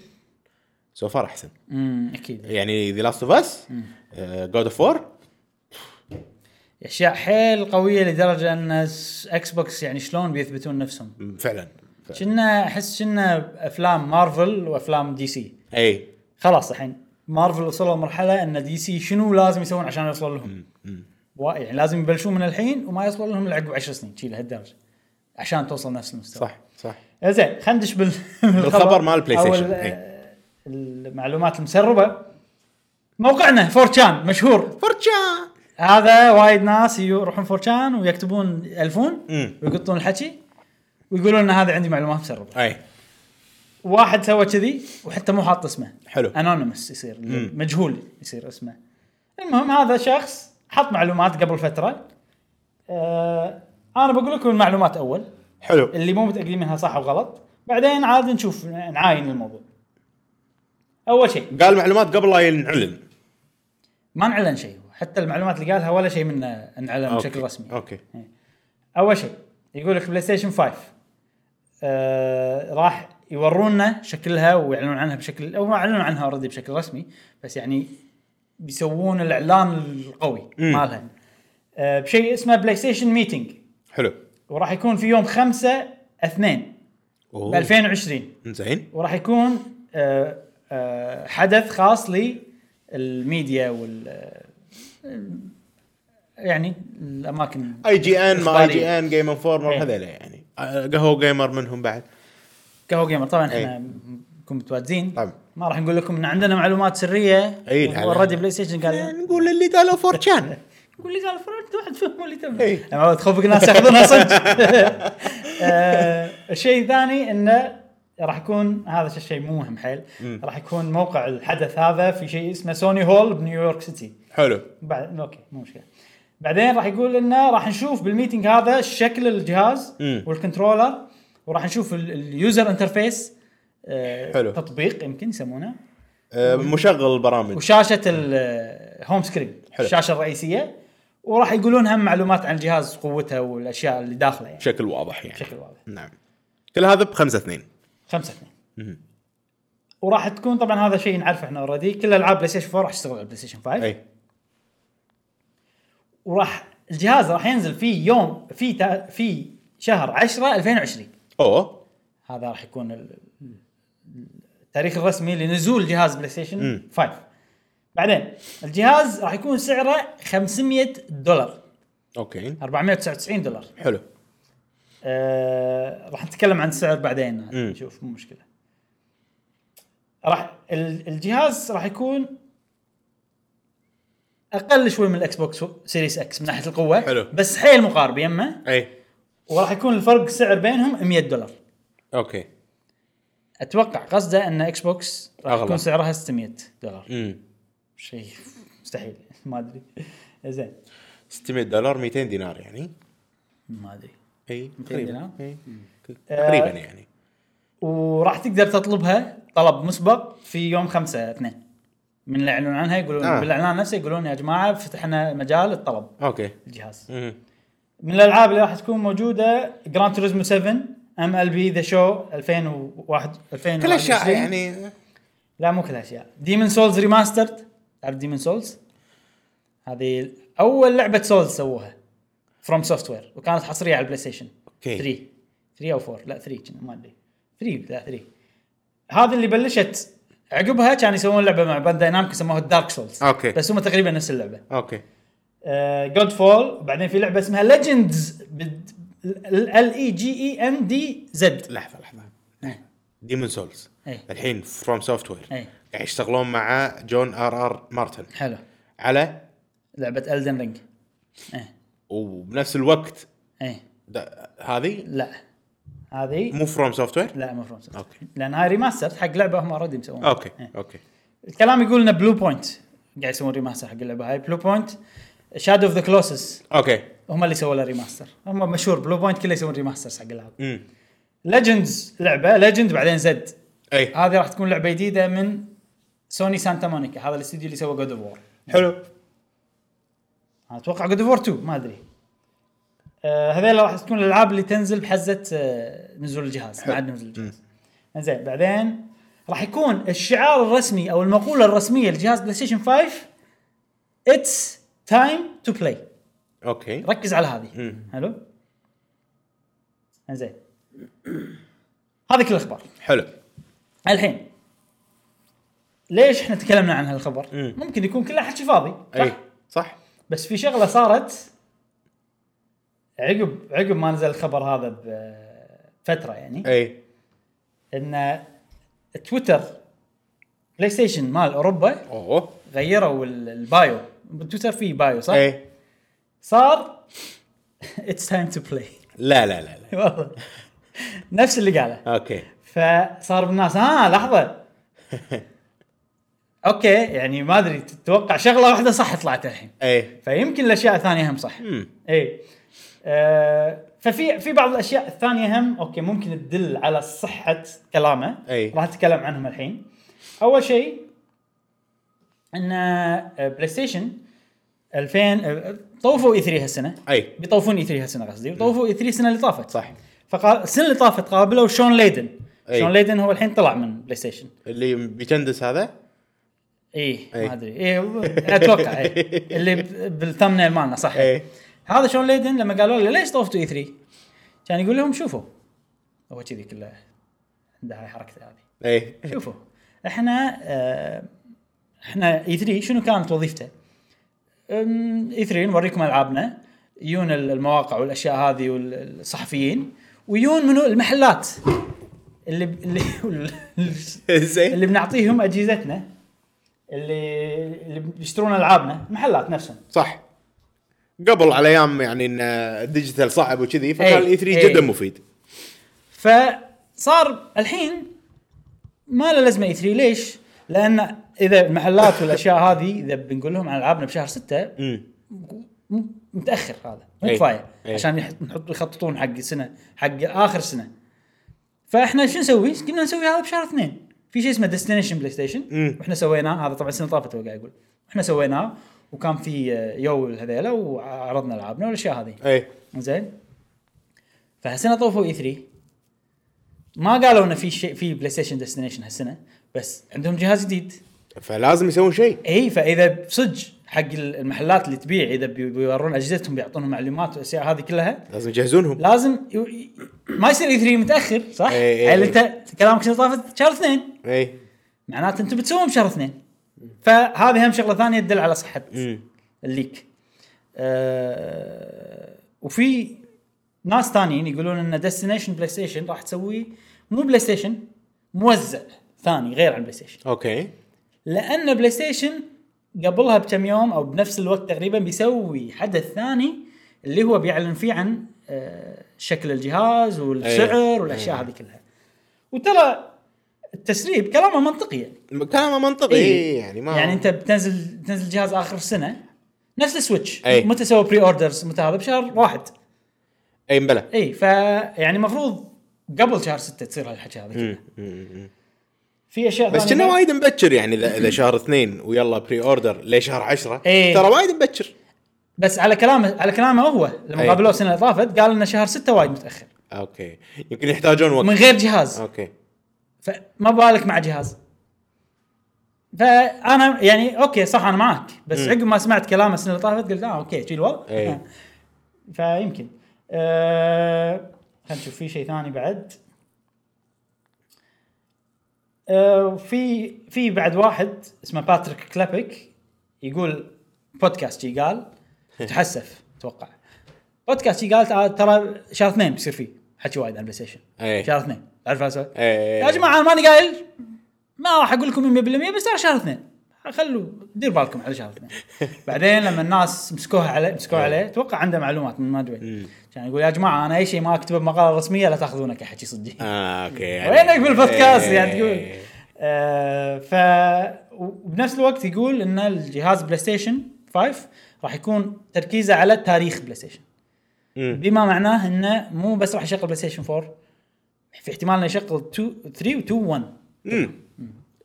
[SPEAKER 3] سو فار احسن
[SPEAKER 1] امم اكيد
[SPEAKER 3] يعني ذا لاست اوف اس جود اوف وور
[SPEAKER 1] اشياء حيل قويه لدرجه ان س- اكس بوكس يعني شلون بيثبتون نفسهم
[SPEAKER 3] فعلا
[SPEAKER 1] كنا احس كنا افلام مارفل وافلام دي سي
[SPEAKER 3] اي
[SPEAKER 1] خلاص الحين مارفل وصلوا مرحله ان دي سي شنو لازم يسوون عشان يوصلون لهم و- يعني لازم يبلشون من الحين وما يوصلون لهم الا عقب 10 سنين شي لهالدرجه عشان توصل نفس المستوى
[SPEAKER 3] صح صح
[SPEAKER 1] زين خلينا ندش بال...
[SPEAKER 3] بالخبر مال البلاي
[SPEAKER 1] أو
[SPEAKER 3] ستيشن،
[SPEAKER 1] ال-
[SPEAKER 3] إيه.
[SPEAKER 1] المعلومات المسربه موقعنا فورتشان مشهور
[SPEAKER 3] فرشا
[SPEAKER 1] هذا وايد ناس يروحون فورتشان ويكتبون الفون
[SPEAKER 3] مم.
[SPEAKER 1] ويقطون الحكي ويقولون ان هذا عندي معلومات مسربه
[SPEAKER 3] اي
[SPEAKER 1] واحد سوى كذي وحتى مو حاط اسمه
[SPEAKER 3] حلو.
[SPEAKER 1] انونيمس يصير
[SPEAKER 3] مم.
[SPEAKER 1] مجهول يصير اسمه المهم هذا شخص حط معلومات قبل فتره آه انا بقول لكم المعلومات اول
[SPEAKER 3] حلو
[SPEAKER 1] اللي مو متاكدين منها صح وغلط بعدين عاد نشوف نعاين الموضوع اول شيء
[SPEAKER 3] قال معلومات قبل لا ينعلن
[SPEAKER 1] ما نعلن شيء حتى المعلومات اللي قالها ولا شيء منه انعلن
[SPEAKER 3] أوكي.
[SPEAKER 1] بشكل رسمي
[SPEAKER 3] اوكي
[SPEAKER 1] اول شيء يقول لك بلاي ستيشن 5 آه راح يورونا شكلها ويعلنون عنها بشكل او ما اعلنوا عنها اوريدي بشكل رسمي بس يعني بيسوون الاعلان القوي
[SPEAKER 3] مم.
[SPEAKER 1] مالها آه بشيء اسمه بلاي ستيشن ميتنج
[SPEAKER 3] حلو
[SPEAKER 1] وراح يكون في يوم 5 2 ب 2020
[SPEAKER 3] زين
[SPEAKER 1] وراح يكون آه، آه، حدث خاص للميديا وال آه، يعني الاماكن
[SPEAKER 3] اي جي ان ما اي
[SPEAKER 1] إخبارية.
[SPEAKER 3] جي ان جيم انفورمر
[SPEAKER 1] إيه.
[SPEAKER 3] هذول يعني آه، قهوه جيمر منهم بعد
[SPEAKER 1] قهوه جيمر طبعا
[SPEAKER 3] إي.
[SPEAKER 1] احنا نكون متواجدين
[SPEAKER 3] طبعاً.
[SPEAKER 1] ما راح نقول لكم ان عندنا معلومات سريه
[SPEAKER 3] إي، الحين.
[SPEAKER 1] اوريدي بلاي ستيشن قال
[SPEAKER 3] نقول اللي قالوا فورشان
[SPEAKER 1] يقول إيه، لي قال فرونت واحد فهم اللي
[SPEAKER 3] إي.
[SPEAKER 1] تبي انا يعني تخوفك الناس ياخذونها صدق آه، الشيء الثاني انه راح يكون هذا الشيء- الشيء مو مهم حيل راح يكون موقع الحدث هذا في شيء اسمه سوني هول بنيويورك سيتي
[SPEAKER 3] حلو
[SPEAKER 1] بعد اوكي مو مشكله بعدين راح يقول لنا راح نشوف بالميتنج هذا شكل الجهاز
[SPEAKER 3] مم.
[SPEAKER 1] والكنترولر وراح نشوف ال- اليوزر انترفيس آه،
[SPEAKER 3] حلو.
[SPEAKER 1] تطبيق يمكن يسمونه
[SPEAKER 3] آه، مشغل البرامج
[SPEAKER 1] وشاشه الهوم سكرين
[SPEAKER 3] حلو.
[SPEAKER 1] الشاشه الرئيسيه وراح يقولون هم معلومات عن الجهاز قوته والاشياء اللي داخله يعني
[SPEAKER 3] بشكل واضح يعني
[SPEAKER 1] بشكل واضح
[SPEAKER 3] نعم كل هذا بخمسة اثنين
[SPEAKER 1] خمسة اثنين وراح تكون طبعا هذا شيء نعرفه احنا اوريدي كل العاب بلاي ستيشن 4 راح تشتغل على بلاي ستيشن 5
[SPEAKER 3] اي
[SPEAKER 1] وراح الجهاز راح ينزل في يوم في تا في شهر 10 2020
[SPEAKER 3] اوه
[SPEAKER 1] هذا راح يكون ال- ال- التاريخ الرسمي لنزول جهاز بلاي ستيشن 5 بعدين الجهاز راح يكون سعره 500 دولار
[SPEAKER 3] اوكي
[SPEAKER 1] 499 دولار
[SPEAKER 3] حلو
[SPEAKER 1] آه، راح نتكلم عن السعر بعدين
[SPEAKER 3] مم.
[SPEAKER 1] نشوف مو مشكله راح ال- الجهاز راح يكون اقل شوي من الاكس بوكس سيريس اكس من ناحيه القوه
[SPEAKER 3] حلو.
[SPEAKER 1] بس حيل مقارب يمه
[SPEAKER 3] اي
[SPEAKER 1] وراح يكون الفرق السعر بينهم 100 دولار
[SPEAKER 3] اوكي
[SPEAKER 1] اتوقع قصده ان اكس بوكس راح
[SPEAKER 3] أغلى.
[SPEAKER 1] يكون سعرها 600 دولار
[SPEAKER 3] امم
[SPEAKER 1] شيء مستحيل ما ادري زين
[SPEAKER 3] 600 دولار 200 دينار يعني
[SPEAKER 1] ما ادري
[SPEAKER 3] اي
[SPEAKER 1] 200
[SPEAKER 3] تقريبا
[SPEAKER 1] دينار؟
[SPEAKER 3] إي.
[SPEAKER 1] آه.
[SPEAKER 3] تقريبا يعني
[SPEAKER 1] وراح تقدر تطلبها طلب مسبق في يوم 5 2 من اللي يعلنون عنها يقولون
[SPEAKER 3] آه.
[SPEAKER 1] آه. بالاعلان نفسه يقولون يا جماعه فتحنا مجال الطلب
[SPEAKER 3] اوكي
[SPEAKER 1] الجهاز
[SPEAKER 3] مم.
[SPEAKER 1] من الالعاب اللي راح تكون موجوده جراند توريزمو 7 ام ال بي ذا شو 2001
[SPEAKER 3] كل
[SPEAKER 1] نعم،
[SPEAKER 3] اشياء
[SPEAKER 1] 2021
[SPEAKER 3] يعني
[SPEAKER 1] لا مو كل اشياء ديمن سولز ريماسترد تعرف ديمن سولز هذه اول لعبه سولز سووها فروم سوفت وير وكانت حصريه على البلاي ستيشن
[SPEAKER 3] أوكي.
[SPEAKER 1] 3 3 او 4 لا 3 كنا ما ادري 3 لا 3 هذه اللي بلشت عقبها كانوا يسوون لعبه مع باند داينامك سموها الدارك سولز
[SPEAKER 3] أوكي.
[SPEAKER 1] بس هم تقريبا نفس اللعبه
[SPEAKER 3] اوكي
[SPEAKER 1] جود فول بعدين في لعبه اسمها ليجندز ال E اي جي اي ان دي زد
[SPEAKER 3] لحظه لحظه ديمون سولز
[SPEAKER 1] إيه.
[SPEAKER 3] الحين فروم سوفت وير
[SPEAKER 1] إيه.
[SPEAKER 3] قاعد يشتغلون مع جون ار ار مارتن
[SPEAKER 1] حلو
[SPEAKER 3] على
[SPEAKER 1] لعبه الدن رينج إيه،
[SPEAKER 3] وبنفس الوقت
[SPEAKER 1] ايه
[SPEAKER 3] دا- هذه
[SPEAKER 1] لا هذه
[SPEAKER 3] مو فروم سوفت وير
[SPEAKER 1] لا مو فروم
[SPEAKER 3] أوكي.
[SPEAKER 1] لان هاي ريماستر حق لعبه هم اوريدي مسوونها
[SPEAKER 3] اوكي
[SPEAKER 1] إيه.
[SPEAKER 3] اوكي
[SPEAKER 1] الكلام يقول ان بلو بوينت قاعد يسوون ريماستر حق اللعبه هاي بلو بوينت شادو اوف ذا كلوسس
[SPEAKER 3] اوكي
[SPEAKER 1] هم اللي سووا له ريماستر هم مشهور بلو بوينت كله يسوون ريماسترز حق الالعاب
[SPEAKER 3] امم
[SPEAKER 1] ليجندز لعبه ليجند بعدين زد
[SPEAKER 3] اي
[SPEAKER 1] هذه راح تكون لعبه جديده من سوني سانتا مونيكا هذا الاستديو اللي سوى جود اوف وور
[SPEAKER 3] حلو
[SPEAKER 1] اتوقع جود اوف وور 2 ما ادري آه هذيلا راح تكون الالعاب اللي تنزل بحزه آه نزول الجهاز بعد نزول الجهاز زين بعدين راح يكون الشعار الرسمي او المقوله الرسميه لجهاز بلاي ستيشن 5 اتس تايم تو بلاي
[SPEAKER 3] اوكي
[SPEAKER 1] ركز على هذه
[SPEAKER 3] مم.
[SPEAKER 1] حلو زين هذه كل الاخبار
[SPEAKER 3] حلو
[SPEAKER 1] الحين ليش احنا تكلمنا عن هالخبر؟
[SPEAKER 3] مم. إيه.
[SPEAKER 1] ممكن يكون كله حكي فاضي صح؟
[SPEAKER 3] اي صح
[SPEAKER 1] بس في شغله صارت عقب عقب ما نزل الخبر هذا بفتره يعني
[SPEAKER 3] اي
[SPEAKER 1] ان تويتر بلاي ستيشن مال اوروبا
[SPEAKER 3] اوه
[SPEAKER 1] غيروا ال- البايو بتويتر في بايو صح؟
[SPEAKER 3] اي
[SPEAKER 1] صار اتس تايم تو بلاي
[SPEAKER 3] لا لا لا لا
[SPEAKER 1] والله نفس اللي قاله
[SPEAKER 3] اوكي
[SPEAKER 1] فصار بالناس "آه، ها لحظه اوكي يعني ما ادري تتوقع شغله واحده صح طلعت الحين
[SPEAKER 3] اي
[SPEAKER 1] فيمكن الاشياء الثانيه هم صح
[SPEAKER 3] مم.
[SPEAKER 1] اي آه ففي في بعض الاشياء الثانيه هم اوكي ممكن تدل على صحه كلامه
[SPEAKER 3] أي.
[SPEAKER 1] راح نتكلم عنهم الحين اول شيء ان آه، بلاي ستيشن 2000 آه، طوفوا اي 3 هالسنه
[SPEAKER 3] اي
[SPEAKER 1] بيطوفون اي 3 هالسنه قصدي طوفوا اي 3 السنه اللي طافت
[SPEAKER 3] صح. إيه.
[SPEAKER 1] فقال السنه اللي طافت قابلوا شون ليدن
[SPEAKER 3] أي.
[SPEAKER 1] شون ليدن هو الحين طلع من بلاي ستيشن
[SPEAKER 3] اللي بيجندس هذا
[SPEAKER 1] ايه
[SPEAKER 3] أي.
[SPEAKER 1] ما ادري ايه و- اتوقع ايه اللي ب- بالثمنيل مالنا صح
[SPEAKER 3] أي.
[SPEAKER 1] هذا شون ليدن لما قالوا له ليش طوفتوا اي 3 كان يقول لهم شوفوا هو كذي كله عنده هاي حركته هذه
[SPEAKER 3] اي
[SPEAKER 1] شوفوا احنا آه، احنا اي 3 شنو كانت وظيفته؟ اي 3 نوريكم العابنا يجون ال- المواقع والاشياء هذه والصحفيين ويجون منو المحلات اللي ب- اللي
[SPEAKER 3] زين
[SPEAKER 1] اللي بنعطيهم اجهزتنا اللي اللي بيشترون العابنا محلات نفسهم
[SPEAKER 3] صح قبل على ايام يعني ان الديجيتال صعب وكذي فكان
[SPEAKER 1] أي.
[SPEAKER 3] الاي 3
[SPEAKER 1] أي.
[SPEAKER 3] جدا مفيد
[SPEAKER 1] فصار الحين ما له لازمه اي 3 ليش؟ لان اذا المحلات والاشياء هذه اذا بنقول لهم عن العابنا بشهر 6
[SPEAKER 3] امم
[SPEAKER 1] م- متاخر هذا مو
[SPEAKER 3] أي.
[SPEAKER 1] كفايه
[SPEAKER 3] أي.
[SPEAKER 1] عشان يح- نحط يخططون حق سنه حق اخر سنه فاحنا شو نسوي؟ كنا نسوي هذا بشهر اثنين في شيء اسمه ديستنيشن بلاي ستيشن
[SPEAKER 3] مم.
[SPEAKER 1] واحنا سويناه هذا طبعا السنه طافت هو قاعد يقول احنا سويناه وكان في آه، يو هذيلا وعرضنا العابنا والاشياء هذه
[SPEAKER 3] اي
[SPEAKER 1] زين فهالسنه طوفوا اي 3 ما قالوا انه في شيء في بلاي ستيشن ديستنيشن هالسنه بس عندهم جهاز جديد
[SPEAKER 3] فلازم يسوون شيء
[SPEAKER 1] اي فاذا صدق حق المحلات اللي تبيع اذا بي- بيورون اجهزتهم بيعطونهم معلومات والاشياء هذه كلها
[SPEAKER 3] لازم يجهزونهم
[SPEAKER 1] لازم يو- ي- ما يصير اي 3 متاخر صح؟
[SPEAKER 3] إي إي
[SPEAKER 1] هل
[SPEAKER 3] إي.
[SPEAKER 1] انت كلامك شنو طافت شهر اثنين
[SPEAKER 3] اي
[SPEAKER 1] معناته انتم بتسوون بشهر اثنين فهذه هم شغله ثانيه تدل على صحه
[SPEAKER 3] امم
[SPEAKER 1] الليك أه وفي ناس ثانيين يقولون ان ديستنيشن بلاي ستيشن راح تسوي مو بلاي ستيشن موزع ثاني غير عن بلاي ستيشن
[SPEAKER 3] اوكي
[SPEAKER 1] لان بلاي ستيشن قبلها بكم يوم او بنفس الوقت تقريبا بيسوي حدث ثاني اللي هو بيعلن فيه عن آه، شكل الجهاز والسعر
[SPEAKER 3] أيه.
[SPEAKER 1] والاشياء هذه كلها وترى التسريب كلامه منطقي يعني
[SPEAKER 3] كلامه منطقي إيه. يعني ما
[SPEAKER 1] يعني انت بتنزل تنزل جهاز اخر سنه نفس السويتش
[SPEAKER 3] أي.
[SPEAKER 1] متى سووا بري اوردرز متى هذا بشهر واحد
[SPEAKER 3] اي مبلى
[SPEAKER 1] اي ف يعني المفروض قبل شهر ستة تصير هالحكي هذا كله. في اشياء
[SPEAKER 3] بس
[SPEAKER 1] ثانية
[SPEAKER 3] كنا
[SPEAKER 1] بعد.
[SPEAKER 3] وايد مبكر يعني اذا إذا شهر اثنين ويلا بري اوردر لشهر عشرة
[SPEAKER 1] إيه.
[SPEAKER 3] ترى وايد مبكر
[SPEAKER 1] بس على كلامه على كلامه هو لما
[SPEAKER 3] أي.
[SPEAKER 1] قابلوه السنه اللي طافت قال ان شهر ستة وايد متاخر
[SPEAKER 3] اوكي يمكن يحتاجون وقت
[SPEAKER 1] من غير جهاز
[SPEAKER 3] اوكي
[SPEAKER 1] فما بالك مع جهاز فانا يعني اوكي صح انا معك بس
[SPEAKER 3] مم. إيه.
[SPEAKER 1] عقب ما سمعت كلامه السنه اللي طافت قلت اه اوكي شي الوضع
[SPEAKER 3] أي.
[SPEAKER 1] فيمكن أه... خلينا نشوف في شيء ثاني بعد أه... في في بعد واحد اسمه باتريك كلابك يقول بودكاست شي قال تحسف اتوقع بودكاست شي قال تع- ترى شهر اثنين بيصير فيه حكي وايد عن بلاي ستيشن
[SPEAKER 3] أي.
[SPEAKER 1] شهر اثنين تعرف هالسوالف؟
[SPEAKER 3] إيه.
[SPEAKER 1] يا جماعه انا ماني قايل ما راح اقول لكم 100% بس ترى شهر اثنين خلوا دير بالكم على شغلتنا بعدين لما الناس مسكوها عليه مسكوها عليه اتوقع عنده معلومات من ما ادري كان يقول يا جماعه انا اي شيء ما اكتبه بمقاله رسميه لا تاخذونه كحكي صدق
[SPEAKER 3] اه اوكي يعني-
[SPEAKER 1] وينك بالبودكاست
[SPEAKER 3] إيه.
[SPEAKER 1] يعني تقول آه ف وبنفس الوقت يقول ان الجهاز بلاي ستيشن 5 راح يكون تركيزه على تاريخ بلاي ستيشن
[SPEAKER 3] مم.
[SPEAKER 1] بما معناه انه مو بس راح يشغل بلاي ستيشن 4 في احتمال انه يشغل 2 3 و 2 1
[SPEAKER 3] امم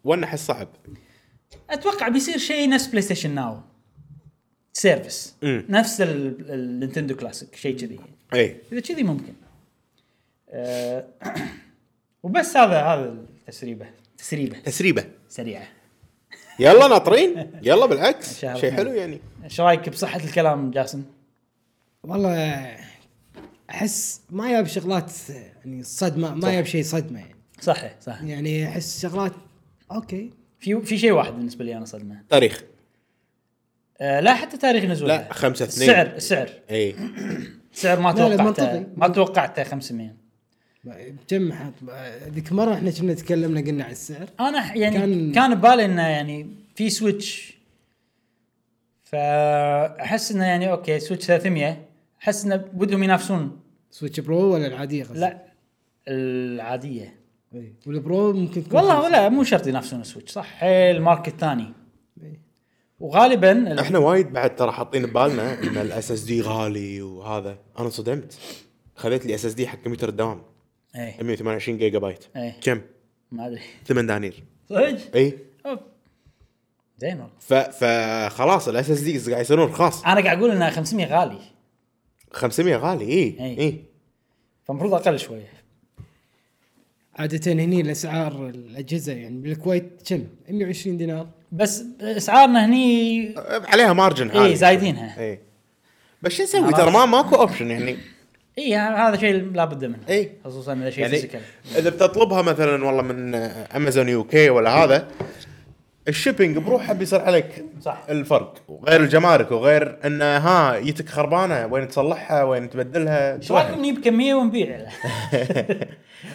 [SPEAKER 3] وانا احس صعب
[SPEAKER 1] اتوقع بيصير شيء نفس بلاي ستيشن ناو سيرفس
[SPEAKER 3] مم.
[SPEAKER 1] نفس ال- النينتندو كلاسيك شيء كذي
[SPEAKER 3] اي
[SPEAKER 1] اذا كذي ممكن أه وبس هذا هذا التسريبه تسريبه
[SPEAKER 3] تسريبه
[SPEAKER 1] سريعه
[SPEAKER 3] يلا ناطرين يلا بالعكس
[SPEAKER 1] شهر
[SPEAKER 3] شيء
[SPEAKER 1] اثنين.
[SPEAKER 3] حلو يعني
[SPEAKER 1] ايش رايك بصحه الكلام جاسم؟
[SPEAKER 2] والله احس ما ياب شغلات يعني صدمه ما ياب شيء صدمه يعني
[SPEAKER 1] صح صح
[SPEAKER 2] يعني احس شغلات اوكي
[SPEAKER 1] في في شيء واحد بالنسبه لي انا صدمه
[SPEAKER 3] تاريخ
[SPEAKER 1] أه لا حتى تاريخ نزولها
[SPEAKER 3] لا، خمسة اثنين.
[SPEAKER 1] السعر السعر
[SPEAKER 3] اي
[SPEAKER 1] السعر ما
[SPEAKER 2] لا، لا،
[SPEAKER 1] توقعته
[SPEAKER 2] منطقي.
[SPEAKER 1] ما توقعته 500
[SPEAKER 2] كم حط ذيك مره احنا كنا تكلمنا قلنا على السعر
[SPEAKER 1] انا ح- يعني كان,
[SPEAKER 2] كان-
[SPEAKER 1] كان ببالي انه يعني في سويتش فاحس انه يعني اوكي سويتش 300 احس انه بدهم ينافسون
[SPEAKER 2] سويتش برو ولا العاديه قصدي؟
[SPEAKER 1] لا العاديه
[SPEAKER 2] إي. والبرو ممكن تكون
[SPEAKER 1] والله ولا مو شرط ينافسون السويتش صح حيل ماركت ثاني وغالبا ال-
[SPEAKER 3] احنا وايد بعد ترى حاطين ببالنا ان الاس اس دي غالي وهذا انا انصدمت خذيت لي اس اس دي حق كمبيوتر الدوام
[SPEAKER 1] ايه
[SPEAKER 3] 128 جيجا بايت
[SPEAKER 1] إيه.
[SPEAKER 3] كم؟
[SPEAKER 1] ما ادري
[SPEAKER 3] 8 دنانير إيه.
[SPEAKER 1] صدق؟
[SPEAKER 3] اي
[SPEAKER 1] أوب. زين والله
[SPEAKER 3] ف فخلاص الاس اس دي قاعد يصيرون رخاص
[SPEAKER 1] انا قاعد اقول انها 500 غالي
[SPEAKER 3] 500 غالي إيه، اي
[SPEAKER 1] إي.
[SPEAKER 3] اي
[SPEAKER 1] فالمفروض اقل شويه
[SPEAKER 2] عاده هني الاسعار الاجهزه يعني بالكويت كم 120 دينار
[SPEAKER 1] بس اسعارنا هني
[SPEAKER 3] عليها مارجن عالي
[SPEAKER 1] اي إيه، زايدينها
[SPEAKER 3] اي بس شو نسوي ترى ما ماكو اوبشن يعني
[SPEAKER 1] اي هذا شيء لابد منه
[SPEAKER 3] إي.
[SPEAKER 1] خصوصا اذا شيء
[SPEAKER 3] يعني
[SPEAKER 1] فيزيكال
[SPEAKER 3] اذا بتطلبها مثلا والله من امازون يو كي ولا هذا الشيبينج بروحه بيصير عليك
[SPEAKER 1] صح.
[SPEAKER 3] الفرق وغير الجمارك وغير انه ها يتك خربانه وين تصلحها وين تبدلها
[SPEAKER 1] ايش رايكم نجيب كميه ونبيع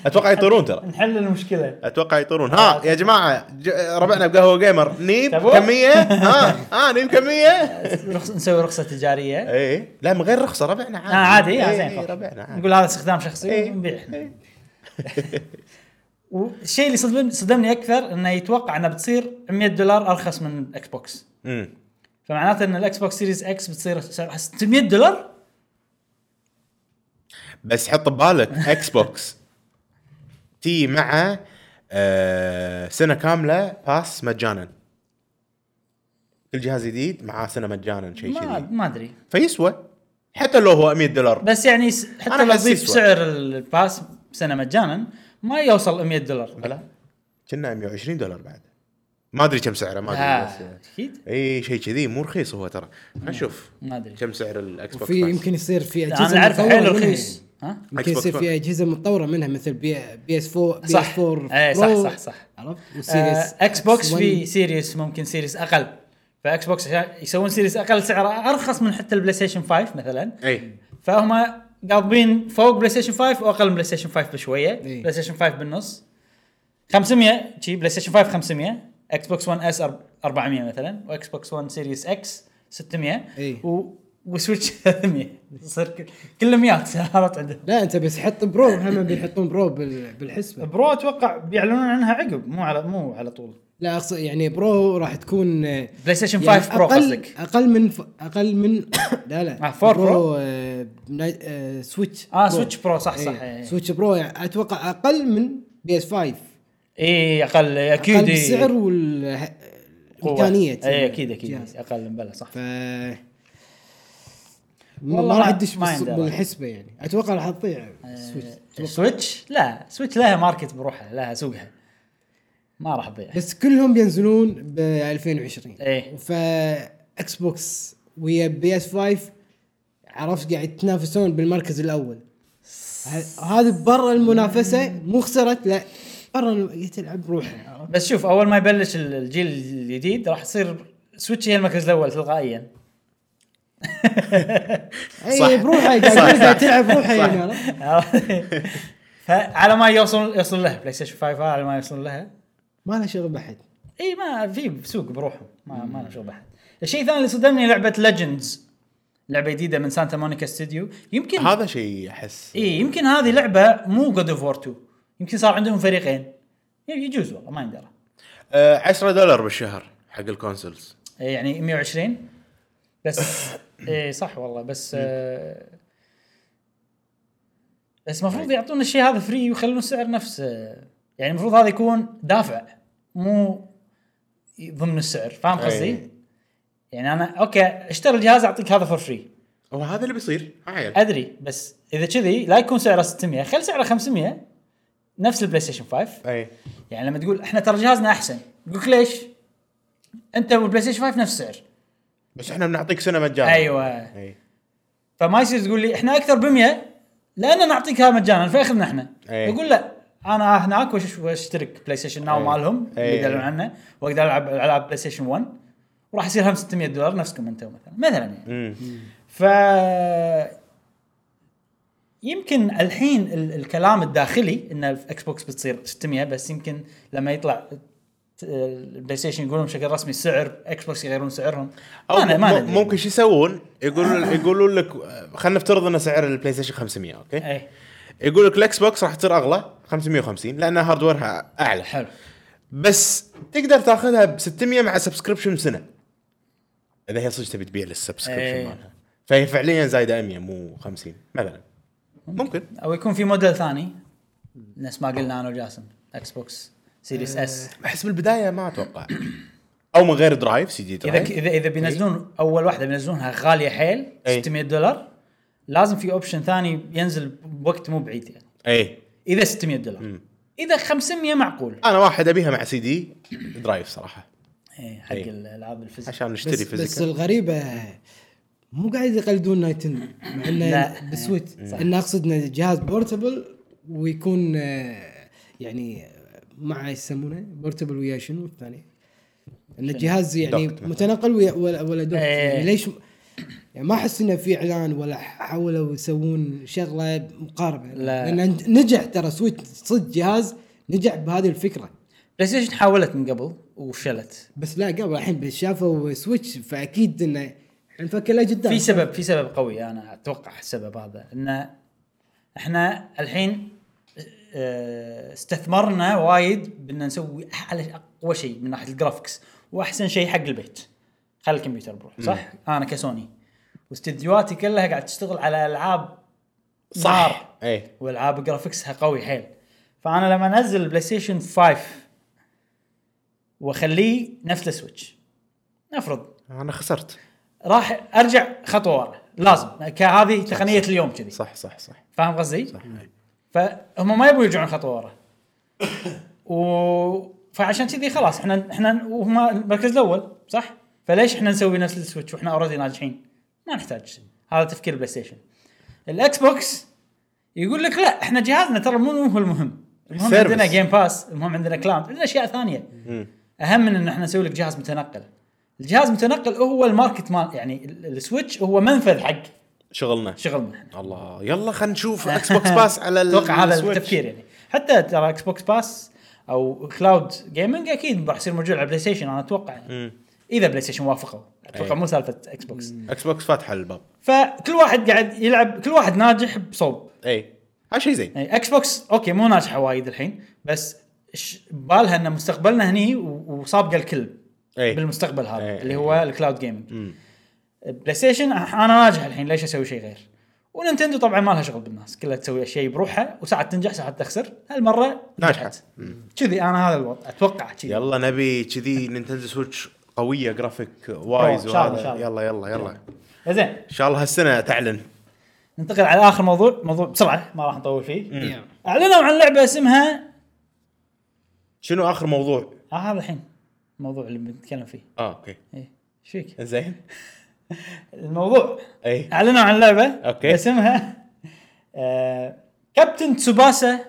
[SPEAKER 3] اتوقع يطيرون ترى
[SPEAKER 1] نحل المشكله
[SPEAKER 3] اتوقع يطيرون ها يا جماعه ج... ربعنا بقهوه جيمر نيب
[SPEAKER 1] تبون؟
[SPEAKER 3] كميه ها ها نيب كميه
[SPEAKER 1] رخص... نسوي رخصه تجاريه
[SPEAKER 3] اي إيه. لا من غير رخصه ربعنا عادي
[SPEAKER 1] آه عادي إيه
[SPEAKER 3] إي،
[SPEAKER 1] زين خلاص.
[SPEAKER 3] ربعنا عادي
[SPEAKER 1] نقول هذا استخدام شخصي
[SPEAKER 3] إيه.
[SPEAKER 1] ونبيع احنا والشيء اللي صدمني صدمني اكثر انه يتوقع انها بتصير 100 دولار ارخص من الاكس بوكس
[SPEAKER 3] أمم.
[SPEAKER 1] فمعناته ان الاكس بوكس سيريز اكس بتصير سعرها 600 دولار
[SPEAKER 3] بس حط ببالك اكس بوكس تي مع آه سنه كامله باس مجانا كل جهاز جديد معاه سنه مجانا شيء
[SPEAKER 1] ما
[SPEAKER 3] كذي
[SPEAKER 1] ما ادري
[SPEAKER 3] فيسوى حتى لو هو 100 دولار
[SPEAKER 1] بس يعني س- حتى
[SPEAKER 3] أنا
[SPEAKER 1] لو
[SPEAKER 3] أحس
[SPEAKER 1] تضيف
[SPEAKER 3] يسوى.
[SPEAKER 1] سعر الباس سنه مجانا ما يوصل 100 دولار
[SPEAKER 3] بلا كنا 120 دولار بعد ما ادري كم سعره ما
[SPEAKER 1] آه،
[SPEAKER 3] ادري بس يعني.
[SPEAKER 1] اكيد
[SPEAKER 3] اي شيء كذي مو رخيص هو ترى نشوف
[SPEAKER 1] ما ادري
[SPEAKER 3] كم سعر الاكس بوكس
[SPEAKER 2] وفي يمكن يصير في
[SPEAKER 1] انا
[SPEAKER 2] اجهزه
[SPEAKER 1] اللي اعرفه
[SPEAKER 2] متطورة
[SPEAKER 1] حيل
[SPEAKER 2] منها.
[SPEAKER 1] رخيص ها
[SPEAKER 3] Xbox
[SPEAKER 2] يمكن يصير
[SPEAKER 3] One.
[SPEAKER 2] في اجهزه متطوره منها مثل بي, بي اس 4 بي
[SPEAKER 1] صح.
[SPEAKER 2] اس 4
[SPEAKER 1] إيه، صح،
[SPEAKER 2] برو،
[SPEAKER 1] صح، صح.
[SPEAKER 2] عرفت
[SPEAKER 1] آه، اكس بوكس
[SPEAKER 2] 1.
[SPEAKER 1] في سيريس ممكن سيريس اقل فاكس بوكس عشان يسوون سيريس اقل سعره ارخص من حتى البلاي ستيشن 5 مثلا
[SPEAKER 3] اي
[SPEAKER 1] فهم قاضبين فوق بلاي ستيشن 5 واقل من بلاي ستيشن 5 بشويه
[SPEAKER 2] إيه.
[SPEAKER 1] بلاي ستيشن 5 بالنص 500 شي بلاي ستيشن 5 500 اكس بوكس 1 اس 400 مثلا واكس بوكس 1 سيريس اكس 600
[SPEAKER 2] إيه.
[SPEAKER 1] و... وسويتش 300 يصير كل- كله 100 صارت عندهم
[SPEAKER 2] لا انت بس حط برو هم بيحطون برو بال- بالحسبه
[SPEAKER 1] برو اتوقع بيعلنون عنها عقب مو على مو على طول
[SPEAKER 2] لا اقصد يعني برو راح تكون آه،
[SPEAKER 1] بلاي ستيشن
[SPEAKER 2] يعني
[SPEAKER 1] 5 برو
[SPEAKER 2] اقل
[SPEAKER 1] قصدك
[SPEAKER 2] اقل من ف... اقل من لا لا
[SPEAKER 1] آه، فور برو؟
[SPEAKER 2] برو آه، بنا- آه، سويتش
[SPEAKER 1] اه
[SPEAKER 2] برو.
[SPEAKER 1] سويتش برو صح صح
[SPEAKER 2] إيه،
[SPEAKER 1] إيه.
[SPEAKER 2] سويتش برو يعني اتوقع اقل من بي اس 5
[SPEAKER 1] اي اقل اكيد
[SPEAKER 2] اقل
[SPEAKER 1] إيه.
[SPEAKER 2] بالسعر
[SPEAKER 1] قوة. إيه،
[SPEAKER 2] والامكانيه
[SPEAKER 1] اي اكيد اكيد اقل بلا صح
[SPEAKER 2] ف
[SPEAKER 1] والله
[SPEAKER 2] ما راح
[SPEAKER 1] ما-
[SPEAKER 2] تدش
[SPEAKER 1] ما آه،
[SPEAKER 2] بالس-
[SPEAKER 1] يندرى.
[SPEAKER 2] بالحسبه يعني اتوقع راح تضيع سويتش أتوقع.
[SPEAKER 1] سويتش لا سويتش لها ماركت بروحها لها سوقها ما راح تضيع
[SPEAKER 2] بس كلهم بينزلون ب 2020
[SPEAKER 1] إيه.
[SPEAKER 2] فاكس بوكس ويا بي اس 5 عرفت قاعد يتنافسون بالمركز الاول ه- هذه برا المنافسه مو خسرت لا برا الم- تلعب بروحها
[SPEAKER 1] بس شوف اول ما يبلش ال- الجيل الجديد راح تصير سويتش هي المركز الاول تلقائيا
[SPEAKER 3] صح.
[SPEAKER 2] اي إيه، بروحها قاعد
[SPEAKER 3] صح،
[SPEAKER 2] يقول
[SPEAKER 3] صح.
[SPEAKER 2] قاعد تلعب بروحها يعني عرفت؟
[SPEAKER 1] فعلى ما يوصل يوصل لها بلاي ستيشن 5 على ما يوصل لها
[SPEAKER 2] ما لها شغل بحد
[SPEAKER 1] اي ما في بسوق بروحهم ما ما له شغل بحد الشيء الثاني اللي صدمني لعبه ليجندز لعبه جديده من سانتا مونيكا ستوديو يمكن
[SPEAKER 3] هذا شيء احس
[SPEAKER 1] اي يمكن هذه لعبه مو جود اوف وور 2 يمكن صار عندهم فريقين يجوز والله ما يندرى
[SPEAKER 3] آه 10 دولار بالشهر حق الكونسولز
[SPEAKER 1] إيه، يعني 120 بس اي صح والله بس آه، بس المفروض يعطونا الشيء هذا فري ويخلون السعر نفسه يعني المفروض هذا يكون دافع مو ضمن السعر فاهم قصدي؟
[SPEAKER 3] إيه.
[SPEAKER 1] يعني انا اوكي اشتري الجهاز اعطيك هذا فور فري
[SPEAKER 3] هو هذا اللي بيصير آه، عيل
[SPEAKER 1] ادري بس اذا كذي لا يكون سعره 600 خل سعره 500 نفس البلاي ستيشن 5
[SPEAKER 3] اي
[SPEAKER 1] يعني لما تقول احنا ترى جهازنا احسن يقول لك ليش؟ انت والبلاي ستيشن 5 نفس السعر
[SPEAKER 3] بس احنا بنعطيك سنه مجانا
[SPEAKER 1] ايوه
[SPEAKER 3] اي
[SPEAKER 1] فما يصير تقول لي احنا اكثر ب 100 لان نعطيكها مجانا فاخذنا احنا
[SPEAKER 3] أي.
[SPEAKER 1] يقول لا انا هناك وأش- واشترك بلاي ستيشن ناو
[SPEAKER 3] أي.
[SPEAKER 1] مالهم اللي
[SPEAKER 3] أي.
[SPEAKER 1] يدلون عنه واقدر العب العاب بلاي ستيشن 1 وراح يصير هم 600 دولار نفسكم انتم مثلا مثلا يعني
[SPEAKER 3] أمم.
[SPEAKER 1] ف يمكن الحين ال- الكلام الداخلي ان الاكس بوكس بتصير 600 بس يمكن لما يطلع ت- البلاي ستيشن يقولون بشكل رسمي السعر اكس بوكس يغيرون سعرهم
[SPEAKER 3] او
[SPEAKER 1] ما أنا- ما
[SPEAKER 3] م-
[SPEAKER 1] ندري.
[SPEAKER 3] ممكن شو يسوون؟ يقولون يقولون لك آه، خلينا نفترض ان سعر البلاي ستيشن 500 اوكي؟
[SPEAKER 1] اي
[SPEAKER 3] يقول لك الاكس بوكس راح تصير اغلى 550 لان هاردويرها اعلى
[SPEAKER 1] حلو
[SPEAKER 3] بس تقدر تاخذها ب 600 مع سبسكربشن سنه اذا هي صدق تبي تبيع للسبسكربشن
[SPEAKER 1] إيه.
[SPEAKER 3] مالها فهي فعليا زايده 100 مو 50 مثلا ممكن
[SPEAKER 1] او يكون في موديل ثاني نفس ما قلنا انا وجاسم اكس بوكس سيريس اس
[SPEAKER 3] احس بالبدايه ما اتوقع او من غير درايف سي دي
[SPEAKER 1] اذا
[SPEAKER 3] درايف
[SPEAKER 1] ك- اذا اذا بينزلون اول واحده بينزلونها غاليه حيل
[SPEAKER 3] أي.
[SPEAKER 1] 600 دولار لازم في اوبشن ثاني ينزل بوقت مو بعيد يعني
[SPEAKER 3] اي
[SPEAKER 1] اذا 600 دولار اذا 500 معقول
[SPEAKER 3] انا واحد ابيها مع سي دي درايف صراحه
[SPEAKER 1] ايه حق
[SPEAKER 3] إيه.
[SPEAKER 1] الالعاب الفيزيك
[SPEAKER 3] عشان
[SPEAKER 2] بس,
[SPEAKER 3] نشتري
[SPEAKER 2] بس
[SPEAKER 3] فيزيكال
[SPEAKER 2] الغريبه مو قاعد يقلدون نايتن مع
[SPEAKER 1] لا.
[SPEAKER 2] انه بسويت انه اقصد انه جهاز بورتبل ويكون آه، يعني آه، مع يسمونه بورتبل ويا شنو الثاني؟ ان الجهاز يعني
[SPEAKER 3] دوكت مثلاً.
[SPEAKER 2] متنقل ويا ولا, ولا دوكت
[SPEAKER 1] إيه.
[SPEAKER 2] يعني ليش يعني ما احس انه في اعلان ولا حاولوا يسوون شغله مقاربه
[SPEAKER 1] لا.
[SPEAKER 2] لان نجح ترى سويت صدق جهاز نجح بهذه الفكره
[SPEAKER 1] بلاي ستيشن حاولت من قبل وفشلت
[SPEAKER 2] بس لا قبل الحين بس شافوا سويتش فاكيد انه نفكر له قدام
[SPEAKER 1] في سبب في سبب قوي انا اتوقع السبب هذا انه احنا الحين آه، استثمرنا وايد بان نسوي احلى اقوى شيء من ناحيه الجرافكس واحسن شيء حق البيت خلي الكمبيوتر بروح صح انا كسوني واستديوهاتي كلها قاعد تشتغل على العاب نار.
[SPEAKER 3] اي
[SPEAKER 1] والعاب جرافيكسها قوي حيل فانا لما انزل البلاي ستيشن 5 واخليه نفس السويتش نفرض
[SPEAKER 3] انا خسرت
[SPEAKER 1] راح ارجع خطوه ورا لازم كهذه تقنيه اليوم كذي
[SPEAKER 3] صح صح صح
[SPEAKER 1] فاهم قصدي؟ صح فهم ما يبون يرجعون خطوه ورا و فعشان كذي خلاص احنا احنا وهم المركز الاول صح؟ فليش احنا نسوي نفس السويتش واحنا اوريدي ناجحين؟ ما نحتاج هذا تفكير البلاي ستيشن الاكس بوكس يقول لك لا احنا جهازنا ترى مو هو المهم المهم
[SPEAKER 3] Service.
[SPEAKER 1] عندنا جيم باس المهم عندنا كلاود عندنا اشياء ثانيه
[SPEAKER 3] مم.
[SPEAKER 1] اهم من ان احنا نسوي لك جهاز متنقل الجهاز المتنقل هو الماركت مال يعني ال- السويتش هو منفذ حق
[SPEAKER 3] شغلنا
[SPEAKER 1] شغلنا احنا
[SPEAKER 3] الله يلا خلينا نشوف اكس بوكس باس على ال-
[SPEAKER 1] اتوقع هذا
[SPEAKER 3] السويتش.
[SPEAKER 1] التفكير يعني حتى ترى اكس بوكس باس او كلاود جيمنج اكيد راح يصير موجود على بلاي ستيشن انا اتوقع يعني.
[SPEAKER 3] مم. إيه.
[SPEAKER 1] اذا بلاي ستيشن وافقوا اتوقع
[SPEAKER 3] أي.
[SPEAKER 1] مو سالفه اكس بوكس
[SPEAKER 3] اكس بوكس فاتحه الباب
[SPEAKER 1] فكل واحد قاعد يلعب كل واحد ناجح بصوب
[SPEAKER 3] اي إيه. هذا شيء زين
[SPEAKER 1] يعني اكس بوكس اوكي مو ناجحه وايد الحين بس ش- بالها ان مستقبلنا هني و- وسابقه الكل إيه.
[SPEAKER 3] اي
[SPEAKER 1] بالمستقبل هذا
[SPEAKER 3] أي.
[SPEAKER 1] اللي هو الكلاود جيمنج
[SPEAKER 3] إيه، مم.
[SPEAKER 1] بلاي ستيشن انا ناجح الحين ليش اسوي شيء غير؟ وننتندو طبعا ما لها شغل بالناس كلها تسوي شيء بروحها وساعات تنجح ساعات تخسر هالمره
[SPEAKER 3] ناجحة.
[SPEAKER 1] نجحت كذي انا هذا الوضع اتوقع كذي
[SPEAKER 3] يلا نبي كذي نينتندو سويتش قويه جرافيك وايز
[SPEAKER 1] إن شاء الله، إن
[SPEAKER 3] وهذا
[SPEAKER 1] شاء الله.
[SPEAKER 3] يلا يلا يلا
[SPEAKER 1] زين
[SPEAKER 3] ان شاء الله هالسنه تعلن
[SPEAKER 1] ننتقل على اخر موضوع موضوع بسرعه ما راح نطول فيه
[SPEAKER 2] يا.
[SPEAKER 1] اعلنوا عن لعبه اسمها
[SPEAKER 3] شنو اخر موضوع؟
[SPEAKER 1] آه هذا الحين الموضوع اللي بنتكلم فيه
[SPEAKER 3] اه اوكي
[SPEAKER 1] ايه ايش فيك؟
[SPEAKER 3] زين
[SPEAKER 1] الموضوع
[SPEAKER 3] اي
[SPEAKER 1] اعلنوا عن لعبه
[SPEAKER 3] أوكي.
[SPEAKER 1] اسمها آه كابتن تسوباسا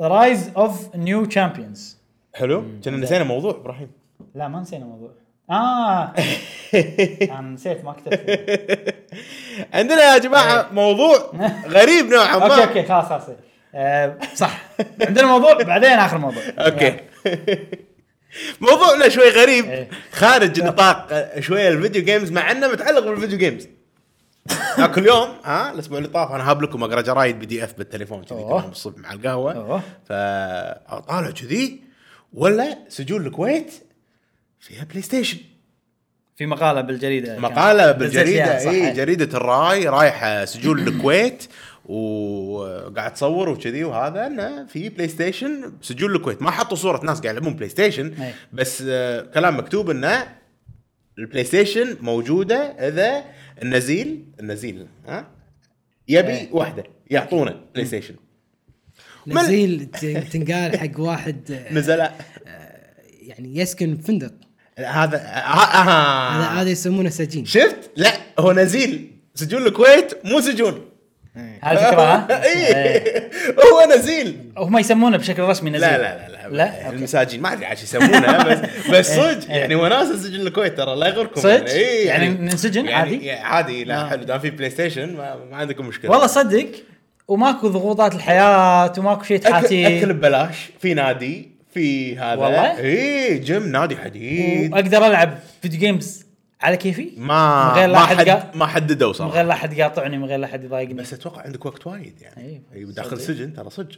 [SPEAKER 1] رايز اوف نيو تشامبيونز
[SPEAKER 3] حلو كنا نسينا موضوع ابراهيم
[SPEAKER 1] لا ما نسينا موضوع اه انا نسيت ما كتبت
[SPEAKER 3] عندنا يا جماعه موضوع غريب نوعا ما
[SPEAKER 1] اوكي اوكي خلاص خلاص آه، صح عندنا موضوع بعدين اخر موضوع
[SPEAKER 3] اوكي موضوعنا شوي
[SPEAKER 1] إيه.
[SPEAKER 3] غريب خارج نطاق شويه الفيديو جيمز مع انه متعلق بالفيديو جيمز ذاك اليوم ها الاسبوع اللي طاف انا هاب لكم اقرا جرايد بي دي اف بالتليفون كذي كنا
[SPEAKER 1] أوه.
[SPEAKER 3] يوم الصبح مع القهوه
[SPEAKER 1] أوه.
[SPEAKER 3] فاطالع كذي ولا سجون الكويت فيها بلاي ستيشن
[SPEAKER 1] في مقاله بالجريده
[SPEAKER 3] مقاله
[SPEAKER 1] كانت. نزلت فيها،
[SPEAKER 3] بالجريده
[SPEAKER 1] صح.
[SPEAKER 3] اي جريده إيه، الراي رايحه سجون الكويت وقاعد تصور وكذي وهذا انه في بلاي ستيشن سجون الكويت ما حطوا صوره ناس قاعد يلعبون بلاي ستيشن
[SPEAKER 1] أي.
[SPEAKER 3] بس آه، كلام مكتوب انه البلاي ستيشن موجوده اذا النزيل النزيل ها يبي
[SPEAKER 1] أي.
[SPEAKER 3] واحده يعطونه بلاي ستيشن مل-
[SPEAKER 2] نزيل ت- تنقال حق واحد آه،
[SPEAKER 3] نزلاء
[SPEAKER 2] يعني يسكن فندق
[SPEAKER 3] هذا آه، آه.
[SPEAKER 2] هذا هذا يسمونه سجين
[SPEAKER 3] شفت لا هو نزيل سجون الكويت مو سجون
[SPEAKER 1] هذه فكره ها؟ إيه.
[SPEAKER 3] اي هو نزيل
[SPEAKER 1] هم يسمونه بشكل رسمي نزيل
[SPEAKER 3] لا لا لا لا,
[SPEAKER 1] لا أوكي.
[SPEAKER 3] المساجين ما ادري عاد شو يسمونها بس بس صدق
[SPEAKER 1] إيه.
[SPEAKER 3] يعني وناس سجن الكويت ترى لا يغركم
[SPEAKER 1] صدق؟
[SPEAKER 3] إيه،
[SPEAKER 1] يعني ننسجن
[SPEAKER 3] يعني
[SPEAKER 1] عادي؟ آه.
[SPEAKER 3] يعني عادي لا حلو دام في بلاي ستيشن ما, ما عندكم مشكله
[SPEAKER 1] والله صدق وماكو ضغوطات الحياه وماكو شيء
[SPEAKER 3] اكل, أكل
[SPEAKER 1] تحاتي
[SPEAKER 3] ببلاش في نادي في هذا
[SPEAKER 1] والله؟
[SPEAKER 3] اي جيم نادي حديد
[SPEAKER 1] واقدر العب فيديو جيمز على كيفي
[SPEAKER 3] ما
[SPEAKER 1] من غير لا
[SPEAKER 3] ما
[SPEAKER 1] أحد قا-
[SPEAKER 3] حد ما حددوا
[SPEAKER 1] من
[SPEAKER 3] صراحه
[SPEAKER 1] غير لا احد يقاطعني من غير لا احد يضايقني
[SPEAKER 3] بس اتوقع عندك وقت وايد يعني
[SPEAKER 1] إيه،
[SPEAKER 3] إيه، داخل
[SPEAKER 1] صدق.
[SPEAKER 3] سجن ترى صدق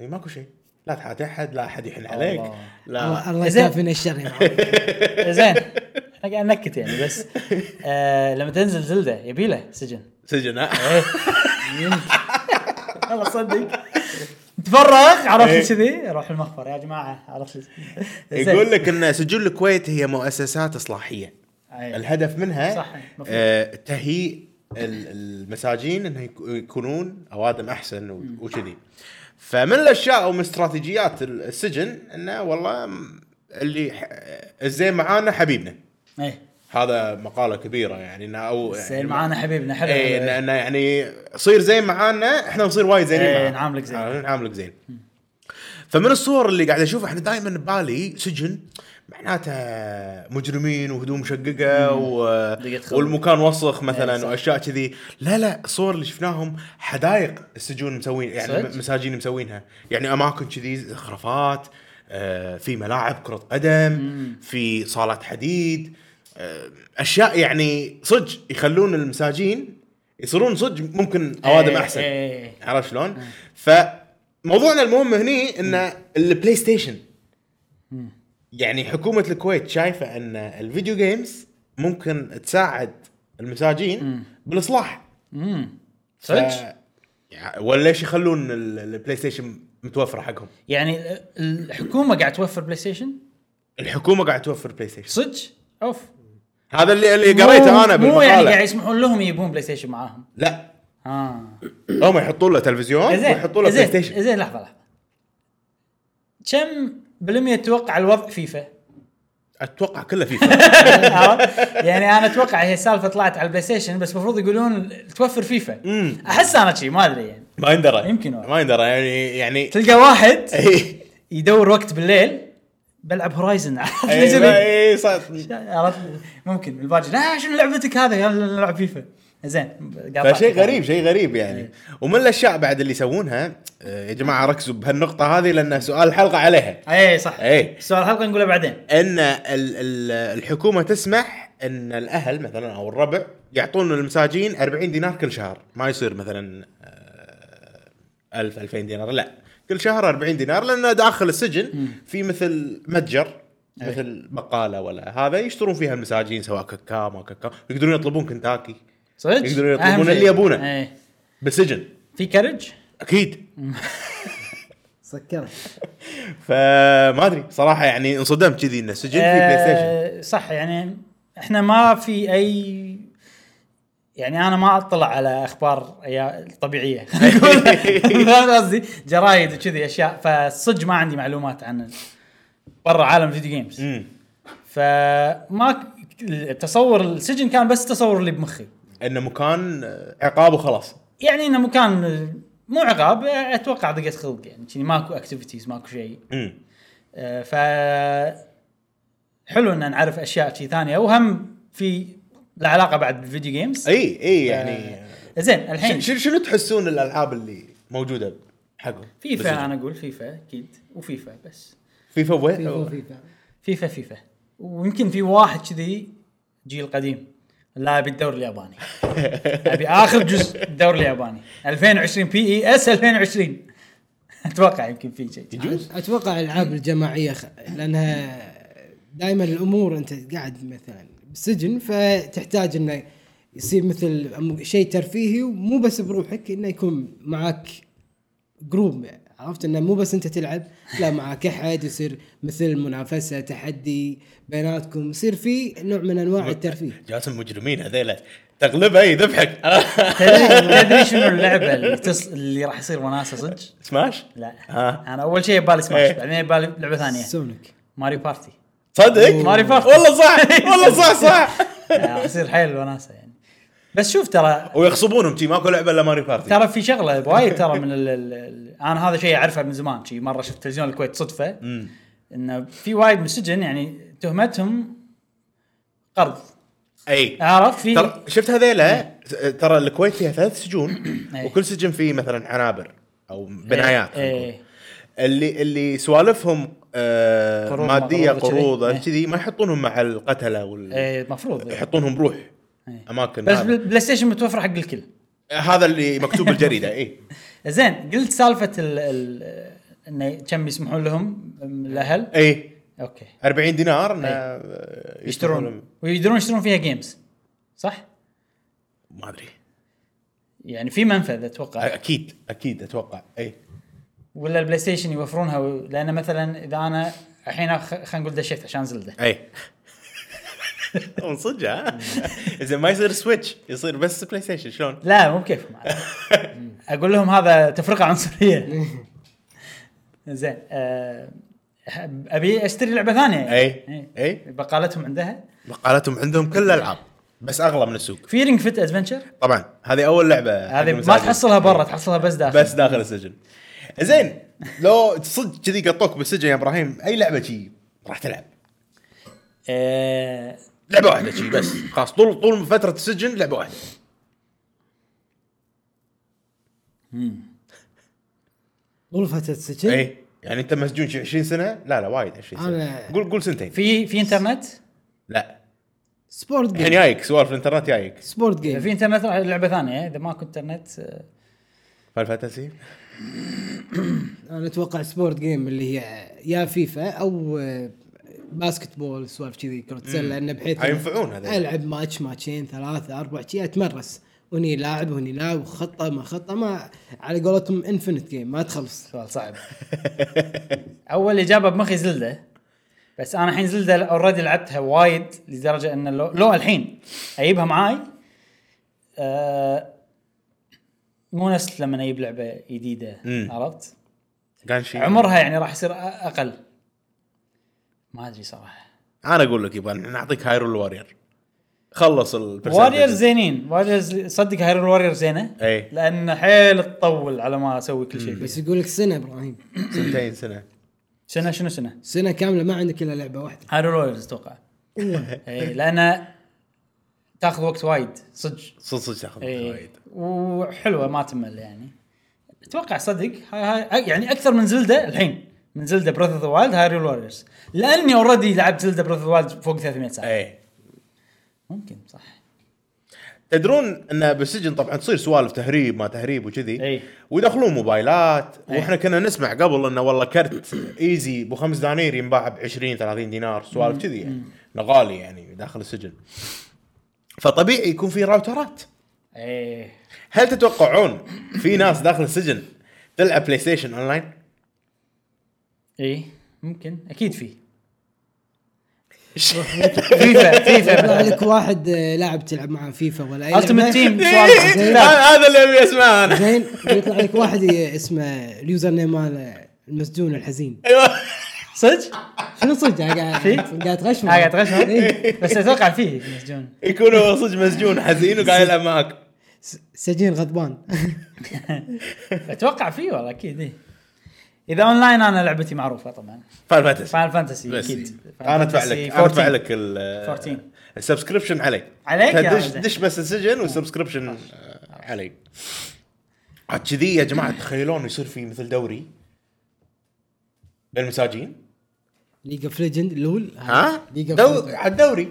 [SPEAKER 3] إيه، ماكو شيء لا تحاتي احد لا احد يحن عليك
[SPEAKER 1] الله.
[SPEAKER 3] لا
[SPEAKER 2] الله الله
[SPEAKER 1] زين.
[SPEAKER 2] يكافينا الشر يا معود.
[SPEAKER 1] زين احنا قاعد نكت يعني بس آه لما تنزل زلده يبي له سجن إيه.
[SPEAKER 3] سجن ها؟
[SPEAKER 1] والله صدق تفرغ
[SPEAKER 3] إيه.
[SPEAKER 1] عرفت كذي روح المخبر يا جماعه عرفت زين.
[SPEAKER 3] يقول لك ان سجون الكويت هي مؤسسات اصلاحيه
[SPEAKER 1] أي.
[SPEAKER 3] الهدف منها
[SPEAKER 1] صح، مفهوم.
[SPEAKER 3] آه تهيئ ال- المساجين انه يك- يكونون اوادم احسن و- وكذي فمن الاشياء ومن استراتيجيات ال- السجن انه والله م- اللي ح- الزين معانا حبيبنا
[SPEAKER 1] ايه
[SPEAKER 3] هذا مقاله كبيره يعني انه او
[SPEAKER 1] زين معانا حبيبنا حلو إيه.
[SPEAKER 3] اي انه إنه يعني صير زين معانا احنا نصير وايد زينين
[SPEAKER 1] إيه،
[SPEAKER 3] معاه.
[SPEAKER 1] نعاملك زين.
[SPEAKER 3] آه، نعاملك زين فمن الصور اللي قاعد اشوفها احنا دائما ببالي سجن معناته مجرمين وهدوم مشققه و...
[SPEAKER 1] دقيقة خروج.
[SPEAKER 3] والمكان وسخ مثلا
[SPEAKER 1] صح.
[SPEAKER 3] واشياء كذي لا لا الصور اللي شفناهم حدائق السجون مسوين يعني
[SPEAKER 1] صدق؟
[SPEAKER 3] مساجين مسوينها يعني اماكن كذي خرافات آه، في ملاعب كره قدم في صالات حديد آه، اشياء يعني صدق يخلون المساجين يصيرون صدق ممكن اوادم
[SPEAKER 1] إيه،
[SPEAKER 3] احسن
[SPEAKER 1] إيه.
[SPEAKER 3] عرفت شلون؟ فموضوعنا المهم هني ان البلاي ستيشن يعني حكومه الكويت شايفه ان الفيديو جيمز ممكن تساعد المساجين بالاصلاح
[SPEAKER 1] أمم.
[SPEAKER 3] ف-
[SPEAKER 1] صدق
[SPEAKER 3] يع- ولا ليش يخلون ال- البلاي ستيشن متوفره حقهم؟
[SPEAKER 1] يعني ال- الحكومه قاعد توفر بلاي ستيشن
[SPEAKER 3] الحكومه قاعد توفر بلاي ستيشن
[SPEAKER 1] صدق اوف
[SPEAKER 3] هذا اللي اللي قريته انا
[SPEAKER 1] مو- مو يعني قاعد
[SPEAKER 3] بالمقاله
[SPEAKER 1] يسمحون لهم يجيبون بلاي ستيشن معاهم
[SPEAKER 3] لا
[SPEAKER 1] اه
[SPEAKER 3] هم يحطون له تلفزيون
[SPEAKER 1] زين
[SPEAKER 3] ويحطون له بلاي
[SPEAKER 1] زين،
[SPEAKER 3] ستيشن
[SPEAKER 1] زين لحظه لحظه كم بالمية تتوقع الوضع فيفا؟
[SPEAKER 3] اتوقع كله فيفا
[SPEAKER 1] عرفت؟ يعني انا اتوقع هي السالفه طلعت على البلاي ستيشن بس المفروض يقولون توفر فيفا
[SPEAKER 3] مم.
[SPEAKER 1] احس انا شي ما ادري يعني
[SPEAKER 3] ما يندرى
[SPEAKER 1] يمكن والله.
[SPEAKER 3] ما يندرى يعني يعني
[SPEAKER 1] تلقى واحد
[SPEAKER 3] إيه.
[SPEAKER 1] يدور وقت بالليل بلعب هورايزن عرفت
[SPEAKER 3] إيه،
[SPEAKER 1] ليش
[SPEAKER 3] لا،
[SPEAKER 1] ذي؟
[SPEAKER 3] إيه، صح.
[SPEAKER 1] عرفت ممكن الباجي لا شنو لعبتك هذا يلا نلعب فيفا زين قاطعت.
[SPEAKER 3] فشيء غريب شيء غريب يعني ومن الاشياء بعد اللي يسوونها آه، يا جماعه ركزوا بهالنقطه هذه لان سؤال الحلقه عليها
[SPEAKER 1] اي صح
[SPEAKER 3] إيه.
[SPEAKER 1] سؤال الحلقه نقوله بعدين
[SPEAKER 3] ان ال- ال- الحكومه تسمح ان الاهل مثلا او الربع يعطون المساجين 40 دينار كل شهر ما يصير مثلا آه، 1000 2000 دينار لا كل شهر 40 دينار لان داخل السجن في مثل متجر مثل بقاله ولا هذا يشترون فيها المساجين سواء كاكاو ما كاكاو يقدرون يطلبون كنتاكي
[SPEAKER 1] صدق
[SPEAKER 3] يقدرون يطلبون
[SPEAKER 1] أهم شيء.
[SPEAKER 3] اللي يبونه.
[SPEAKER 1] إيه.
[SPEAKER 3] بالسجن
[SPEAKER 1] في كرج
[SPEAKER 3] اكيد
[SPEAKER 2] سكرت
[SPEAKER 3] فما ادري صراحه يعني انصدمت كذي انه سجن في بلاي ستيشن
[SPEAKER 1] آه، صح يعني احنا ما في اي يعني انا ما اطلع على اخبار يا- طبيعيه فاهم قصدي جرايد وكذي اشياء فصدق ما عندي معلومات عن برا عالم الفيديو جيمز
[SPEAKER 3] امم
[SPEAKER 1] فما ك- التصور السجن كان بس التصور اللي بمخي
[SPEAKER 3] انه مكان آه، عقاب وخلاص
[SPEAKER 1] يعني انه مكان مو عقاب اتوقع دقه خلق يعني شي ماكو اكتيفيتيز ماكو شيء
[SPEAKER 3] امم
[SPEAKER 1] آه، ف حلو ان نعرف اشياء شي ثانيه وهم في العلاقه بعد بالفيديو جيمز
[SPEAKER 3] اي اي يعني
[SPEAKER 1] زين الحين
[SPEAKER 3] ش- شنو تحسون الالعاب اللي موجوده حقهم
[SPEAKER 1] فيفا يعني.
[SPEAKER 3] بالسجن؟
[SPEAKER 1] انا اقول فيفا اكيد وفيفا بس
[SPEAKER 3] فيفا وين
[SPEAKER 2] فيفا فيفا
[SPEAKER 1] فيفا فيفا ويمكن في واحد كذي جيل قديم لاعب الدوري الياباني ابي اخر جزء الدوري الياباني 2020 بي اي اس 2020 اتوقع يمكن في شيء
[SPEAKER 3] يجوز
[SPEAKER 2] اتوقع الالعاب الجماعيه خ... لانها دائما الامور انت قاعد مثلا بالسجن فتحتاج انه يصير مثل أم- شيء ترفيهي ومو بس بروحك انه يكون معك جروب عرفت انه مو بس انت تلعب لا معك احد يصير مثل منافسه تحدي بيناتكم يصير في نوع من انواع الترفيه
[SPEAKER 3] جاسم مجرمين هذيلا تغلبه اي ذبحك
[SPEAKER 1] تدري تدري شنو اللعبه اللي, تص... اللي راح يصير وناسه صدق؟
[SPEAKER 3] سماش
[SPEAKER 1] لا
[SPEAKER 3] آه.
[SPEAKER 1] انا اول شيء ببالي سماش
[SPEAKER 3] إيه.
[SPEAKER 1] بعدين ببالي لعبه ثانيه
[SPEAKER 2] سونيك
[SPEAKER 1] ماريو بارتي
[SPEAKER 3] صدق
[SPEAKER 1] ماري فارت.
[SPEAKER 3] والله صح والله صح صح
[SPEAKER 1] آه، راح يصير حيل وناسه يعني بس شوف ترى
[SPEAKER 3] ويغصبونهم شي ماكو لعبه الا ماري بارتي
[SPEAKER 1] ترى في شغله وايد ترى من ال ال ال انا هذا شيء اعرفه من زمان شي مره شفت تلفزيون الكويت صدفه
[SPEAKER 3] مم.
[SPEAKER 1] انه في وايد من السجن يعني تهمتهم قرض
[SPEAKER 3] اي
[SPEAKER 1] عرفت في
[SPEAKER 3] ترى شفت هذيلا
[SPEAKER 1] إيه.
[SPEAKER 3] ترى الكويت فيها ثلاث سجون وكل سجن فيه مثلا عنابر او بنايات خلينا نقول.
[SPEAKER 1] ايه
[SPEAKER 3] اللي اللي سوالفهم آه،
[SPEAKER 1] قروض
[SPEAKER 3] ماديه
[SPEAKER 1] مقروضة كذي.
[SPEAKER 3] قروض
[SPEAKER 1] إيه.
[SPEAKER 3] كذي ما يحطونهم مع القتله وال...
[SPEAKER 1] ايه المفروض إيه.
[SPEAKER 3] يحطونهم بروح
[SPEAKER 1] إيه.
[SPEAKER 3] اماكن
[SPEAKER 1] بس
[SPEAKER 3] هذا.
[SPEAKER 1] بالبلاي ستيشن متوفر حق الكل
[SPEAKER 3] هذا اللي مكتوب إيه. بالجريده اي
[SPEAKER 1] زين قلت سالفه ال ال انه كم يسمحون لهم أم، الاهل
[SPEAKER 3] اي
[SPEAKER 1] اوكي
[SPEAKER 3] 40 إيه. دينار إنه،
[SPEAKER 1] إيه.
[SPEAKER 3] آه،
[SPEAKER 1] يشترون ويقدرون يشترون فيها جيمز صح؟
[SPEAKER 3] ما ادري
[SPEAKER 1] يعني في منفذ اتوقع
[SPEAKER 3] اكيد اكيد اتوقع اي
[SPEAKER 1] ولا البلاي ستيشن يوفرونها و- لان مثلا اذا انا الحين خ- خلينا نقول دشيت عشان زلده
[SPEAKER 3] اي من إيه. صدق ها
[SPEAKER 1] إيه.
[SPEAKER 3] اذا ما يصير سويتش يصير بس بلاي ستيشن شلون؟
[SPEAKER 1] لا مو بكيفهم عاد. اقول لهم هذا تفرقه عنصريه زين آه، أحب- ابي اشتري لعبه ثانيه
[SPEAKER 3] اي
[SPEAKER 1] إيه.
[SPEAKER 3] اي
[SPEAKER 1] بقالتهم عندها
[SPEAKER 3] مقالاتهم عندهم كل الالعاب بس اغلى من السوق
[SPEAKER 1] فيرنج فيت ادفنشر
[SPEAKER 3] طبعا هذه اول لعبه حق
[SPEAKER 1] هذه ما
[SPEAKER 3] المساجد.
[SPEAKER 1] تحصلها برا تحصلها بس داخل
[SPEAKER 3] بس داخل السجن زين لو صدق كذي قطوك بالسجن يا ابراهيم اي لعبه شي راح تلعب
[SPEAKER 1] آه،
[SPEAKER 3] لعبه واحده شي بس خلاص طول طول فتره السجن لعبه واحده
[SPEAKER 2] غرفه السجن
[SPEAKER 1] إيه؟
[SPEAKER 3] اي يعني انت مسجون شي 20 سنه لا لا وايد 20 سنه
[SPEAKER 2] أنا-
[SPEAKER 3] قول قول سنتين
[SPEAKER 1] في في انترنت
[SPEAKER 3] لا
[SPEAKER 2] سبورت
[SPEAKER 3] الحين
[SPEAKER 2] جيم
[SPEAKER 3] جايك سوالف الانترنت جايك
[SPEAKER 2] سبورت
[SPEAKER 1] اذا
[SPEAKER 2] جيم
[SPEAKER 1] في انترنت راح لعبه ثانيه اذا ماكو انترنت آه،
[SPEAKER 3] فاينل فانتسي
[SPEAKER 2] انا اتوقع سبورت جيم اللي هي يا فيفا او آه، باسكت بول سوالف كذي كره سله انه
[SPEAKER 1] إيه.
[SPEAKER 2] بحيث إنه
[SPEAKER 3] حينفعون هذول.
[SPEAKER 2] العب ماتش ماتشين ثلاثه اربع شي اتمرس وهني لاعب وهني لاعب خطه ما خطه ما على قولتهم انفنت جيم ما تخلص
[SPEAKER 1] سؤال صعب اول اجابه بمخي زلده بس انا الحين زلده اوريدي لعبتها وايد لدرجه ان لو, لو الحين اجيبها معاي آه مو نفس لما اجيب لعبه جديده
[SPEAKER 3] مم.
[SPEAKER 1] عرفت؟
[SPEAKER 3] كان شي
[SPEAKER 1] عمرها يعني راح يصير أ- اقل ما ادري صراحه
[SPEAKER 3] انا اقول لك يبا نعطيك هايرول وارير خلص ال
[SPEAKER 1] واريرز زينين واريرز صدق هاي الواريرز زينه
[SPEAKER 3] إي.
[SPEAKER 1] لان حيل تطول على ما اسوي كل شيء
[SPEAKER 2] بس يقول لك سنه ابراهيم
[SPEAKER 3] سنتين سنه
[SPEAKER 1] شنو شنو شنو
[SPEAKER 2] سنه كامله ما عندك الا لعبه واحده
[SPEAKER 1] هايرو واريرز اتوقع اي لان إيه، تاخذ وقت وايد صدق
[SPEAKER 3] صدق صدق تاخذ
[SPEAKER 1] إي.
[SPEAKER 3] وايد
[SPEAKER 1] وحلوه ما تمل يعني اتوقع صدق هاي هاي يعني اكثر من زلده الحين من زلده براذ اوف ذا وايلد هايرو واريرز لاني اوريدي لعبت زلده براذ اوف ذا وايلد فوق 300 ساعه
[SPEAKER 3] اي
[SPEAKER 1] ممكن صح
[SPEAKER 3] تدرون انه بالسجن طبعا تصير سوالف تهريب ما تهريب وكذي
[SPEAKER 1] إي.
[SPEAKER 3] ويدخلون موبايلات
[SPEAKER 1] إي.
[SPEAKER 3] واحنا كنا نسمع قبل انه والله كرت ايزي ابو خمس دنانير ينباع ب 20 30 دينار سوالف كذي يعني إنه غالي يعني داخل السجن فطبيعي يكون في راوترات
[SPEAKER 1] ايه
[SPEAKER 3] هل تتوقعون في ناس داخل السجن تلعب بلاي ستيشن اونلاين؟
[SPEAKER 1] ايه ممكن اكيد في
[SPEAKER 2] فيفا فيفا يطلع لك واحد آه، لاعب تلعب معاه فيفا ولا اي لعبة.
[SPEAKER 1] Ultimate Team.
[SPEAKER 3] هذا هذا اللي ابي اسمعه انا
[SPEAKER 2] زين ويطلع لك واحد ي- اسمه اليوزر نيم ماله المسجون الحزين
[SPEAKER 3] ايوه
[SPEAKER 1] صدق؟
[SPEAKER 2] شنو صدق أنا قاعد
[SPEAKER 1] في؟
[SPEAKER 2] قاعد تغشم
[SPEAKER 1] ها قاعد تغشم؟ بس إيه، اتوقع فيه مسجون
[SPEAKER 3] يكون هو صدق مسجون حزين وقاعد يلعب معك
[SPEAKER 2] سجين غضبان
[SPEAKER 1] اتوقع فيه والله اكيد ايه اذا اونلاين انا لعبتي معروفه طبعا
[SPEAKER 3] فاين فانتسي
[SPEAKER 1] فاينل فانتسي
[SPEAKER 3] بس
[SPEAKER 1] اكيد
[SPEAKER 3] انا ادفع لك انا ادفع لك
[SPEAKER 1] 14.
[SPEAKER 3] ال السبسكربشن علي
[SPEAKER 1] عليك يا
[SPEAKER 3] دش
[SPEAKER 1] رجل.
[SPEAKER 3] دش بس السجن والسبسكربشن آه، علي عاد كذي يا جماعه تخيلون يصير في مثل دوري للمساجين
[SPEAKER 2] ليج اوف ليجند لول
[SPEAKER 3] ها؟
[SPEAKER 2] ليج اوف
[SPEAKER 3] دو... على الدوري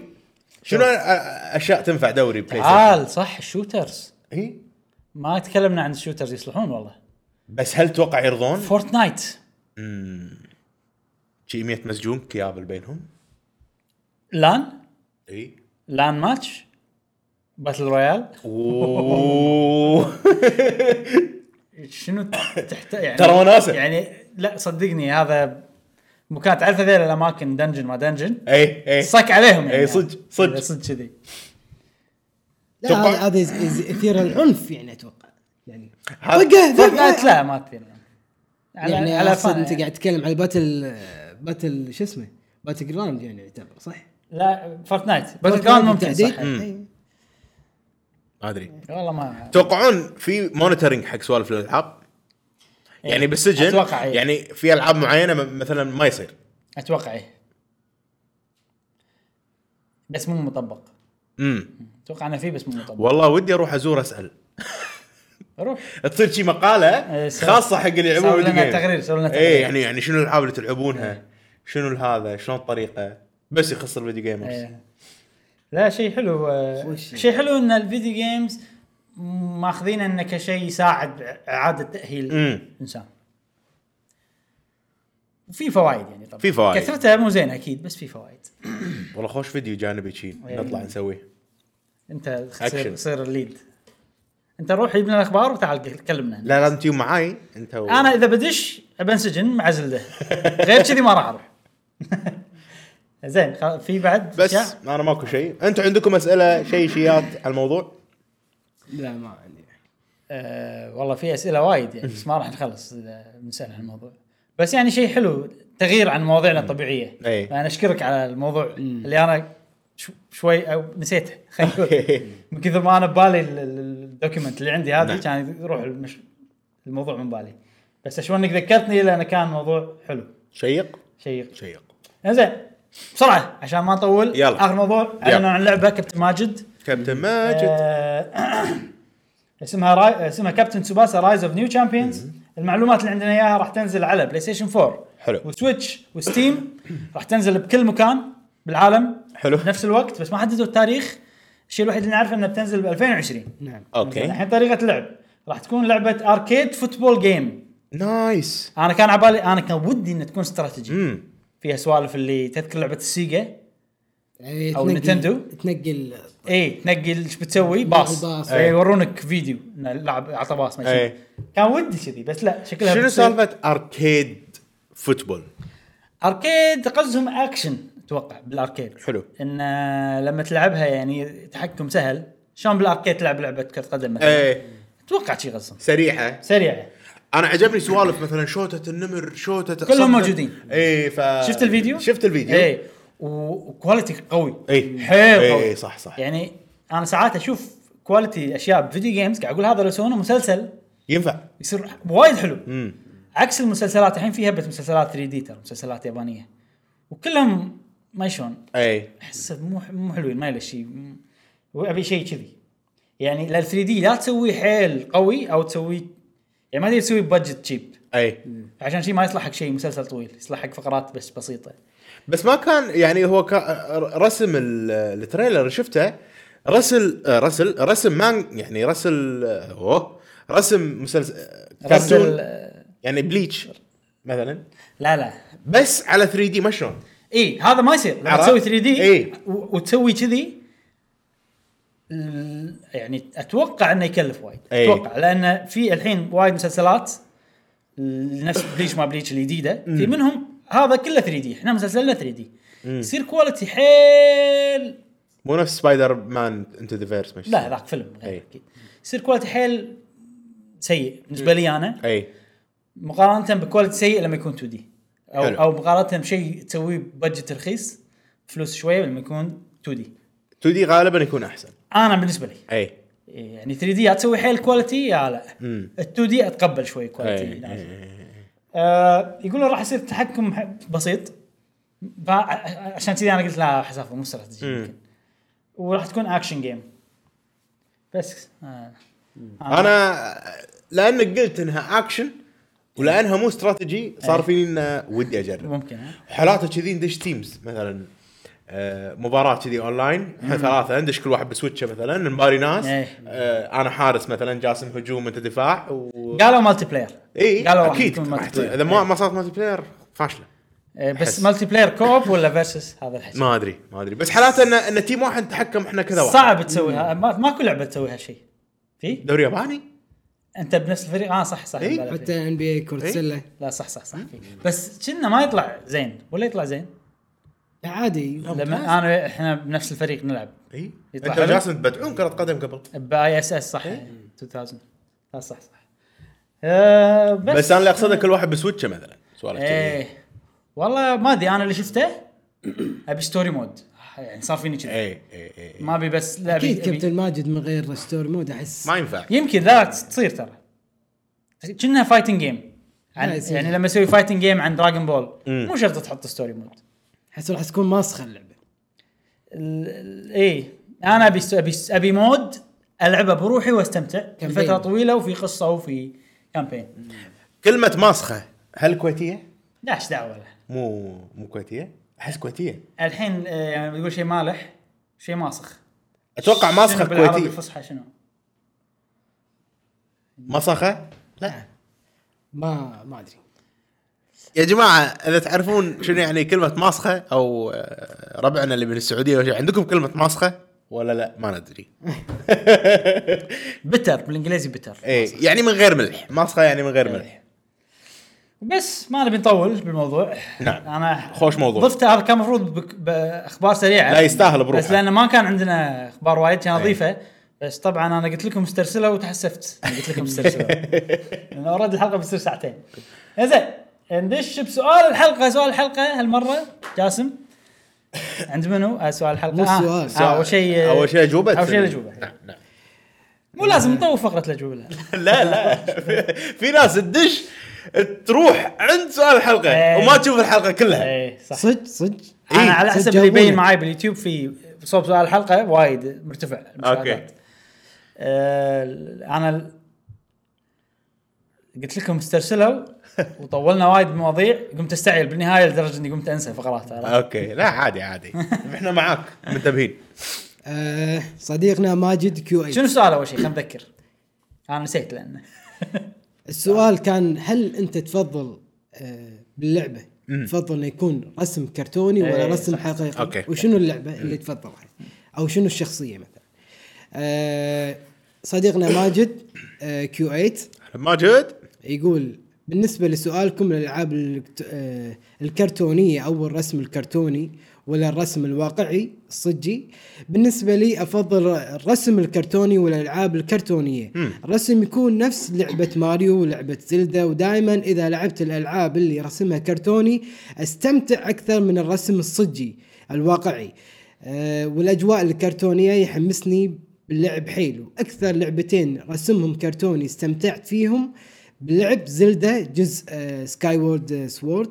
[SPEAKER 3] شنو أ- اشياء تنفع دوري بلاي ستيشن؟
[SPEAKER 1] تعال آه، صح الشوترز
[SPEAKER 3] إي.
[SPEAKER 1] ما تكلمنا عن الشوترز يصلحون والله
[SPEAKER 3] بس هل توقع يرضون؟
[SPEAKER 1] فورتنايت
[SPEAKER 3] شي 100 مسجون كيابل بينهم؟
[SPEAKER 1] لان
[SPEAKER 3] اي
[SPEAKER 1] لان ماتش باتل رويال
[SPEAKER 3] اوه
[SPEAKER 1] شنو تحت يعني
[SPEAKER 3] ترى وناسة.
[SPEAKER 1] يعني لا صدقني هذا مكان تعرف هذيل الاماكن دنجن ما دنجن
[SPEAKER 3] اي اي
[SPEAKER 1] صك عليهم يعني
[SPEAKER 3] إي، إيه. صدق، صدق.
[SPEAKER 1] إذا صدق كذي
[SPEAKER 2] لا
[SPEAKER 3] توقع-
[SPEAKER 2] هذا هذا يز- يز- يثير العنف يعني اتوقع يعني
[SPEAKER 3] هذا-
[SPEAKER 2] طقه
[SPEAKER 1] فورتنايت
[SPEAKER 2] ذبحه
[SPEAKER 1] لا ما تثير على-
[SPEAKER 2] يعني
[SPEAKER 1] على
[SPEAKER 2] على
[SPEAKER 1] فن-
[SPEAKER 2] انت قاعد تتكلم على باتل باتل شو اسمه باتل جراوند يعني يعتبر صح؟
[SPEAKER 1] لا فورتنايت باتل جراوند ممكن
[SPEAKER 2] بالتحديد؟
[SPEAKER 1] صح
[SPEAKER 2] أي.
[SPEAKER 3] ما ادري
[SPEAKER 1] والله ما
[SPEAKER 3] تتوقعون في مونيتورنج حق سوالف الالعاب؟ يعني بالسجن
[SPEAKER 1] أتوقع إيه.
[SPEAKER 3] يعني في العاب معينه م- مثلا ما يصير
[SPEAKER 1] اتوقع ايه بس مو مطبق
[SPEAKER 3] امم
[SPEAKER 1] اتوقع انه في بس مو مطبق
[SPEAKER 3] والله ودي اروح ازور اسال
[SPEAKER 1] روح
[SPEAKER 3] تصير شي مقاله
[SPEAKER 1] إيه، سوي-
[SPEAKER 3] خاصه حق اللي يلعبون
[SPEAKER 1] سوي
[SPEAKER 3] فيديو
[SPEAKER 1] لنا
[SPEAKER 3] جيم.
[SPEAKER 1] تقرير، سوي لنا تقرير.
[SPEAKER 3] ايه يعني يعني شنو الالعاب اللي تلعبونها؟ شنو هذا؟ شلون الطريقه؟ بس يخص الفيديو جيمرز
[SPEAKER 1] إيه. لا شيء حلو آه،
[SPEAKER 2] وش-
[SPEAKER 1] شيء حلو ان الفيديو جيمز ماخذين انه كشيء يساعد اعاده تاهيل
[SPEAKER 3] امم
[SPEAKER 1] الانسان في فوائد يعني طبعا
[SPEAKER 3] في فوائد.
[SPEAKER 1] كثرتها مو زين اكيد بس في فوائد
[SPEAKER 3] والله خوش فيديو جانبي شي نطلع نسويه
[SPEAKER 1] انت
[SPEAKER 3] Action.
[SPEAKER 1] تصير تصير الليد انت روح جيب لنا الاخبار وتعال كلمنا
[SPEAKER 3] لا لازم تجي معاي انت و...
[SPEAKER 1] انا اذا بدش بنسجن مع زلده غير كذي ما راح اروح زين خل- في بعد
[SPEAKER 3] بس
[SPEAKER 1] أشياء؟
[SPEAKER 3] انا ماكو شيء انتم عندكم اسئله شيء شيات على الموضوع
[SPEAKER 2] لا ما عندي
[SPEAKER 1] آه والله في اسئله وايد يعني بس ما راح نخلص اذا بنسال عن الموضوع بس يعني شيء حلو تغيير عن مواضيعنا الطبيعيه
[SPEAKER 3] إي.
[SPEAKER 1] فانا اشكرك على الموضوع اللي انا شو- شوي أو نسيته خلينا نقول من كثر ما انا ببالي ال- ال- الدوكيمنت اللي عندي هذا
[SPEAKER 3] نعم.
[SPEAKER 1] كان يروح المش... الموضوع من بالي بس اشوف انك ذكرتني لانه كان موضوع حلو
[SPEAKER 3] شيق
[SPEAKER 1] شيق
[SPEAKER 3] شيق
[SPEAKER 1] زين بسرعه عشان ما نطول
[SPEAKER 3] يلا.
[SPEAKER 1] اخر موضوع اعلنوا عن لعبه كابتن ماجد
[SPEAKER 3] كابتن ماجد
[SPEAKER 1] آه، اسمها راي... اسمها كابتن سوباسا رايز اوف نيو تشامبيونز المعلومات اللي عندنا اياها راح تنزل على بلاي ستيشن 4
[SPEAKER 3] حلو.
[SPEAKER 1] وسويتش وستيم راح تنزل بكل مكان بالعالم
[SPEAKER 3] حلو.
[SPEAKER 1] بنفس الوقت بس ما حددوا التاريخ الشيء الوحيد اللي نعرفه انها بتنزل ب 2020
[SPEAKER 2] نعم
[SPEAKER 1] زين،
[SPEAKER 3] اوكي
[SPEAKER 1] الحين طريقه اللعب راح تكون لعبه اركيد فوتبول جيم
[SPEAKER 3] نايس
[SPEAKER 1] انا كان عبالي انا كان ودي انها تكون استراتيجي
[SPEAKER 3] امم
[SPEAKER 1] فيها سوالف اللي تذكر لعبه السيجا
[SPEAKER 2] يعني
[SPEAKER 1] أو
[SPEAKER 2] تنقل-
[SPEAKER 1] نينتندو.
[SPEAKER 2] تنقل
[SPEAKER 1] اي إيه، تنقل ايش بتسوي باص
[SPEAKER 2] باص.
[SPEAKER 3] إيه.
[SPEAKER 1] اي يورونك فيديو إن اللاعب اعطى باص ما شنو.
[SPEAKER 3] إي.
[SPEAKER 1] كان ودي كذي بس لا شكلها
[SPEAKER 3] إيه. شنو
[SPEAKER 1] بتصير-
[SPEAKER 3] سالفه اركيد فوتبول
[SPEAKER 1] اركيد قصدهم اكشن اتوقع بالاركيد
[SPEAKER 3] حلو.
[SPEAKER 1] ان آه، لما تلعبها يعني تحكم سهل شلون بالاركيد تلعب لعبه كره قدم مثلا
[SPEAKER 3] ايه
[SPEAKER 1] اتوقع شي قصدهم
[SPEAKER 3] سريعه
[SPEAKER 1] سريعه
[SPEAKER 3] انا عجبني سوالف مثلا شوتة النمر شوتة
[SPEAKER 1] كلهم
[SPEAKER 3] صدق.
[SPEAKER 1] موجودين.
[SPEAKER 3] ايه ف
[SPEAKER 1] شفت الفيديو؟ إيه.
[SPEAKER 3] شفت الفيديو
[SPEAKER 1] اي و- وكواليتي قوي
[SPEAKER 3] إي.
[SPEAKER 1] حيل
[SPEAKER 3] إي،
[SPEAKER 1] قوي
[SPEAKER 3] إي، صح، صح.
[SPEAKER 1] يعني انا ساعات اشوف كواليتي اشياء بفيديو جيمز قاعد اقول هذا لو سوونه مسلسل
[SPEAKER 3] ينفع
[SPEAKER 1] يصير وايد حلو
[SPEAKER 3] امم
[SPEAKER 1] عكس المسلسلات الحين في هبه مسلسلات 3 دي ترى مسلسلات يابانيه وكلهم ما شلون
[SPEAKER 3] اي
[SPEAKER 1] احس مو مو حلوين ما له شيء م- وابي شيء كذي يعني لل 3 دي لا تسوي حيل قوي او تسوي يعني ما تقدر تسوي بادجت تشيب
[SPEAKER 3] اي
[SPEAKER 1] عشان شيء ما يصلح حق شيء مسلسل طويل يصلح حق فقرات بس بسيطه
[SPEAKER 3] بس ما كان يعني هو كا- رسم ال- التريلر اللي شفته رسل رسل رسم مان يعني رسل اوه رسم مسلسل
[SPEAKER 1] رسل
[SPEAKER 3] كرتون يعني بليتش مثلا
[SPEAKER 1] لا لا
[SPEAKER 3] بس على 3 دي ما شلون
[SPEAKER 1] اي هذا ما يصير لما
[SPEAKER 3] عرفت؟
[SPEAKER 1] تسوي 3 دي
[SPEAKER 3] إي.
[SPEAKER 1] وتسوي كذي ال- يعني اتوقع انه يكلف وايد
[SPEAKER 3] إي.
[SPEAKER 1] اتوقع لان في الحين وايد مسلسلات نفس بليش ما بليش الجديده في منهم هذا كله 3 دي احنا مسلسلنا 3 دي يصير كواليتي حيل
[SPEAKER 3] مو نفس سبايدر مان انتو ذا فيرس مش
[SPEAKER 1] لا ذاك فيلم غير
[SPEAKER 3] إي.
[SPEAKER 1] اكيد يصير كواليتي حيل سيء بالنسبه لي انا
[SPEAKER 3] اي
[SPEAKER 1] مقارنه بكواليتي سيء لما يكون 2 دي او
[SPEAKER 3] حلو.
[SPEAKER 1] او مقارنه بشيء تسويه ببجت رخيص فلوس شويه لما يكون 2 دي
[SPEAKER 3] 2 دي غالبا يكون احسن
[SPEAKER 1] انا بالنسبه لي
[SPEAKER 3] اي
[SPEAKER 1] يعني 3 دي يا تسوي حيل كواليتي يا لا
[SPEAKER 3] امم
[SPEAKER 1] ال 2 دي اتقبل شوي
[SPEAKER 3] اي
[SPEAKER 1] كواليتي نازل.
[SPEAKER 3] أي.
[SPEAKER 1] آه يقولون راح يصير تحكم ح- بسيط فع- عشان كذي انا قلت لا حسافه مو استراتيجي يمكن وراح تكون اكشن جيم بس آه.
[SPEAKER 3] انا لانك قلت انها اكشن ولانها مو استراتيجي صار في لنا ودي اجرب
[SPEAKER 1] ممكن ها؟
[SPEAKER 3] حالاته كذي ندش تيمز مثلا آه، مباراه كذي اونلاين احنا ثلاثه ندش كل واحد بسويتشه مثلا نباري ناس
[SPEAKER 1] إيه.
[SPEAKER 3] آه، انا حارس مثلا جاسم هجوم انت دفاع و...
[SPEAKER 1] قالوا مالتي بلاير
[SPEAKER 3] اي
[SPEAKER 1] قالوا راح
[SPEAKER 3] اكيد
[SPEAKER 1] يكون
[SPEAKER 3] راح
[SPEAKER 1] multiplayer.
[SPEAKER 3] ت- اذا ما ما صارت مالتي بلاير فاشله
[SPEAKER 1] إيه، بس
[SPEAKER 3] أحس.
[SPEAKER 1] مالتي بلاير كوب ولا فيرسس هذا الحكي
[SPEAKER 3] ما ادري ما ادري بس حالاته ان ان تيم واحد نتحكم احنا كذا واحد
[SPEAKER 1] صعب تسويها ما- ماكو لعبه تسوي هالشيء في
[SPEAKER 3] دوري ياباني
[SPEAKER 1] انت بنفس الفريق اه صح صح
[SPEAKER 3] إيه،
[SPEAKER 1] بلا فريق.
[SPEAKER 2] حتى ان بي اي كره
[SPEAKER 3] إيه؟
[SPEAKER 2] سله
[SPEAKER 1] لا صح صح صح في. بس كنا ما يطلع زين ولا يطلع زين
[SPEAKER 2] لا، عادي
[SPEAKER 1] لما انا احنا بنفس الفريق نلعب
[SPEAKER 3] اي انت
[SPEAKER 1] يطلع حلو.
[SPEAKER 3] وجاسم تبدعون كره قدم قبل
[SPEAKER 1] باي اس اس صح
[SPEAKER 2] إيه.
[SPEAKER 1] 2000 لا صح صح آه بس,
[SPEAKER 3] بس انا اللي اقصده كل واحد بسويتشه مثلا سوالف كذي
[SPEAKER 1] ايه والله ما ادري انا اللي شفته ابي ستوري مود يعني صار فيني كذا
[SPEAKER 3] اي اي اي
[SPEAKER 1] ما ابي بس لا أبي-
[SPEAKER 2] اكيد
[SPEAKER 1] أبي-
[SPEAKER 2] كابتن ماجد من غير ستوري مود احس
[SPEAKER 3] ما ينفع
[SPEAKER 1] يمكن لا تصير ترى كأنها فايتنج جيم عن
[SPEAKER 2] لا يصير.
[SPEAKER 1] يعني لما اسوي فايتنج جيم عن دراجون بول مو شرط تحط ستوري مود
[SPEAKER 2] احس راح تكون ماسخه اللعبه
[SPEAKER 1] ال- ال- إيه. اي انا ابي ابي ابي مود العبه بروحي واستمتع
[SPEAKER 2] كامبين.
[SPEAKER 1] فتره طويله وفي قصه وفي كامبين
[SPEAKER 3] كلمه ماسخه هل كويتيه؟
[SPEAKER 1] لا ايش دعوه له
[SPEAKER 3] مو مو كويتيه؟ احس كويتيه
[SPEAKER 1] الحين آه، يعني بتقول شيء مالح شيء ماسخ
[SPEAKER 3] اتوقع ماسخه
[SPEAKER 1] شنو بالعربي
[SPEAKER 3] كويتيه
[SPEAKER 1] الفصحى شنو؟
[SPEAKER 3] مسخه؟ لا
[SPEAKER 2] ما ما ادري
[SPEAKER 3] يا جماعه اذا تعرفون شنو يعني كلمه ماسخه او آه، ربعنا اللي من السعوديه وش- عندكم كلمه ماسخه ولا لا ما ندري
[SPEAKER 1] بتر بالانجليزي بتر
[SPEAKER 3] ايه يعني من غير ملح ماسخه يعني من غير ملح
[SPEAKER 1] بس ما نبي نطول بالموضوع
[SPEAKER 3] نعم.
[SPEAKER 1] انا
[SPEAKER 3] خوش موضوع
[SPEAKER 1] ضفته هذا كان المفروض بك- باخبار سريعه
[SPEAKER 3] لا يستاهل بروحه.
[SPEAKER 1] بس لان ما كان عندنا اخبار وايد كان اضيفه بس طبعا انا قلت لكم مسترسله وتحسفت أنا قلت لكم مسترسله لان اوريدي الحلقه بتصير ساعتين زين ندش بسؤال الحلقه سؤال الحلقه هالمره جاسم عند منو آه، سؤال الحلقه
[SPEAKER 2] مو
[SPEAKER 1] آه،
[SPEAKER 2] سؤال.
[SPEAKER 1] آه، اول شيء
[SPEAKER 3] اول شيء اجوبه
[SPEAKER 1] اول شيء الاجوبه
[SPEAKER 3] نعم نعم
[SPEAKER 1] مو لازم نطوف فقره الاجوبه لا.
[SPEAKER 3] لا لا في- في ناس تدش تروح عند سؤال الحلقه
[SPEAKER 1] إيه.
[SPEAKER 3] وما تشوف الحلقه كلها
[SPEAKER 1] ايه صح إيه.
[SPEAKER 2] صدق صدق
[SPEAKER 3] إيه،
[SPEAKER 1] انا على
[SPEAKER 2] صدق
[SPEAKER 1] حسب اللي يبين
[SPEAKER 2] جاوبونا.
[SPEAKER 1] معاي باليوتيوب في صوب سؤال الحلقه وايد مرتفع المشاهدات. آه انا ال- قلت لكم استرسلوا وطولنا وايد بمواضيع قمت استعجل بالنهايه لدرجه اني قمت انسى فقرات عرفت؟
[SPEAKER 3] اوكي لا عادي عادي احنا معاك منتبهين
[SPEAKER 2] آه صديقنا ماجد كيو اي
[SPEAKER 1] شنو السؤال اول شيء خلينا نذكر انا نسيت لانه
[SPEAKER 2] السؤال كان هل انت تفضل آه باللعبه تفضل انه يكون رسم كرتوني ولا
[SPEAKER 1] إيه،
[SPEAKER 2] رسم حقيقي
[SPEAKER 3] أوكي.
[SPEAKER 2] وشنو اللعبه اللي تفضلها او شنو الشخصيه مثلا آه صديقنا ماجد آه كيو 8
[SPEAKER 3] ماجد
[SPEAKER 2] يقول بالنسبه لسؤالكم الالعاب الكت- آه، الكرتونيه او الرسم الكرتوني ولا الرسم الواقعي الصجي بالنسبه لي افضل الرسم الكرتوني والالعاب الكرتونيه الرسم يكون نفس لعبه ماريو ولعبه زلدا ودائما اذا لعبت الالعاب اللي رسمها كرتوني استمتع اكثر من الرسم الصجي الواقعي آه، والاجواء الكرتونيه يحمسني باللعب حيل واكثر لعبتين رسمهم كرتوني استمتعت فيهم بلعب زلدا جزء آه، سكاي وورد سوورد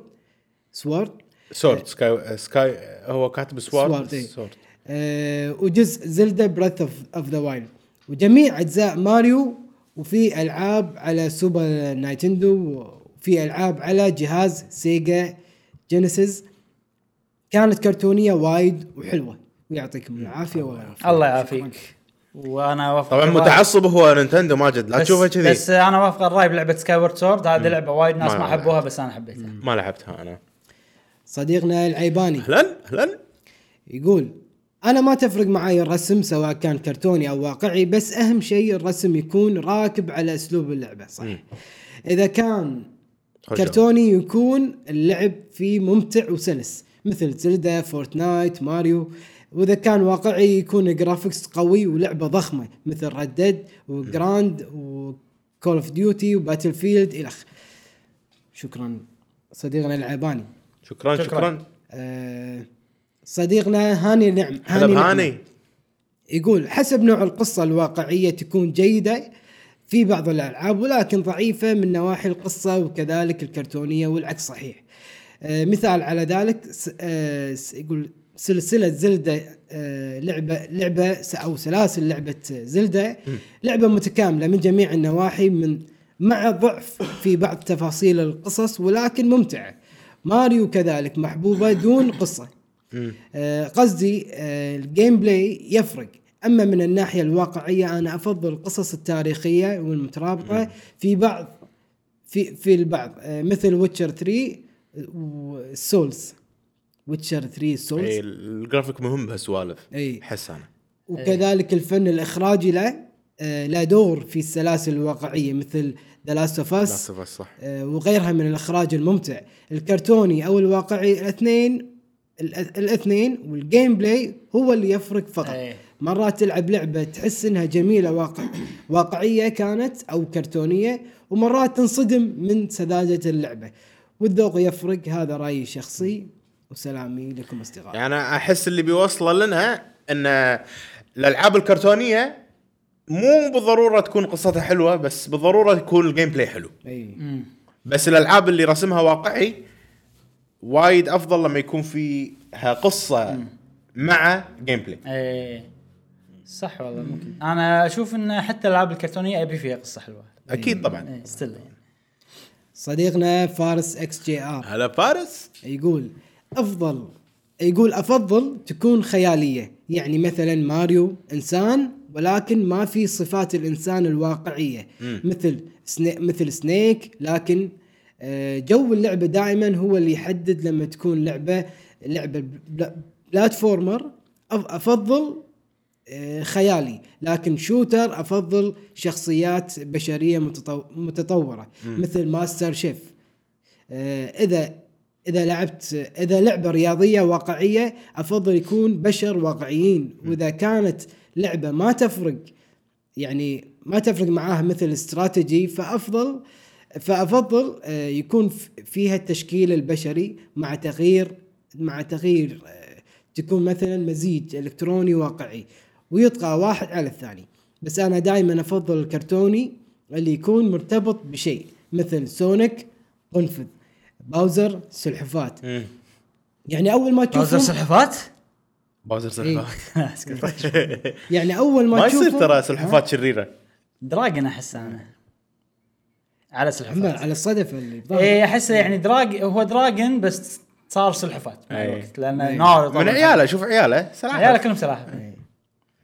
[SPEAKER 2] سوورد
[SPEAKER 1] إيه.
[SPEAKER 3] سورد سكاي سكاي هو كاتب
[SPEAKER 2] سوارد،
[SPEAKER 3] سوارد
[SPEAKER 2] إيه.
[SPEAKER 3] سورد
[SPEAKER 2] آه، وجزء زلدا براث اوف ذا وايلد وجميع اجزاء ماريو وفي العاب على سوبر نايتندو وفي العاب على جهاز سيجا جينيسيس كانت كرتونيه وايد وحلوه ويعطيكم العافيه والله
[SPEAKER 1] الله يعافيك وانا وافق
[SPEAKER 3] طبعا
[SPEAKER 1] الرأي.
[SPEAKER 3] متعصب هو نينتندو ماجد لا
[SPEAKER 1] إيه. بس-
[SPEAKER 3] تشوفه كذي
[SPEAKER 1] بس انا وافق الراي بلعبه سكاي وورد سورد هذه لعبه وايد ناس
[SPEAKER 3] ما-
[SPEAKER 1] ما حبوها بس انا حبيتها
[SPEAKER 3] ما لعبتها انا
[SPEAKER 2] صديقنا العيباني
[SPEAKER 3] اهلا اهلا
[SPEAKER 2] يقول انا ما تفرق معي الرسم سواء كان كرتوني او واقعي بس اهم شيء الرسم يكون راكب على اسلوب اللعبه صح اذا كان
[SPEAKER 3] خوش
[SPEAKER 2] كرتوني يكون اللعب فيه ممتع وسلس مثل زلدا فورتنايت ماريو واذا كان واقعي يكون جرافيكس قوي ولعبه ضخمه مثل ردد وجراند وكول اوف ديوتي وباتل فيلد الخ شكرا صديقنا العباني
[SPEAKER 3] شكرا شكرا,
[SPEAKER 1] شكراً.
[SPEAKER 2] آه، صديقنا هاني نعم
[SPEAKER 3] هلا
[SPEAKER 2] نعم.
[SPEAKER 3] بهاني
[SPEAKER 2] يقول حسب نوع القصة الواقعية تكون جيدة في بعض الألعاب ولكن ضعيفة من نواحي القصة وكذلك الكرتونية والعكس صحيح آه، مثال على ذلك س- آه، س- يقول سلسلة زلدة آه، لعبة لعبة س- أو سلاسل لعبة زلدة لعبة متكاملة من جميع النواحي من مع ضعف في بعض تفاصيل القصص ولكن ممتعة ماريو كذلك محبوبة دون قصة آه، قصدي آه، الجيم بلاي يفرق اما من الناحيه الواقعيه انا افضل القصص التاريخيه والمترابطه في بعض في في البعض آه، مثل ويتشر 3 والسولز ويتشر 3
[SPEAKER 3] اي
[SPEAKER 2] سولز
[SPEAKER 3] إيه، الجرافيك مهم بهالسوالف
[SPEAKER 1] إيه.
[SPEAKER 2] اي.
[SPEAKER 3] احس انا
[SPEAKER 2] وكذلك الفن الاخراجي له آه، له دور في السلاسل الواقعيه مثل ذا لاست اوف
[SPEAKER 3] لا
[SPEAKER 2] اس
[SPEAKER 3] صفر صح
[SPEAKER 2] آه، وغيرها من الاخراج الممتع الكرتوني او الواقعي الاثنين الأ- الاثنين والجيم بلاي هو اللي يفرق فقط
[SPEAKER 1] إيه.
[SPEAKER 2] مرات تلعب لعبه تحس انها جميله واقع واقعيه كانت او كرتونيه ومرات تنصدم من سذاجه اللعبه والذوق يفرق هذا رايي الشخصي وسلامي لكم اصدقائي
[SPEAKER 3] يعني أنا احس اللي بيوصله لنا ان الالعاب الكرتونيه مو بالضروره تكون قصتها حلوه بس بالضروره يكون الجيم بلاي حلو
[SPEAKER 2] اي
[SPEAKER 3] بس الالعاب اللي رسمها واقعي وايد افضل لما يكون فيها قصه مع جيم بلاي
[SPEAKER 1] ايه صح والله ممكن انا اشوف ان حتى الالعاب الكرتونيه ابي فيها قصه حلوه
[SPEAKER 3] اكيد طبعا
[SPEAKER 1] ايه ستيل يعني
[SPEAKER 2] صديقنا فارس اكس جي ار
[SPEAKER 3] هلا فارس
[SPEAKER 2] يقول افضل يقول افضل تكون خياليه يعني مثلا ماريو انسان ولكن ما في صفات الانسان الواقعيه مثل سني مثل سنيك لكن آه، جو اللعبه دائما هو اللي يحدد لما تكون لعبه لعبه بلا- بلاتفورمر أف- افضل آه، خيالي لكن شوتر افضل شخصيات بشريه متطو- متطوره مثل ماستر شيف آه، اذا اذا لعبت اذا لعبه رياضيه واقعيه افضل يكون بشر واقعيين واذا كانت لعبه ما تفرق يعني ما تفرق معاها مثل استراتيجي فافضل فافضل آه، يكون ف- فيها التشكيل البشري مع تغيير مع تغيير آه، تكون مثلا مزيج الكتروني واقعي ويطغى واحد على الثاني بس انا دائما افضل الكرتوني اللي يكون مرتبط بشيء مثل سونيك قنفذ باوزر سلحفات يعني اول ما
[SPEAKER 1] بازر
[SPEAKER 2] تشوفهم
[SPEAKER 1] سلحفات؟
[SPEAKER 3] باوزر سلحفاه
[SPEAKER 1] إيه.
[SPEAKER 2] يعني اول ما,
[SPEAKER 3] ما يصير
[SPEAKER 2] تشوفهم
[SPEAKER 3] ترى سلحفات شريره
[SPEAKER 1] دراجن احس انا على
[SPEAKER 2] عمال
[SPEAKER 1] سلحفات
[SPEAKER 2] على الصدفه اللي بظهر.
[SPEAKER 1] ايه احسه يعني دراج هو دراجن بس صار سلحفات مع
[SPEAKER 3] إيه.
[SPEAKER 1] الوقت لان نار
[SPEAKER 3] من
[SPEAKER 1] طبعاً.
[SPEAKER 3] عياله شوف عياله
[SPEAKER 1] عياله
[SPEAKER 3] سلاحف
[SPEAKER 1] كلهم سلاحف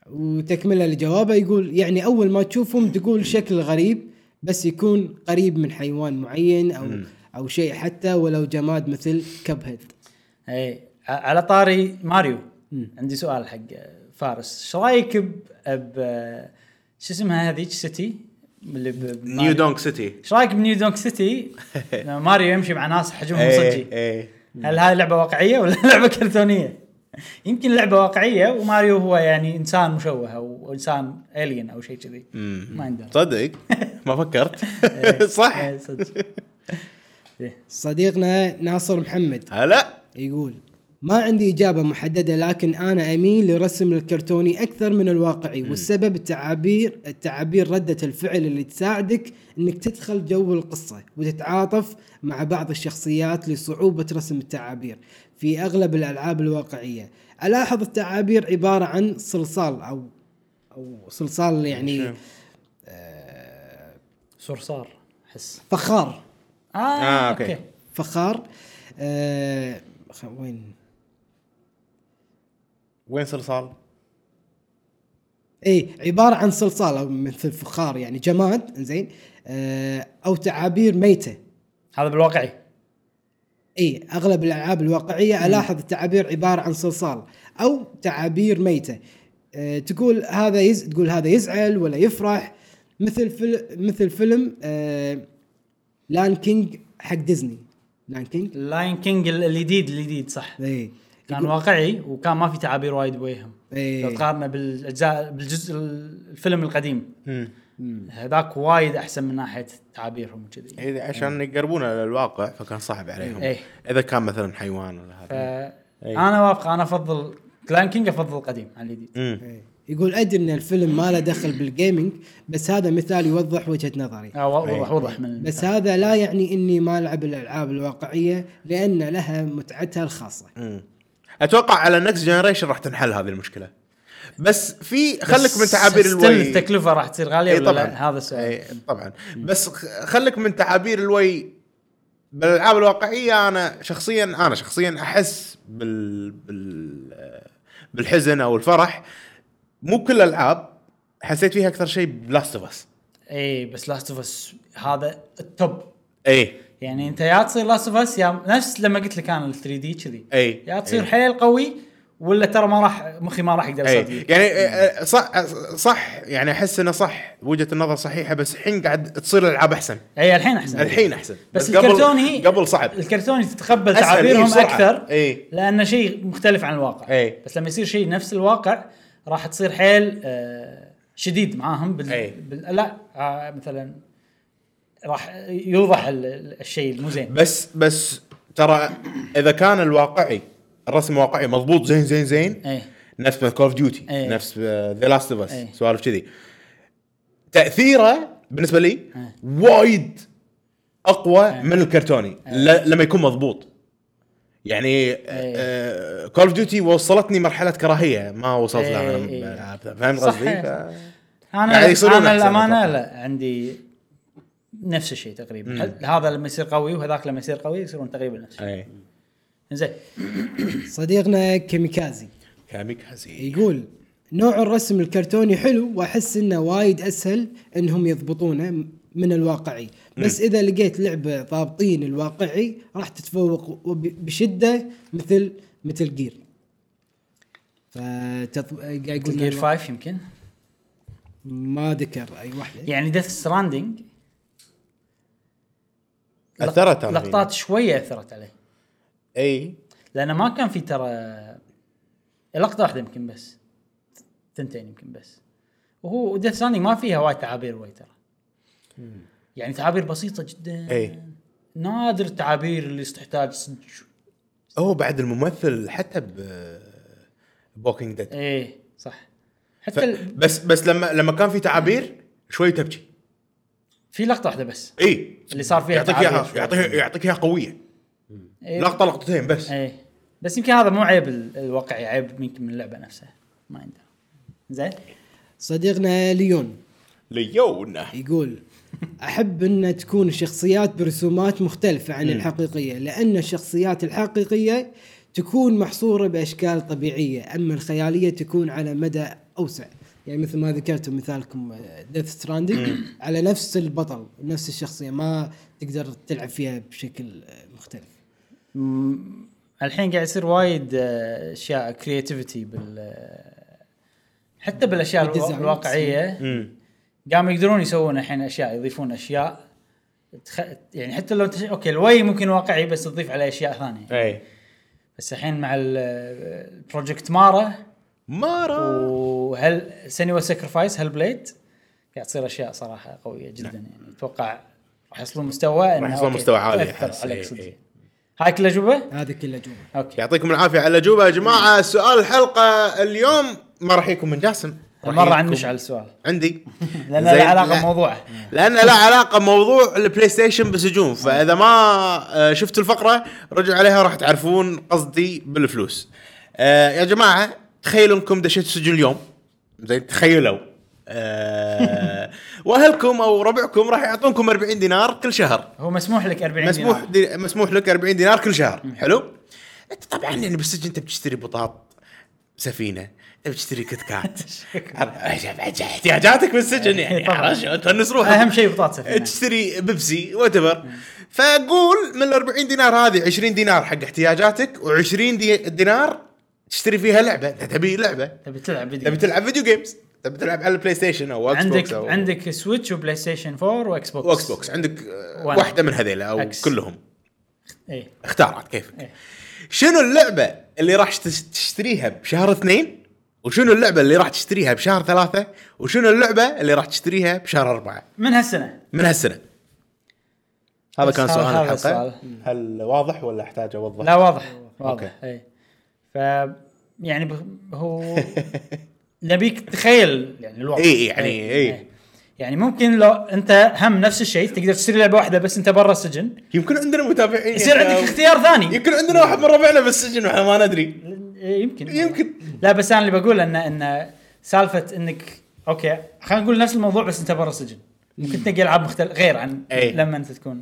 [SPEAKER 2] وتكمله لجوابه يقول يعني اول ما تشوفهم تقول شكل غريب بس يكون قريب من حيوان معين او او شيء حتى ولو جماد مثل كب هيد
[SPEAKER 1] اي إيه. على طاري ماريو عندي سؤال حق فارس ايش رايك ب, ب... شو اسمها هذيك سيتي اللي ب...
[SPEAKER 3] نيو دونك سيتي
[SPEAKER 1] ايش رايك بنيو دونك سيتي لما ماريو يمشي مع ناس حجمهم
[SPEAKER 3] ايه
[SPEAKER 1] صجي
[SPEAKER 3] ايه
[SPEAKER 1] هل هاي لعبه واقعيه ولا لعبه كرتونيه يمكن لعبه واقعيه وماريو هو يعني انسان مشوه او انسان الين او شيء كذي ما عنده
[SPEAKER 3] تصدق ما فكرت صح
[SPEAKER 1] إيه، صدق
[SPEAKER 2] صديقنا ناصر محمد
[SPEAKER 3] هلا
[SPEAKER 2] يقول ما عندي إجابة محددة لكن أنا أميل لرسم الكرتوني أكثر من الواقعي والسبب التعابير التعابير ردة الفعل اللي تساعدك أنك تدخل جو القصة وتتعاطف مع بعض الشخصيات لصعوبة رسم التعابير في أغلب الألعاب الواقعية ألاحظ التعابير عبارة عن صلصال أو أو صلصال يعني آه،
[SPEAKER 1] صرصار احس
[SPEAKER 2] فخار
[SPEAKER 1] اه,
[SPEAKER 3] آه، أوكي.
[SPEAKER 1] اوكي,
[SPEAKER 2] فخار آه خ- وين
[SPEAKER 3] وين صلصال؟
[SPEAKER 2] اي عباره عن صلصال او مثل فخار يعني جماد زين آه او تعابير ميته
[SPEAKER 1] هذا بالواقعي
[SPEAKER 2] اي اغلب الالعاب الواقعيه الاحظ التعابير عباره عن صلصال او تعابير ميته آه تقول هذا يز... تقول هذا يزعل ولا يفرح مثل فل... مثل فيلم آه لان كينج حق ديزني لان كينج
[SPEAKER 1] لاين كينج ال- الجديد الجديد صح
[SPEAKER 2] اي
[SPEAKER 1] كان واقعي وكان ما في تعابير وايد بويهم
[SPEAKER 2] إيه.
[SPEAKER 1] لو تقارنه بالاجزاء بالجزء ال- الفيلم القديم هذاك وايد احسن من ناحيه تعابيرهم وكذي
[SPEAKER 3] إذا عشان يقربونا للواقع فكان صعب عليهم
[SPEAKER 1] إيه.
[SPEAKER 3] اذا كان مثلا حيوان ولا هذا إيه.
[SPEAKER 1] انا وافق انا افضل لاين كينج افضل القديم يعني عن الجديد
[SPEAKER 3] مم.
[SPEAKER 2] يقول ادري ان الفيلم ما له دخل بالجيمنج بس هذا مثال يوضح وجهه نظري
[SPEAKER 1] آه، و-
[SPEAKER 3] إيه.
[SPEAKER 1] وضح وضح من
[SPEAKER 2] بس هذا لا يعني اني ما العب الالعاب الواقعيه لان لها متعتها الخاصه
[SPEAKER 3] مم. اتوقع على نكست جنريشن راح تنحل هذه المشكله بس في خلك من
[SPEAKER 1] بس
[SPEAKER 3] تعابير
[SPEAKER 1] still
[SPEAKER 3] الوي إيه،
[SPEAKER 1] التكلفه راح تصير غاليه
[SPEAKER 3] اي
[SPEAKER 1] ولا
[SPEAKER 3] طبعا
[SPEAKER 1] لا هذا السؤال
[SPEAKER 3] اي طبعا بس خ- خلك من تعابير الوي بالالعاب الواقعيه انا شخصيا انا شخصيا احس بال, بال بالحزن او الفرح مو كل الالعاب حسيت فيها اكثر شيء بلاست اوف اس
[SPEAKER 1] اي إيه، بس لاست اوف اس هذا التوب
[SPEAKER 3] اي
[SPEAKER 1] يعني انت يا تصير لاست اوف اس يا نفس لما قلت لك انا ال 3 دي كذي
[SPEAKER 3] اي
[SPEAKER 1] يا تصير حيل قوي ولا ترى ما راح مخي ما راح يقدر
[SPEAKER 3] اي
[SPEAKER 1] يصدق
[SPEAKER 3] يعني آه، صح صح يعني احس انه صح وجهه النظر صحيحه بس الحين قاعد تصير الالعاب احسن
[SPEAKER 1] اي إيه، الحين احسن
[SPEAKER 3] الحين احسن
[SPEAKER 1] بس
[SPEAKER 3] قبل-
[SPEAKER 1] الكرتوني
[SPEAKER 3] قبل صعب
[SPEAKER 1] الكرتوني تتقبل
[SPEAKER 3] أسهل، إي،
[SPEAKER 1] تعابيرهم
[SPEAKER 3] بسرعة.
[SPEAKER 1] اكثر
[SPEAKER 3] إي.
[SPEAKER 1] لانه شيء مختلف عن الواقع
[SPEAKER 3] إي.
[SPEAKER 1] بس لما يصير شيء نفس الواقع راح تصير حيل آه، شديد معاهم بال...
[SPEAKER 3] إي.
[SPEAKER 1] بال... لا آه، مثلا راح يوضح ال- ال- الشيء المو زين
[SPEAKER 3] بس بس ترى اذا كان الواقعي الرسم واقعي مضبوط زين زين زين
[SPEAKER 1] ايه
[SPEAKER 3] نفس كول اوف ديوتي
[SPEAKER 1] إيه.
[SPEAKER 3] نفس آه، ذا لاست اوف
[SPEAKER 1] إيه.
[SPEAKER 3] اس سوالف كذي تاثيره بالنسبه لي
[SPEAKER 1] إيه.
[SPEAKER 3] وايد اقوى من الكرتوني
[SPEAKER 1] إيه.
[SPEAKER 3] ل- لما يكون مضبوط يعني آه، كول اوف ديوتي وصلتني مرحله كراهيه ما وصلت
[SPEAKER 1] إيه،
[SPEAKER 3] لها
[SPEAKER 1] إيه.
[SPEAKER 3] أنا بالألعاب. فاهم
[SPEAKER 1] صح.
[SPEAKER 3] قصدي؟ ف-
[SPEAKER 1] انا
[SPEAKER 3] يعني يصيرون
[SPEAKER 1] انا
[SPEAKER 3] أحسن
[SPEAKER 1] الامانه
[SPEAKER 3] أتوقع.
[SPEAKER 1] لا عندي نفس الشيء تقريبا هل- هذا لما يصير قوي وهذاك لما يصير قوي يصيرون تقريبا نفس الشيء
[SPEAKER 3] إيه.
[SPEAKER 1] زين
[SPEAKER 2] صديقنا كيميكازي
[SPEAKER 3] كاميكازي
[SPEAKER 2] يقول نوع الرسم الكرتوني حلو واحس انه وايد اسهل انهم يضبطونه من الواقعي بس اذا لقيت لعبه ضابطين الواقعي راح تتفوق وب- بشده مثل مثل جير فتطب... قاعد يقول
[SPEAKER 1] جير
[SPEAKER 2] إنه
[SPEAKER 1] 5 يمكن
[SPEAKER 2] ما ذكر اي واحده
[SPEAKER 1] يعني ديث ستراندنج
[SPEAKER 3] اثرت أنا فيني.
[SPEAKER 1] لقطات شويه اثرت عليه
[SPEAKER 3] اي
[SPEAKER 1] لانه ما كان في ترى لقطه واحده يمكن بس تنتين يمكن بس وهو ديث ستراندنج ما فيها وايد تعابير وايد ترى يعني تعابير بسيطه جدا
[SPEAKER 3] إي.
[SPEAKER 1] نادر التعابير اللي تحتاج صدق شو-
[SPEAKER 3] هو بعد الممثل حتى ب بوكينج ديد
[SPEAKER 1] ايه صح
[SPEAKER 3] ف...
[SPEAKER 1] حتى ال...
[SPEAKER 3] بس بس لما لما كان في تعابير
[SPEAKER 1] إيه.
[SPEAKER 3] شوي تبكي
[SPEAKER 1] في لقطه واحده بس
[SPEAKER 3] اي
[SPEAKER 1] اللي صار فيها
[SPEAKER 3] يعطيك
[SPEAKER 1] تعابير
[SPEAKER 3] اياها
[SPEAKER 1] شوي.
[SPEAKER 3] يعطيك يعطيك اياها قويه
[SPEAKER 1] إيه.
[SPEAKER 3] لقطه لقطتين بس
[SPEAKER 1] ايه بس يمكن هذا مو عيب ال- الواقعي عيب يمكن من اللعبه نفسها ما يندرى زين
[SPEAKER 2] صديقنا ليون
[SPEAKER 3] ليونا
[SPEAKER 2] يقول احب ان تكون الشخصيات برسومات مختلفه عن الحقيقيه لان الشخصيات الحقيقيه تكون محصوره باشكال طبيعيه اما الخياليه تكون على مدى اوسع يعني مثل ما ذكرتوا مثالكم ديث ستراندنج على نفس البطل نفس الشخصيه ما تقدر تلعب فيها بشكل آه، مختلف
[SPEAKER 1] الحين قاعد يصير وايد آه، اشياء كرياتيفيتي بال آه، حتى بالاشياء الوا-
[SPEAKER 2] بالديزاين.
[SPEAKER 1] الواقعيه قاموا يقدرون يسوون الحين اشياء يضيفون اشياء تخ... يعني حتى لو تش... اوكي الوي ممكن واقعي بس تضيف عليه اشياء ثانيه
[SPEAKER 3] اي
[SPEAKER 1] بس الحين مع ال- آه، البروجكت مارا
[SPEAKER 3] مارا
[SPEAKER 1] وهل سنوا سكرفايس هل بليد قاعد تصير اشياء صراحه قويه جدا يعني اتوقع راح يوصلون مستوى إنه
[SPEAKER 3] يوصلون
[SPEAKER 1] أوكي،
[SPEAKER 3] نعم. مستوى عالي، إيه،
[SPEAKER 1] تأثر
[SPEAKER 3] أحس.
[SPEAKER 1] عليك
[SPEAKER 3] إي،
[SPEAKER 1] صدق.
[SPEAKER 3] إي.
[SPEAKER 1] هاي كل اجوبه؟
[SPEAKER 2] هذا كله جوا
[SPEAKER 1] اوكي
[SPEAKER 3] يعطيكم العافيه على الاجوبه يا جماعه سؤال الحلقه اليوم ما راح يكون من جاسم راح
[SPEAKER 1] مره عن
[SPEAKER 3] يكون
[SPEAKER 1] مشعل السؤال
[SPEAKER 3] عندي
[SPEAKER 1] لان له
[SPEAKER 3] زين.
[SPEAKER 1] علاقه
[SPEAKER 3] لا.
[SPEAKER 1] بموضوعه
[SPEAKER 3] لان له علاقه بموضوع البلاي ستيشن بسجون فاذا ما آه، شفتوا الفقره رجعوا عليها راح تعرفون قصدي بالفلوس آه، يا جماعه تخيلوا انكم دشيتوا سجن اليوم زين تخيلوا آه، واهلكم او ربعكم راح يعطونكم 40 دينار كل شهر
[SPEAKER 1] هو مسموح لك 40
[SPEAKER 3] مسموح
[SPEAKER 1] دينار.
[SPEAKER 3] دي مسموح لك 40 دينار كل شهر حلو انت طبعا يعني بالسجن انت بتشتري بطاط سفينه انت بتشتري كت كات عرفت؟ احتياجاتك بالسجن يعني
[SPEAKER 1] إيه، طبعاً.
[SPEAKER 3] عرفت شلون؟ تونس روحك
[SPEAKER 1] اهم شيء بطاطا سفينة.
[SPEAKER 3] تشتري بيبسي وات فقول من ال 40 دينار هذه 20 دينار حق احتياجاتك و20 دي دينار تشتري فيها لعبه انت تبي لعبه
[SPEAKER 1] تبي تلعب فيديو
[SPEAKER 3] تبي تلعب فيديو جيمز تبي تلعب على البلاي ستيشن او اكس
[SPEAKER 1] عندك
[SPEAKER 3] بوكس او
[SPEAKER 1] عندك سويتش وبلاي ستيشن 4 واكس بوكس
[SPEAKER 3] واكس بوكس عندك آه،
[SPEAKER 1] وأنا.
[SPEAKER 3] واحده من هذيلا او
[SPEAKER 1] أكس.
[SPEAKER 3] كلهم
[SPEAKER 1] اي
[SPEAKER 3] اختار عاد كيفك
[SPEAKER 1] إيه.
[SPEAKER 3] شنو اللعبه اللي راح تش- تشتريها بشهر اثنين وشنو اللعبه اللي راح تشتريها بشهر ثلاثه وشنو اللعبه اللي راح تشتريها بشهر اربعه
[SPEAKER 1] من هالسنه
[SPEAKER 3] من هالسنه هذا
[SPEAKER 1] بس
[SPEAKER 3] كان
[SPEAKER 1] هذا-
[SPEAKER 3] سؤال
[SPEAKER 1] هذا
[SPEAKER 3] الحلقه
[SPEAKER 1] السؤال.
[SPEAKER 3] هل واضح ولا احتاج اوضح؟
[SPEAKER 1] لا واضح
[SPEAKER 3] أوكي.
[SPEAKER 1] واضح اي ف يعني ب- هو نبيك تخيل يعني الوضع
[SPEAKER 3] إي، إي، يعني إي.
[SPEAKER 1] يعني ممكن لو انت هم نفس الشيء تقدر تشتري لعبه واحده بس انت برا السجن
[SPEAKER 3] يمكن عندنا متابعين
[SPEAKER 1] يصير
[SPEAKER 3] يا
[SPEAKER 1] عندك
[SPEAKER 3] شباب.
[SPEAKER 1] اختيار ثاني
[SPEAKER 3] يمكن عندنا واحد من ربعنا بالسجن واحنا ما ندري
[SPEAKER 1] إي، يمكن
[SPEAKER 3] يمكن.
[SPEAKER 1] لا بس انا اللي بقول ان ان سالفه انك اوكي خلينا نقول نفس الموضوع بس انت برا السجن ممكن تلقى العاب مختلف غير عن
[SPEAKER 3] أي.
[SPEAKER 1] لما انت تكون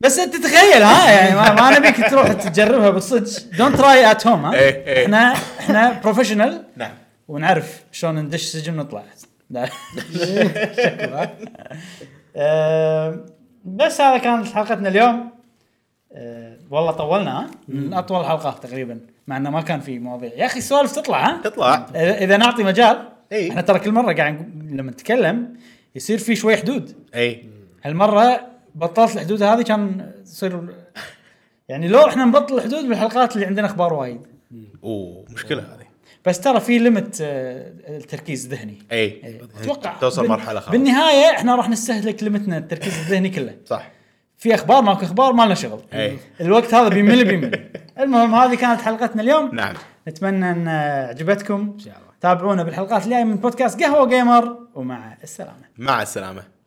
[SPEAKER 1] بس انت تتخيل ها يعني ما, ما نبيك تروح تجربها بالصدق دونت تراي ات هوم ها
[SPEAKER 3] أي، أي.
[SPEAKER 1] احنا احنا بروفيشنال
[SPEAKER 3] نعم
[SPEAKER 1] ونعرف شلون ندش سجن ونطلع لا. شكل، ها؟ آم، آه، بس هذا كانت حلقتنا اليوم آه، والله طولنا ها؟ من اطول الحلقات تقريبا مع انه ما كان في مواضيع يا اخي السوالف تطلع ها
[SPEAKER 3] تطلع
[SPEAKER 1] اذا إذا نعطي مجال
[SPEAKER 3] إي.
[SPEAKER 1] احنا ترى كل مره قاعد نقول- لما نتكلم يصير في شوي حدود
[SPEAKER 3] اي
[SPEAKER 1] هالمره بطلت الحدود هذه كان تصير يعني لو احنا نبطل الحدود بالحلقات اللي عندنا اخبار وايد
[SPEAKER 3] اوه مشكله هذه
[SPEAKER 1] بس ترى في ليمت التركيز الذهني إيه.
[SPEAKER 3] اي
[SPEAKER 1] اتوقع
[SPEAKER 3] إيه. توصل
[SPEAKER 1] يعني بال-
[SPEAKER 3] مرحله خلاص
[SPEAKER 1] بالنهايه احنا راح نستهلك ليمتنا التركيز الذهني كله
[SPEAKER 3] صح
[SPEAKER 1] في اخبار ماكو اخبار ما لنا شغل
[SPEAKER 3] أي.
[SPEAKER 1] الوقت هذا بيمل بيمل المهم هذه كانت حلقتنا اليوم
[SPEAKER 3] نعم
[SPEAKER 1] نتمنى ان آه، عجبتكم
[SPEAKER 2] شاء الله.
[SPEAKER 1] تابعونا بالحلقات الجايه من بودكاست قهوه جيمر ومع السلامه
[SPEAKER 3] مع السلامه